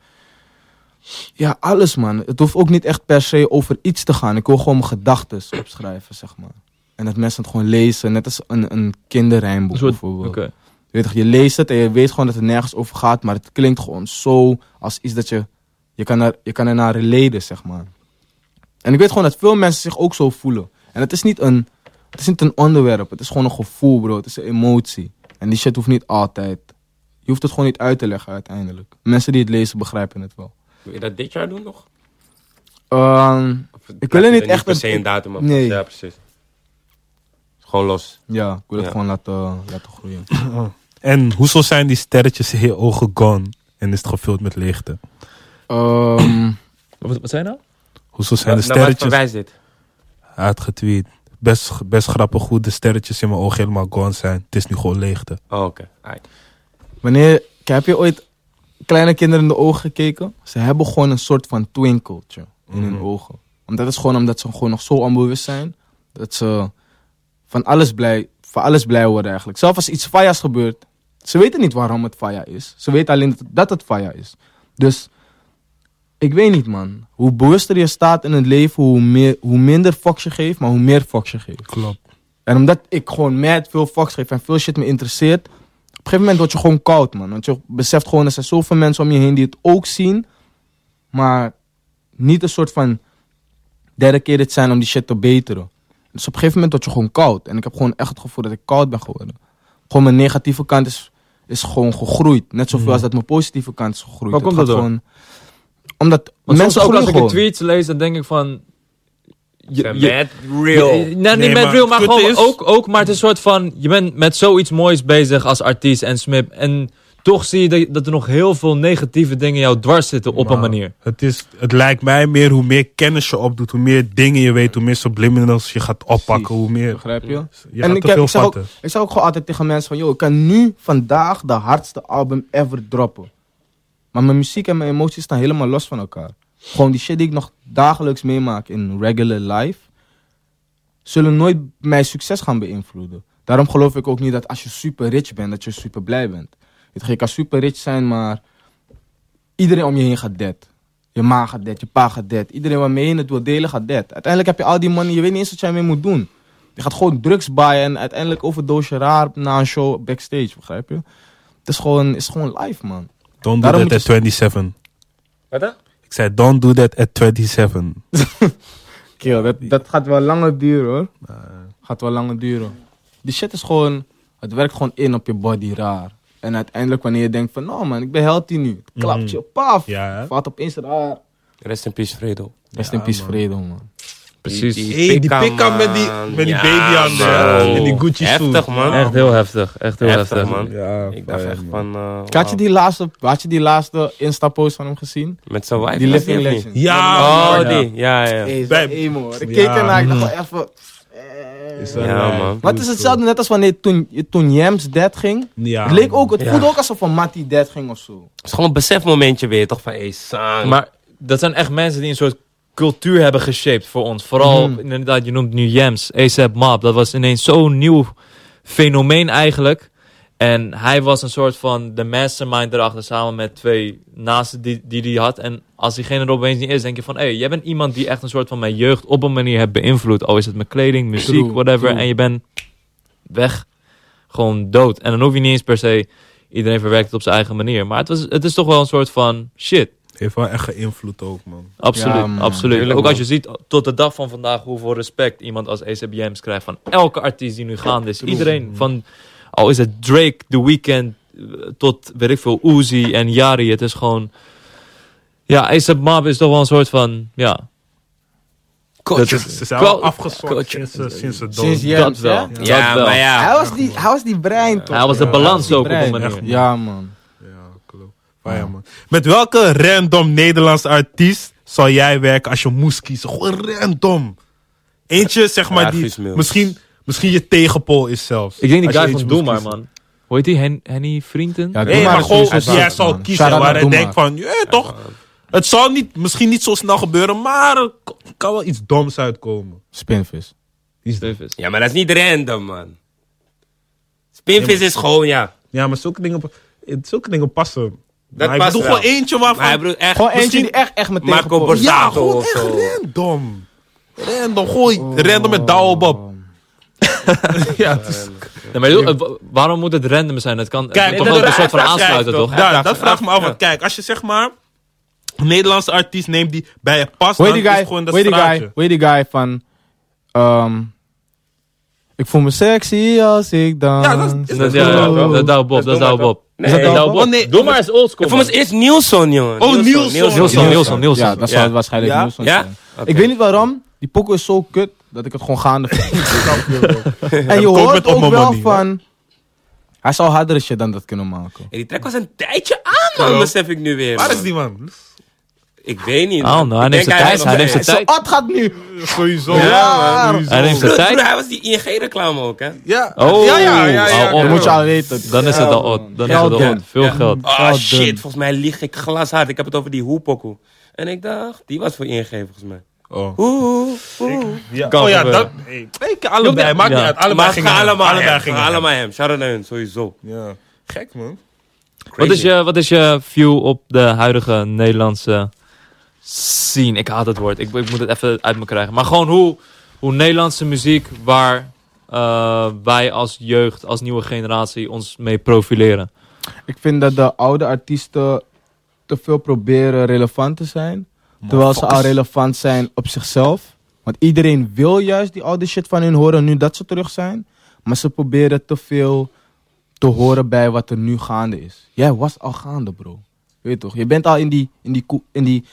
Speaker 4: Ja, alles man. Het hoeft ook niet echt per se over iets te gaan. Ik wil gewoon mijn gedachten opschrijven, zeg maar. En dat mensen het gewoon lezen, net als een, een kinderrijmboek
Speaker 2: Een soort-
Speaker 4: bijvoorbeeld.
Speaker 2: Oké.
Speaker 4: Je, weet toch, je leest het en je weet gewoon dat het nergens over gaat, maar het klinkt gewoon zo als iets dat je. Je kan, er, je kan ernaar relaten, zeg maar. En ik weet gewoon dat veel mensen zich ook zo voelen. En het is niet een, het is niet een onderwerp, het is gewoon een gevoel, bro. Het is een emotie. En die shit hoeft niet altijd. Je hoeft het gewoon niet uit te leggen uiteindelijk. Mensen die het lezen begrijpen het wel.
Speaker 1: Wil je dat dit jaar doen nog?
Speaker 4: Ehm,
Speaker 1: Of laat
Speaker 4: Ik
Speaker 1: je
Speaker 4: wil er
Speaker 1: er
Speaker 4: niet echt
Speaker 1: per
Speaker 4: een-
Speaker 1: se een datum op.
Speaker 4: Nee.
Speaker 1: Ja, precies. Gewoon los.
Speaker 4: ja, ik wil het
Speaker 1: Ja.
Speaker 4: gewoon laten, laten groeien.
Speaker 3: En hoezo zijn die sterretjes in je ogen gone en is het gevuld met leegte?
Speaker 4: Ehm,
Speaker 2: Wat, wat zijn nou?
Speaker 3: Hoezo zijn
Speaker 1: Nou,
Speaker 3: de
Speaker 1: naar wat
Speaker 3: sterretjes
Speaker 1: verwijst dit?
Speaker 3: uitgetweet? Best, best grappig hoe de sterretjes in mijn ogen helemaal gone zijn. Het is nu gewoon leegte.
Speaker 1: Oh, Oké. Aight.
Speaker 4: Wanneer, kijk, heb je ooit kleine kinderen in de ogen gekeken? Ze hebben gewoon een soort van twinkeltje in hun
Speaker 3: Mhm.
Speaker 4: ogen. Omdat het is gewoon omdat ze gewoon nog zo onbewust zijn. Dat ze van alles blij, van alles blij worden eigenlijk. Zelfs als iets fajas gebeurt. Ze weten niet waarom het faya is. Ze weten alleen dat- dat het faya is. Dus ik weet niet man. Hoe bewuster je staat in het leven, hoe, meer, hoe minder fox je geeft, maar hoe meer fox je geeft.
Speaker 3: Klopt.
Speaker 4: En omdat ik gewoon mad veel fucks geef en veel shit me interesseert, op een gegeven moment word je gewoon koud, man. Want je beseft gewoon, er zijn zoveel mensen om je heen die het ook zien, maar niet een soort van dedicated zijn om die shit te beteren. Dus op een gegeven moment word je gewoon koud. En ik heb gewoon echt het gevoel dat ik koud ben geworden. Gewoon mijn negatieve kant is, is gewoon gegroeid. Net zoveel
Speaker 3: Mhm.
Speaker 4: als dat mijn positieve kant is gegroeid.
Speaker 2: Mm. Waar
Speaker 4: Het
Speaker 2: komt dat
Speaker 4: gaat
Speaker 2: door?
Speaker 4: gewoon- Omdat
Speaker 2: Want
Speaker 4: mensen
Speaker 2: soms ook
Speaker 4: groeien
Speaker 2: als ik een
Speaker 4: gewoon.
Speaker 2: tweets lees, dan denk ik van... Je,
Speaker 1: Zijn
Speaker 2: je-
Speaker 1: mad real.
Speaker 2: je- nee,
Speaker 3: Nee,
Speaker 2: niet met
Speaker 3: maar
Speaker 2: real, maar
Speaker 3: het
Speaker 2: gewoon
Speaker 3: is-
Speaker 2: ook, ook. Maar het is een soort van... Je bent met zoiets moois bezig als artiest en smip. En toch zie je dat, dat er nog heel veel negatieve dingen jou dwars zitten op een
Speaker 3: Maar
Speaker 2: manier.
Speaker 3: Het, is, het lijkt mij meer hoe meer kennis je opdoet, hoe meer dingen je weet, hoe meer subliminals je gaat oppakken,
Speaker 4: Precies.
Speaker 3: hoe meer...
Speaker 4: Begrijp je?
Speaker 3: Je
Speaker 4: En
Speaker 3: gaat
Speaker 4: ik
Speaker 3: te
Speaker 4: heb-
Speaker 3: veel
Speaker 4: ik zeg ook-
Speaker 3: vatten.
Speaker 4: Ik zeg ook gewoon altijd tegen mensen van... ...joh, ik kan nu vandaag de hardste album ever droppen. Maar mijn muziek en mijn emoties staan helemaal los van elkaar. Gewoon die shit die ik nog dagelijks meemaak in regular life... ...zullen nooit mijn succes gaan beïnvloeden. Daarom geloof ik ook niet dat als je super rich bent, dat je super blij bent. Weet je, je kan super rich zijn, maar... ...iedereen om je heen gaat dead. Je ma gaat dead, je pa gaat dead. Iedereen waarmee je het wil delen gaat dead. Uiteindelijk heb je al die money, je weet niet eens wat jij mee moet doen. Je gaat gewoon drugs buyen en uiteindelijk overdoos je raar na een show backstage, begrijp je? Het is gewoon, is gewoon live, man.
Speaker 3: Don't do
Speaker 4: Daarom
Speaker 3: that
Speaker 4: moet
Speaker 3: at 27.
Speaker 1: Wat dan?
Speaker 3: Ik zei, don't do that at 27.
Speaker 4: Kill, dat, dat gaat wel langer duren, hoor. Eh, Gaat wel langer duren. Die shit is gewoon, het werkt gewoon in op je body raar. En uiteindelijk wanneer je denkt van, nou man, ik ben healthy nu. Het klapt je, paf.
Speaker 3: Mhm. Ja, hè?
Speaker 4: Valt opeens raar.
Speaker 1: Rest in peace, Fredo.
Speaker 4: Rest in peace, vrede, man.
Speaker 2: Precies.
Speaker 3: Hey, die pick-up met die-
Speaker 1: man.
Speaker 3: met die baby aan de-
Speaker 1: man.
Speaker 3: en die Gucci
Speaker 1: Oh. Heftig,
Speaker 3: schoen.
Speaker 1: man.
Speaker 2: Echt heel heftig. Echt heel heftig.
Speaker 1: heftig, man.
Speaker 3: Ja,
Speaker 1: Ik dacht echt van... eh,
Speaker 4: Had je die laatste, had je die laatste Insta-post van hem gezien?
Speaker 1: wauw. Met zijn wife.
Speaker 4: Die
Speaker 1: was
Speaker 4: Living
Speaker 1: of niet?
Speaker 4: Legend.
Speaker 3: Ja,
Speaker 1: Oh, die. Ja, ja.
Speaker 4: Hey, is
Speaker 3: Bij-
Speaker 4: dat emo, hoor. Ik
Speaker 3: Ja.
Speaker 4: keek ernaar, ik dacht wel even... eh.
Speaker 3: Is dat-
Speaker 1: Ja, man.
Speaker 4: Maar het is hetzelfde net als wanneer toen, toen Jams dead ging.
Speaker 3: Ja.
Speaker 4: het leek ook, het
Speaker 1: Ja.
Speaker 4: voelde ook alsof van Matty dead ging of zo.
Speaker 1: Het is gewoon een besefmomentje weer, toch? Van, hey, sang.
Speaker 2: Maar dat zijn echt mensen die een soort cultuur hebben geshaped voor ons. Vooral,
Speaker 4: Mhm.
Speaker 2: inderdaad, je noemt nu Jams, ASAP Mob. Dat was ineens zo'n nieuw fenomeen eigenlijk. En hij was een soort van de mastermind erachter, samen met twee naasten die die hij had. En als diegene er opeens niet is, denk je van... hé, hey, jij bent iemand die echt een soort van mijn jeugd op een manier hebt beïnvloed. Al is het met kleding, muziek,
Speaker 4: True,
Speaker 2: whatever.
Speaker 4: true.
Speaker 2: En je bent weg. Gewoon dood. En dan hoef je niet eens per se... Iedereen verwerkt het op zijn eigen manier. Maar het, was, het is toch wel een soort van... Shit,
Speaker 3: Heeft wel echt geïnvloed ook, man.
Speaker 2: Absoluut,
Speaker 4: Ja, man.
Speaker 2: absoluut.
Speaker 1: Tuurlijk,
Speaker 2: ook
Speaker 1: man.
Speaker 2: als je ziet tot de dag van vandaag hoeveel respect iemand als ACBM's krijgt van elke artiest die nu gaande is. Iedereen van, al is het Drake, The Weeknd, eh, tot weet ik veel, Uzi en Yari. Het is gewoon, ja, ASAP Mob is toch wel een soort van, ja,
Speaker 1: Coach.
Speaker 3: Ze zijn wel
Speaker 2: Kwal-
Speaker 3: afgezwakt
Speaker 1: Coach.
Speaker 3: sinds, eh, sinds het dood.
Speaker 4: Sinds
Speaker 2: dat
Speaker 4: Jams, hè?
Speaker 2: wel. Dat
Speaker 1: Ja,
Speaker 2: wel.
Speaker 1: maar
Speaker 4: Hij,
Speaker 1: ja.
Speaker 4: was die, hij was die brein, toch?
Speaker 2: Ah. Hij was de
Speaker 4: Ja,
Speaker 2: balans
Speaker 4: die
Speaker 2: ook op een
Speaker 4: brein.
Speaker 2: manier.
Speaker 4: Ja, man.
Speaker 3: Ja, klopt. Maar Oh ja, man. Met welke random Nederlands artiest zou jij werken als je moest kiezen? Gewoon random. Eentje, zeg maar,
Speaker 1: Ja,
Speaker 3: die
Speaker 1: Guus Meeuwis.
Speaker 3: misschien, misschien je tegenpool is zelfs.
Speaker 2: Ik denk die
Speaker 3: Als je
Speaker 2: guy
Speaker 3: eentje
Speaker 2: van Doe
Speaker 3: moest
Speaker 2: maar,
Speaker 3: kiezen.
Speaker 2: man. Hoe heet die? Hen Henny Vrienden?
Speaker 4: Ja,
Speaker 3: Nee,
Speaker 4: Doe
Speaker 3: maar
Speaker 4: is
Speaker 3: gewoon
Speaker 4: sowieso
Speaker 3: die jij
Speaker 4: dood,
Speaker 3: zou
Speaker 4: man.
Speaker 3: kiezen.
Speaker 4: Shout-out
Speaker 3: Waar
Speaker 4: naar
Speaker 3: je
Speaker 4: Doe
Speaker 3: denkt
Speaker 4: maar.
Speaker 3: van, ja, toch. Het zal niet, misschien niet zo snel gebeuren, maar er k- kan wel iets doms uitkomen.
Speaker 4: Spinvis.
Speaker 2: Davis.
Speaker 1: Ja, maar dat is niet random, man. Spinvis is gewoon, ja.
Speaker 3: Ja, maar zulke dingen, zulke dingen passen.
Speaker 1: Dat
Speaker 3: maar
Speaker 1: past
Speaker 3: ik doe
Speaker 1: wel.
Speaker 3: gewoon eentje waarvan...
Speaker 1: Maar hij bedoelt echt...
Speaker 4: Gewoon eentje
Speaker 3: misschien-
Speaker 4: die echt, echt meteen
Speaker 1: Marco
Speaker 4: gepop is.
Speaker 1: Borsato.
Speaker 3: ja,
Speaker 1: Tato
Speaker 3: gewoon
Speaker 1: of
Speaker 3: echt
Speaker 1: zo.
Speaker 3: random. Random, gooi.
Speaker 4: Oh.
Speaker 3: Random met Douwe Bob. ja, het is-
Speaker 2: Nee, maar joh, eh, wa- waarom moet het random zijn? Het kan het
Speaker 3: Kijk,
Speaker 2: moet
Speaker 3: dat-
Speaker 2: toch wel
Speaker 3: dat-
Speaker 2: een soort van
Speaker 1: dat- dat-
Speaker 2: aansluiten,
Speaker 1: dat-
Speaker 2: toch?
Speaker 1: dat-
Speaker 3: Ja,
Speaker 1: vraagt
Speaker 3: dat
Speaker 1: zich
Speaker 3: vraagt
Speaker 1: af,
Speaker 3: me af.
Speaker 1: ja.
Speaker 3: Want kijk, als je zeg maar een Nederlandse artiest neemt die bij je past,
Speaker 4: Hoe
Speaker 3: dan
Speaker 4: heet die
Speaker 3: is het
Speaker 4: guy?
Speaker 3: gewoon
Speaker 4: Hoe
Speaker 3: dat
Speaker 4: heet die
Speaker 3: straatje.
Speaker 4: guy? Hoe heet die guy van... ehm, ik voel me sexy als ik dans.
Speaker 3: Ja, dat is-
Speaker 2: Dat-
Speaker 3: dat-
Speaker 2: ja,
Speaker 4: dat-
Speaker 2: ja,
Speaker 4: dat-
Speaker 2: Dat is Douwe Bob,
Speaker 1: dat-
Speaker 2: dat is Douwe Bob.
Speaker 1: Oh, Nee,
Speaker 4: dat-
Speaker 1: ik
Speaker 4: Douwe
Speaker 2: Douwe
Speaker 4: Bob?
Speaker 2: Bob.
Speaker 3: nee,
Speaker 2: Doe maar eens oldschool.
Speaker 1: vond het
Speaker 2: man.
Speaker 1: eerst Nielson, jongen.
Speaker 3: Oh, Nielson.
Speaker 2: Nielson, Nielson, Nielson.
Speaker 4: Ja, dat
Speaker 1: Ja.
Speaker 4: zou het waarschijnlijk
Speaker 3: Ja?
Speaker 4: Nielsen
Speaker 1: Ja?
Speaker 4: zijn. Ik weet niet waarom, die pokoe is zo kut dat ik het gewoon gaande vind. en je
Speaker 3: ook
Speaker 4: hoort
Speaker 3: met
Speaker 4: ook
Speaker 3: Omma
Speaker 4: wel
Speaker 3: Money,
Speaker 4: van... Hij zou hardere shit dan dat kunnen maken.
Speaker 1: En die track was een tijdje aan, man,
Speaker 3: Hallo.
Speaker 1: besef ik nu weer.
Speaker 3: Waar
Speaker 1: man.
Speaker 3: is die man?
Speaker 1: Ik weet niet.
Speaker 2: Oh,
Speaker 1: man.
Speaker 2: nou, hij
Speaker 1: Ik
Speaker 2: neemt
Speaker 1: denk
Speaker 2: zijn tijd, hij
Speaker 1: nog-
Speaker 2: neemt zijn
Speaker 4: Zo,
Speaker 2: tijd.
Speaker 4: Ad gaat nu.
Speaker 3: Oh, Sowieso.
Speaker 4: Ja, man.
Speaker 2: Hij neemt zijn
Speaker 1: Broer, broer,
Speaker 2: tijd.
Speaker 1: hij was die ING-reclame ook, hè?
Speaker 3: Ja.
Speaker 2: Oh,
Speaker 3: ja, ja, ja,
Speaker 2: oh,
Speaker 3: ja,
Speaker 2: oh,
Speaker 3: ja.
Speaker 4: Dat moet je al weten.
Speaker 2: Dan is
Speaker 4: Ja,
Speaker 2: het al
Speaker 4: man.
Speaker 2: odd. Dan is het al
Speaker 1: Geld,
Speaker 2: odd. Veel
Speaker 1: Ja.
Speaker 2: geld.
Speaker 1: Oh
Speaker 4: Goddamn.
Speaker 1: shit, volgens mij lieg ik glashard. Ik heb het over die hoepokoe. En ik dacht, die was voor ING volgens mij.
Speaker 3: Oh.
Speaker 1: Oeh, oeh.
Speaker 3: Ja.
Speaker 2: Kan
Speaker 3: Oh ja,
Speaker 2: gebeuren.
Speaker 3: dat... Hey, hey, allebei,
Speaker 2: Ja.
Speaker 3: maakt niet uit. Allebei
Speaker 1: Maar
Speaker 3: gingen
Speaker 1: ga allemaal
Speaker 3: hem.
Speaker 1: hem,
Speaker 3: gingen
Speaker 1: ga
Speaker 3: hem.
Speaker 1: allemaal hem. Shout-out naar hun, sowieso.
Speaker 3: Ja. Gek, man.
Speaker 1: Crazy.
Speaker 2: Wat is, je, wat is je view op de huidige Nederlandse scene? Ik haat het woord. Ik, ik moet het even uit me krijgen. Maar gewoon hoe, hoe Nederlandse muziek waar eh, wij als jeugd, als nieuwe generatie ons mee profileren.
Speaker 4: Ik vind dat de oude artiesten te veel proberen relevant te zijn. Terwijl ze al relevant zijn op zichzelf. Want iedereen wil juist die oude shit van hun horen nu dat ze terug zijn. Maar ze proberen te veel te horen bij wat er nu gaande is. Jij was al gaande, bro. Weet je toch? Je bent al in die, in die, koe- in die,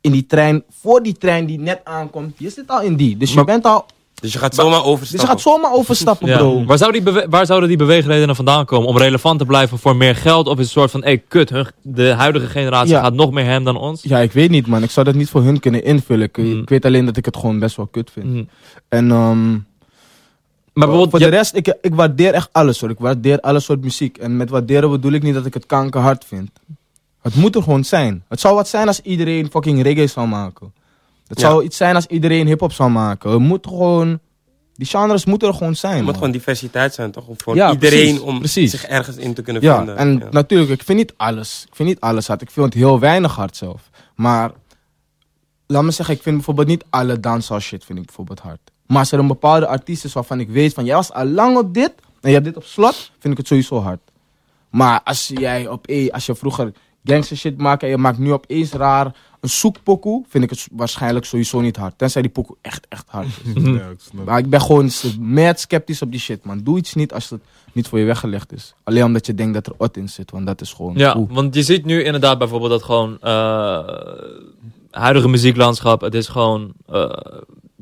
Speaker 4: in die trein, voor die trein die net aankomt. Je zit al in die. Dus je bent al.
Speaker 1: Dus je gaat zomaar
Speaker 4: Dus
Speaker 1: overstappen.
Speaker 4: je gaat zomaar overstappen,
Speaker 2: Ja.
Speaker 4: bro.
Speaker 2: Waar, zou die bewe- waar zouden die beweegredenen vandaan komen? Om relevant te blijven voor meer geld? Of is het een soort van, hey, kut, hun- de huidige generatie
Speaker 4: Ja.
Speaker 2: gaat nog meer hem dan ons?
Speaker 4: Ja, ik weet niet, man. Ik zou dat niet voor hun kunnen invullen. Ik,
Speaker 2: Mm.
Speaker 4: ik weet alleen dat ik het gewoon best wel kut vind.
Speaker 2: Mhm.
Speaker 4: En ehm,
Speaker 2: Maar
Speaker 4: voor
Speaker 2: bijvoorbeeld,
Speaker 4: de
Speaker 2: je-
Speaker 4: rest, ik, ik waardeer echt alles hoor. Ik waardeer alle soort muziek. En met waarderen bedoel ik niet dat ik het kankerhard vind. Het moet er gewoon zijn. Het zou wat zijn als iedereen fucking reggae zou maken. Het
Speaker 1: Ja.
Speaker 4: zou iets zijn als iedereen hip-hop zou maken. Het moet gewoon. Die genres moeten er gewoon zijn.
Speaker 1: Er moet
Speaker 4: man.
Speaker 1: gewoon diversiteit zijn, toch? Om Voor
Speaker 4: Ja,
Speaker 1: iedereen
Speaker 4: precies,
Speaker 1: om
Speaker 4: precies.
Speaker 1: zich ergens in te kunnen
Speaker 4: Ja,
Speaker 1: vinden.
Speaker 4: en
Speaker 1: Ja.
Speaker 4: natuurlijk, ik vind niet alles. Ik vind niet alles hard. Ik vind heel weinig hard zelf. Maar laat me zeggen, ik vind bijvoorbeeld niet alle dancehall shit vind ik bijvoorbeeld hard. Maar als er een bepaalde artiest is waarvan ik weet van jij was al lang op dit en je hebt dit op slot, vind ik het sowieso hard. Maar als jij op eh, als je vroeger gangster shit maakte en je maakt nu opeens raar een zoekpokoe, vind ik het waarschijnlijk sowieso niet hard. Tenzij die pokoe echt, echt hard is.
Speaker 3: Ja, ik snap.
Speaker 4: Maar ik ben gewoon s- mad sceptisch op die shit, man. Doe iets niet als het niet voor je weggelegd is. Alleen omdat je denkt dat er ot in zit, want dat is gewoon...
Speaker 2: Ja,
Speaker 4: oeh.
Speaker 2: want je ziet nu inderdaad bijvoorbeeld dat gewoon eh, huidige muzieklandschap, het is gewoon eh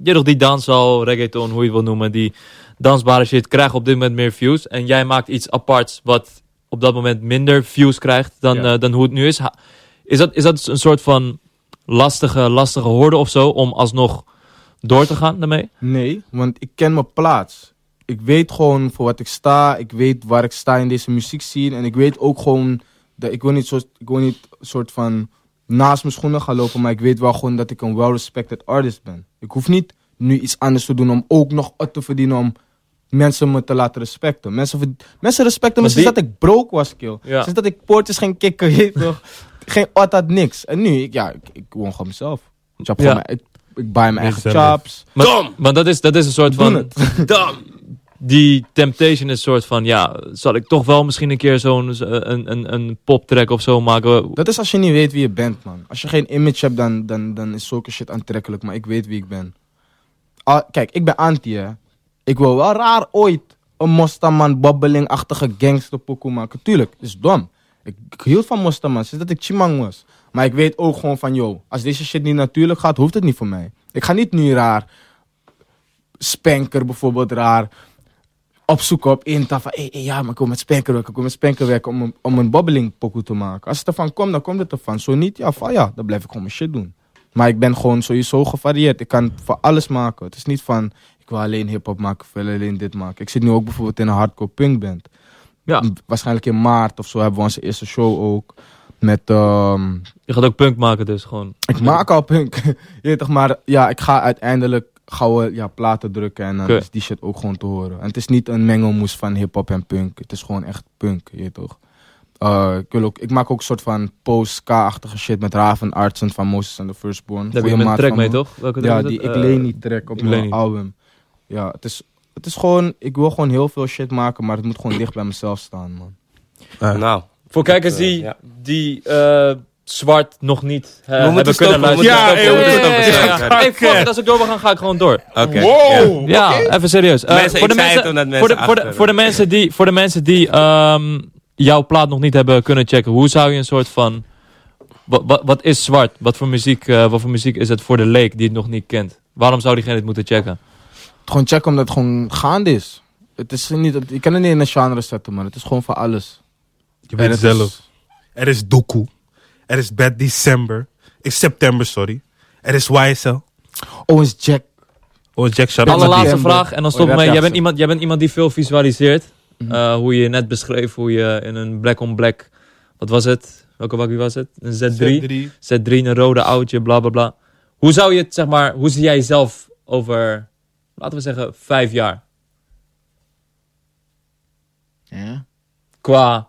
Speaker 2: je nog die dancehall, reggaeton, hoe je het wil noemen, die dansbare shit krijgt op dit moment meer views en jij maakt iets aparts wat op dat moment minder views krijgt dan,
Speaker 3: Ja.
Speaker 2: eh, dan hoe het nu is. Ha- is, dat, is dat een soort van lastige, lastige hoorde of zo om alsnog door te gaan daarmee?
Speaker 4: Nee, want ik ken mijn plaats. Ik weet gewoon voor wat ik sta. Ik weet waar ik sta in deze muziekscene. En ik weet ook gewoon... Dat ik, wil niet soort, ik wil niet soort van naast mijn schoenen gaan lopen. Maar ik weet wel gewoon dat ik een well-respected artist ben. Ik hoef niet nu iets anders te doen om ook nog ot te verdienen... om mensen me te laten respecten. Mensen, verd- mensen respecten me
Speaker 2: Maar
Speaker 4: sinds
Speaker 2: die-
Speaker 4: dat ik broke was, kill.
Speaker 2: Ja.
Speaker 4: Sinds dat ik poortjes ging kicken, je weet toch? Geen ot had niks. En nu, ik, ja, ik, ik woon gewoon mezelf. Ik, chop gewoon
Speaker 2: Ja.
Speaker 4: mijn- ik, ik buy mijn eigen
Speaker 3: zelf.
Speaker 4: chops.
Speaker 2: Maar,
Speaker 1: Dom!
Speaker 2: Want dat is, dat is een soort
Speaker 4: Doen
Speaker 2: van...
Speaker 4: het.
Speaker 1: Dam!
Speaker 2: die temptation is soort van, ja, zal ik toch wel misschien een keer zo'n zo- een, een, een poptrack of zo maken?
Speaker 4: Dat is als je niet weet wie je bent, man. Als je geen image hebt, dan, dan, dan is zulke shit aantrekkelijk. Maar ik weet wie ik ben. Ah, kijk, ik ben anti, hè. Ik wil wel raar ooit een Mostaman bobbeling-achtige gangsterpokoe maken. Tuurlijk, het is dom. Ik, ik hield van Mostaman, sinds dat ik Chimang was. Maar ik weet ook gewoon van, yo, als deze shit niet natuurlijk gaat, hoeft het niet voor mij. Ik ga niet nu raar, Spanker bijvoorbeeld, raar opzoeken op Inta van, hey, hey, ja, maar ik wil met Spanker werken, ik wil met Spanker werken om een, om een bobbeling pokoe te maken. Als het ervan komt, dan komt het ervan. Zo niet, ja, van, ja, dan blijf ik gewoon mijn shit doen. Maar ik ben gewoon sowieso gevarieerd. Ik kan voor alles maken. Het is niet van, ik wil alleen hip-hop maken, ik wil alleen dit maken. Ik zit nu ook bijvoorbeeld in een hardcore punkband.
Speaker 2: Ja,
Speaker 4: Mm. Waarschijnlijk in maart of zo hebben we onze eerste show ook. Met, ehm,
Speaker 2: je gaat ook punk maken dus gewoon.
Speaker 4: ik maak al punk. Je weet toch, maar ja, ik ga uiteindelijk gouden ja, platen drukken en dan
Speaker 2: Oké.
Speaker 4: is die shit ook gewoon te horen. En het is niet een mengelmoes van hip-hop en punk. Het is gewoon echt punk, je weet toch. eh, ik, wil ook, ik maak ook een soort van post-K-achtige shit met Raven Artsen van Moses and the Firstborn.
Speaker 2: Daar heb je
Speaker 4: Goeie
Speaker 2: een
Speaker 4: maat
Speaker 2: track
Speaker 4: van
Speaker 2: mee,
Speaker 4: me.
Speaker 2: toch? Welke track
Speaker 4: Ja,
Speaker 2: is dat?
Speaker 4: die Ik
Speaker 2: Eh,
Speaker 4: Leen Niet track op
Speaker 2: Ik Leen
Speaker 4: mijn
Speaker 2: Niet.
Speaker 4: album. Ja, het is, het is gewoon... Ik wil gewoon heel veel shit maken, maar het moet gewoon dicht bij mezelf staan, man.
Speaker 3: Ja.
Speaker 1: Nou,
Speaker 2: Voor kijkers die,
Speaker 1: Ja.
Speaker 2: die eh, zwart nog niet eh,
Speaker 1: moeten
Speaker 2: hebben
Speaker 1: stoppen,
Speaker 2: kunnen
Speaker 1: we moeten
Speaker 2: luisteren.
Speaker 3: stoppen, Ja, we moeten stoppen.
Speaker 2: ja, ja, ja.
Speaker 1: Sorry, sorry.
Speaker 2: Hey, fuck it, als ik door wil gaan, ga ik gewoon door.
Speaker 1: oké.
Speaker 3: Wow!
Speaker 2: Ja, even serieus. Eh,
Speaker 1: Mensen,
Speaker 2: voor, de
Speaker 1: ik zei
Speaker 2: mensen,
Speaker 1: het omdat mensen
Speaker 2: voor, de, voor, de,
Speaker 1: achter-
Speaker 2: voor de mensen die, voor de mensen die ehm, jouw plaat nog niet hebben kunnen checken, hoe zou je een soort van. Wat, wat, wat is zwart? Wat voor, muziek, eh, wat voor muziek is het voor de leek die het nog niet kent? Waarom zou diegene het moeten checken?
Speaker 4: Gewoon checken omdat het gewoon gaande is. Het is niet, je kan het niet in een genre zetten, man. Het is gewoon voor alles.
Speaker 3: Je weet
Speaker 4: En
Speaker 3: het
Speaker 4: het is-
Speaker 3: zelf. Er is Doku. Er is Bad December. Is september, sorry. Er is YSL.
Speaker 4: Oh, is Jack.
Speaker 3: Oh, Jack Shadow.
Speaker 2: Allerlaatste
Speaker 4: December.
Speaker 2: vraag en dan
Speaker 4: Oh,
Speaker 2: stop
Speaker 4: dat
Speaker 2: mee.
Speaker 4: ja,
Speaker 2: Jij bent,
Speaker 4: zo.
Speaker 2: iemand, jij bent iemand die veel visualiseert.
Speaker 4: Mhm.
Speaker 2: Eh, hoe je net beschreef hoe je in een black-on-black... wat was het? Welke bakkie was het? Een Z3? Z3, een rode oudje, bla bla bla. Hoe zou je het, zeg maar... Hoe zie jij jezelf over, laten we zeggen, vijf jaar?
Speaker 4: Ja.
Speaker 2: Qua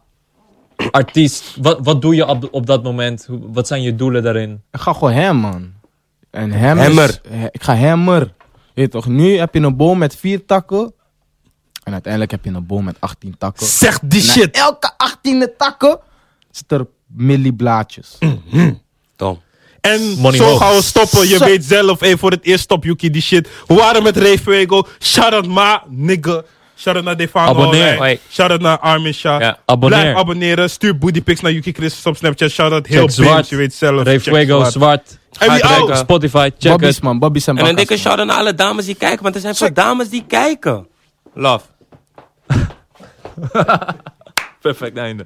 Speaker 2: artiest. Wat, wat doe je op, op dat moment? Hoe- Wat zijn je doelen daarin?
Speaker 4: Ik ga gewoon hem, man. En hem is-
Speaker 3: Hammer.
Speaker 4: eh, ik ga hammer. Weet je toch, nu heb je een boom met vier takken. En uiteindelijk heb je een boom met 18 takken.
Speaker 3: Zeg die
Speaker 4: En na
Speaker 3: shit.
Speaker 4: elke 18e takken zit er milliblaadjes.
Speaker 1: Tom.
Speaker 3: En
Speaker 2: Money
Speaker 3: zo
Speaker 2: hoog.
Speaker 3: gaan we stoppen. Je
Speaker 4: Zo.
Speaker 3: weet zelf. Hey, voor het eerst stop, Yuki, die shit. We waren met Ray Fuego. Shout-out ma, nigga. Shout-out naar Defano.
Speaker 2: Abonneer.
Speaker 1: Hoi.
Speaker 3: Shout-out naar Armin Shah.
Speaker 1: Ja,
Speaker 2: abonneer.
Speaker 3: Blijf abonneren. Stuur bootypics naar Yuki Christus op Snapchat. Shout-out heel
Speaker 2: Zwart.
Speaker 3: Binge. Je weet zelf.
Speaker 2: Ray
Speaker 3: Check
Speaker 2: Fuego,
Speaker 3: Zwart.
Speaker 2: Zwart.
Speaker 3: En wie
Speaker 2: Uitrek,
Speaker 3: ook.
Speaker 2: Spotify, check
Speaker 4: Bobby's,
Speaker 2: het.
Speaker 4: man. Bobby's en
Speaker 1: En een
Speaker 4: bakka's,
Speaker 1: dikke
Speaker 4: man.
Speaker 1: shout-out naar alle dames die kijken, want er zijn veel dames die kijken. Love.
Speaker 2: Perfect einde.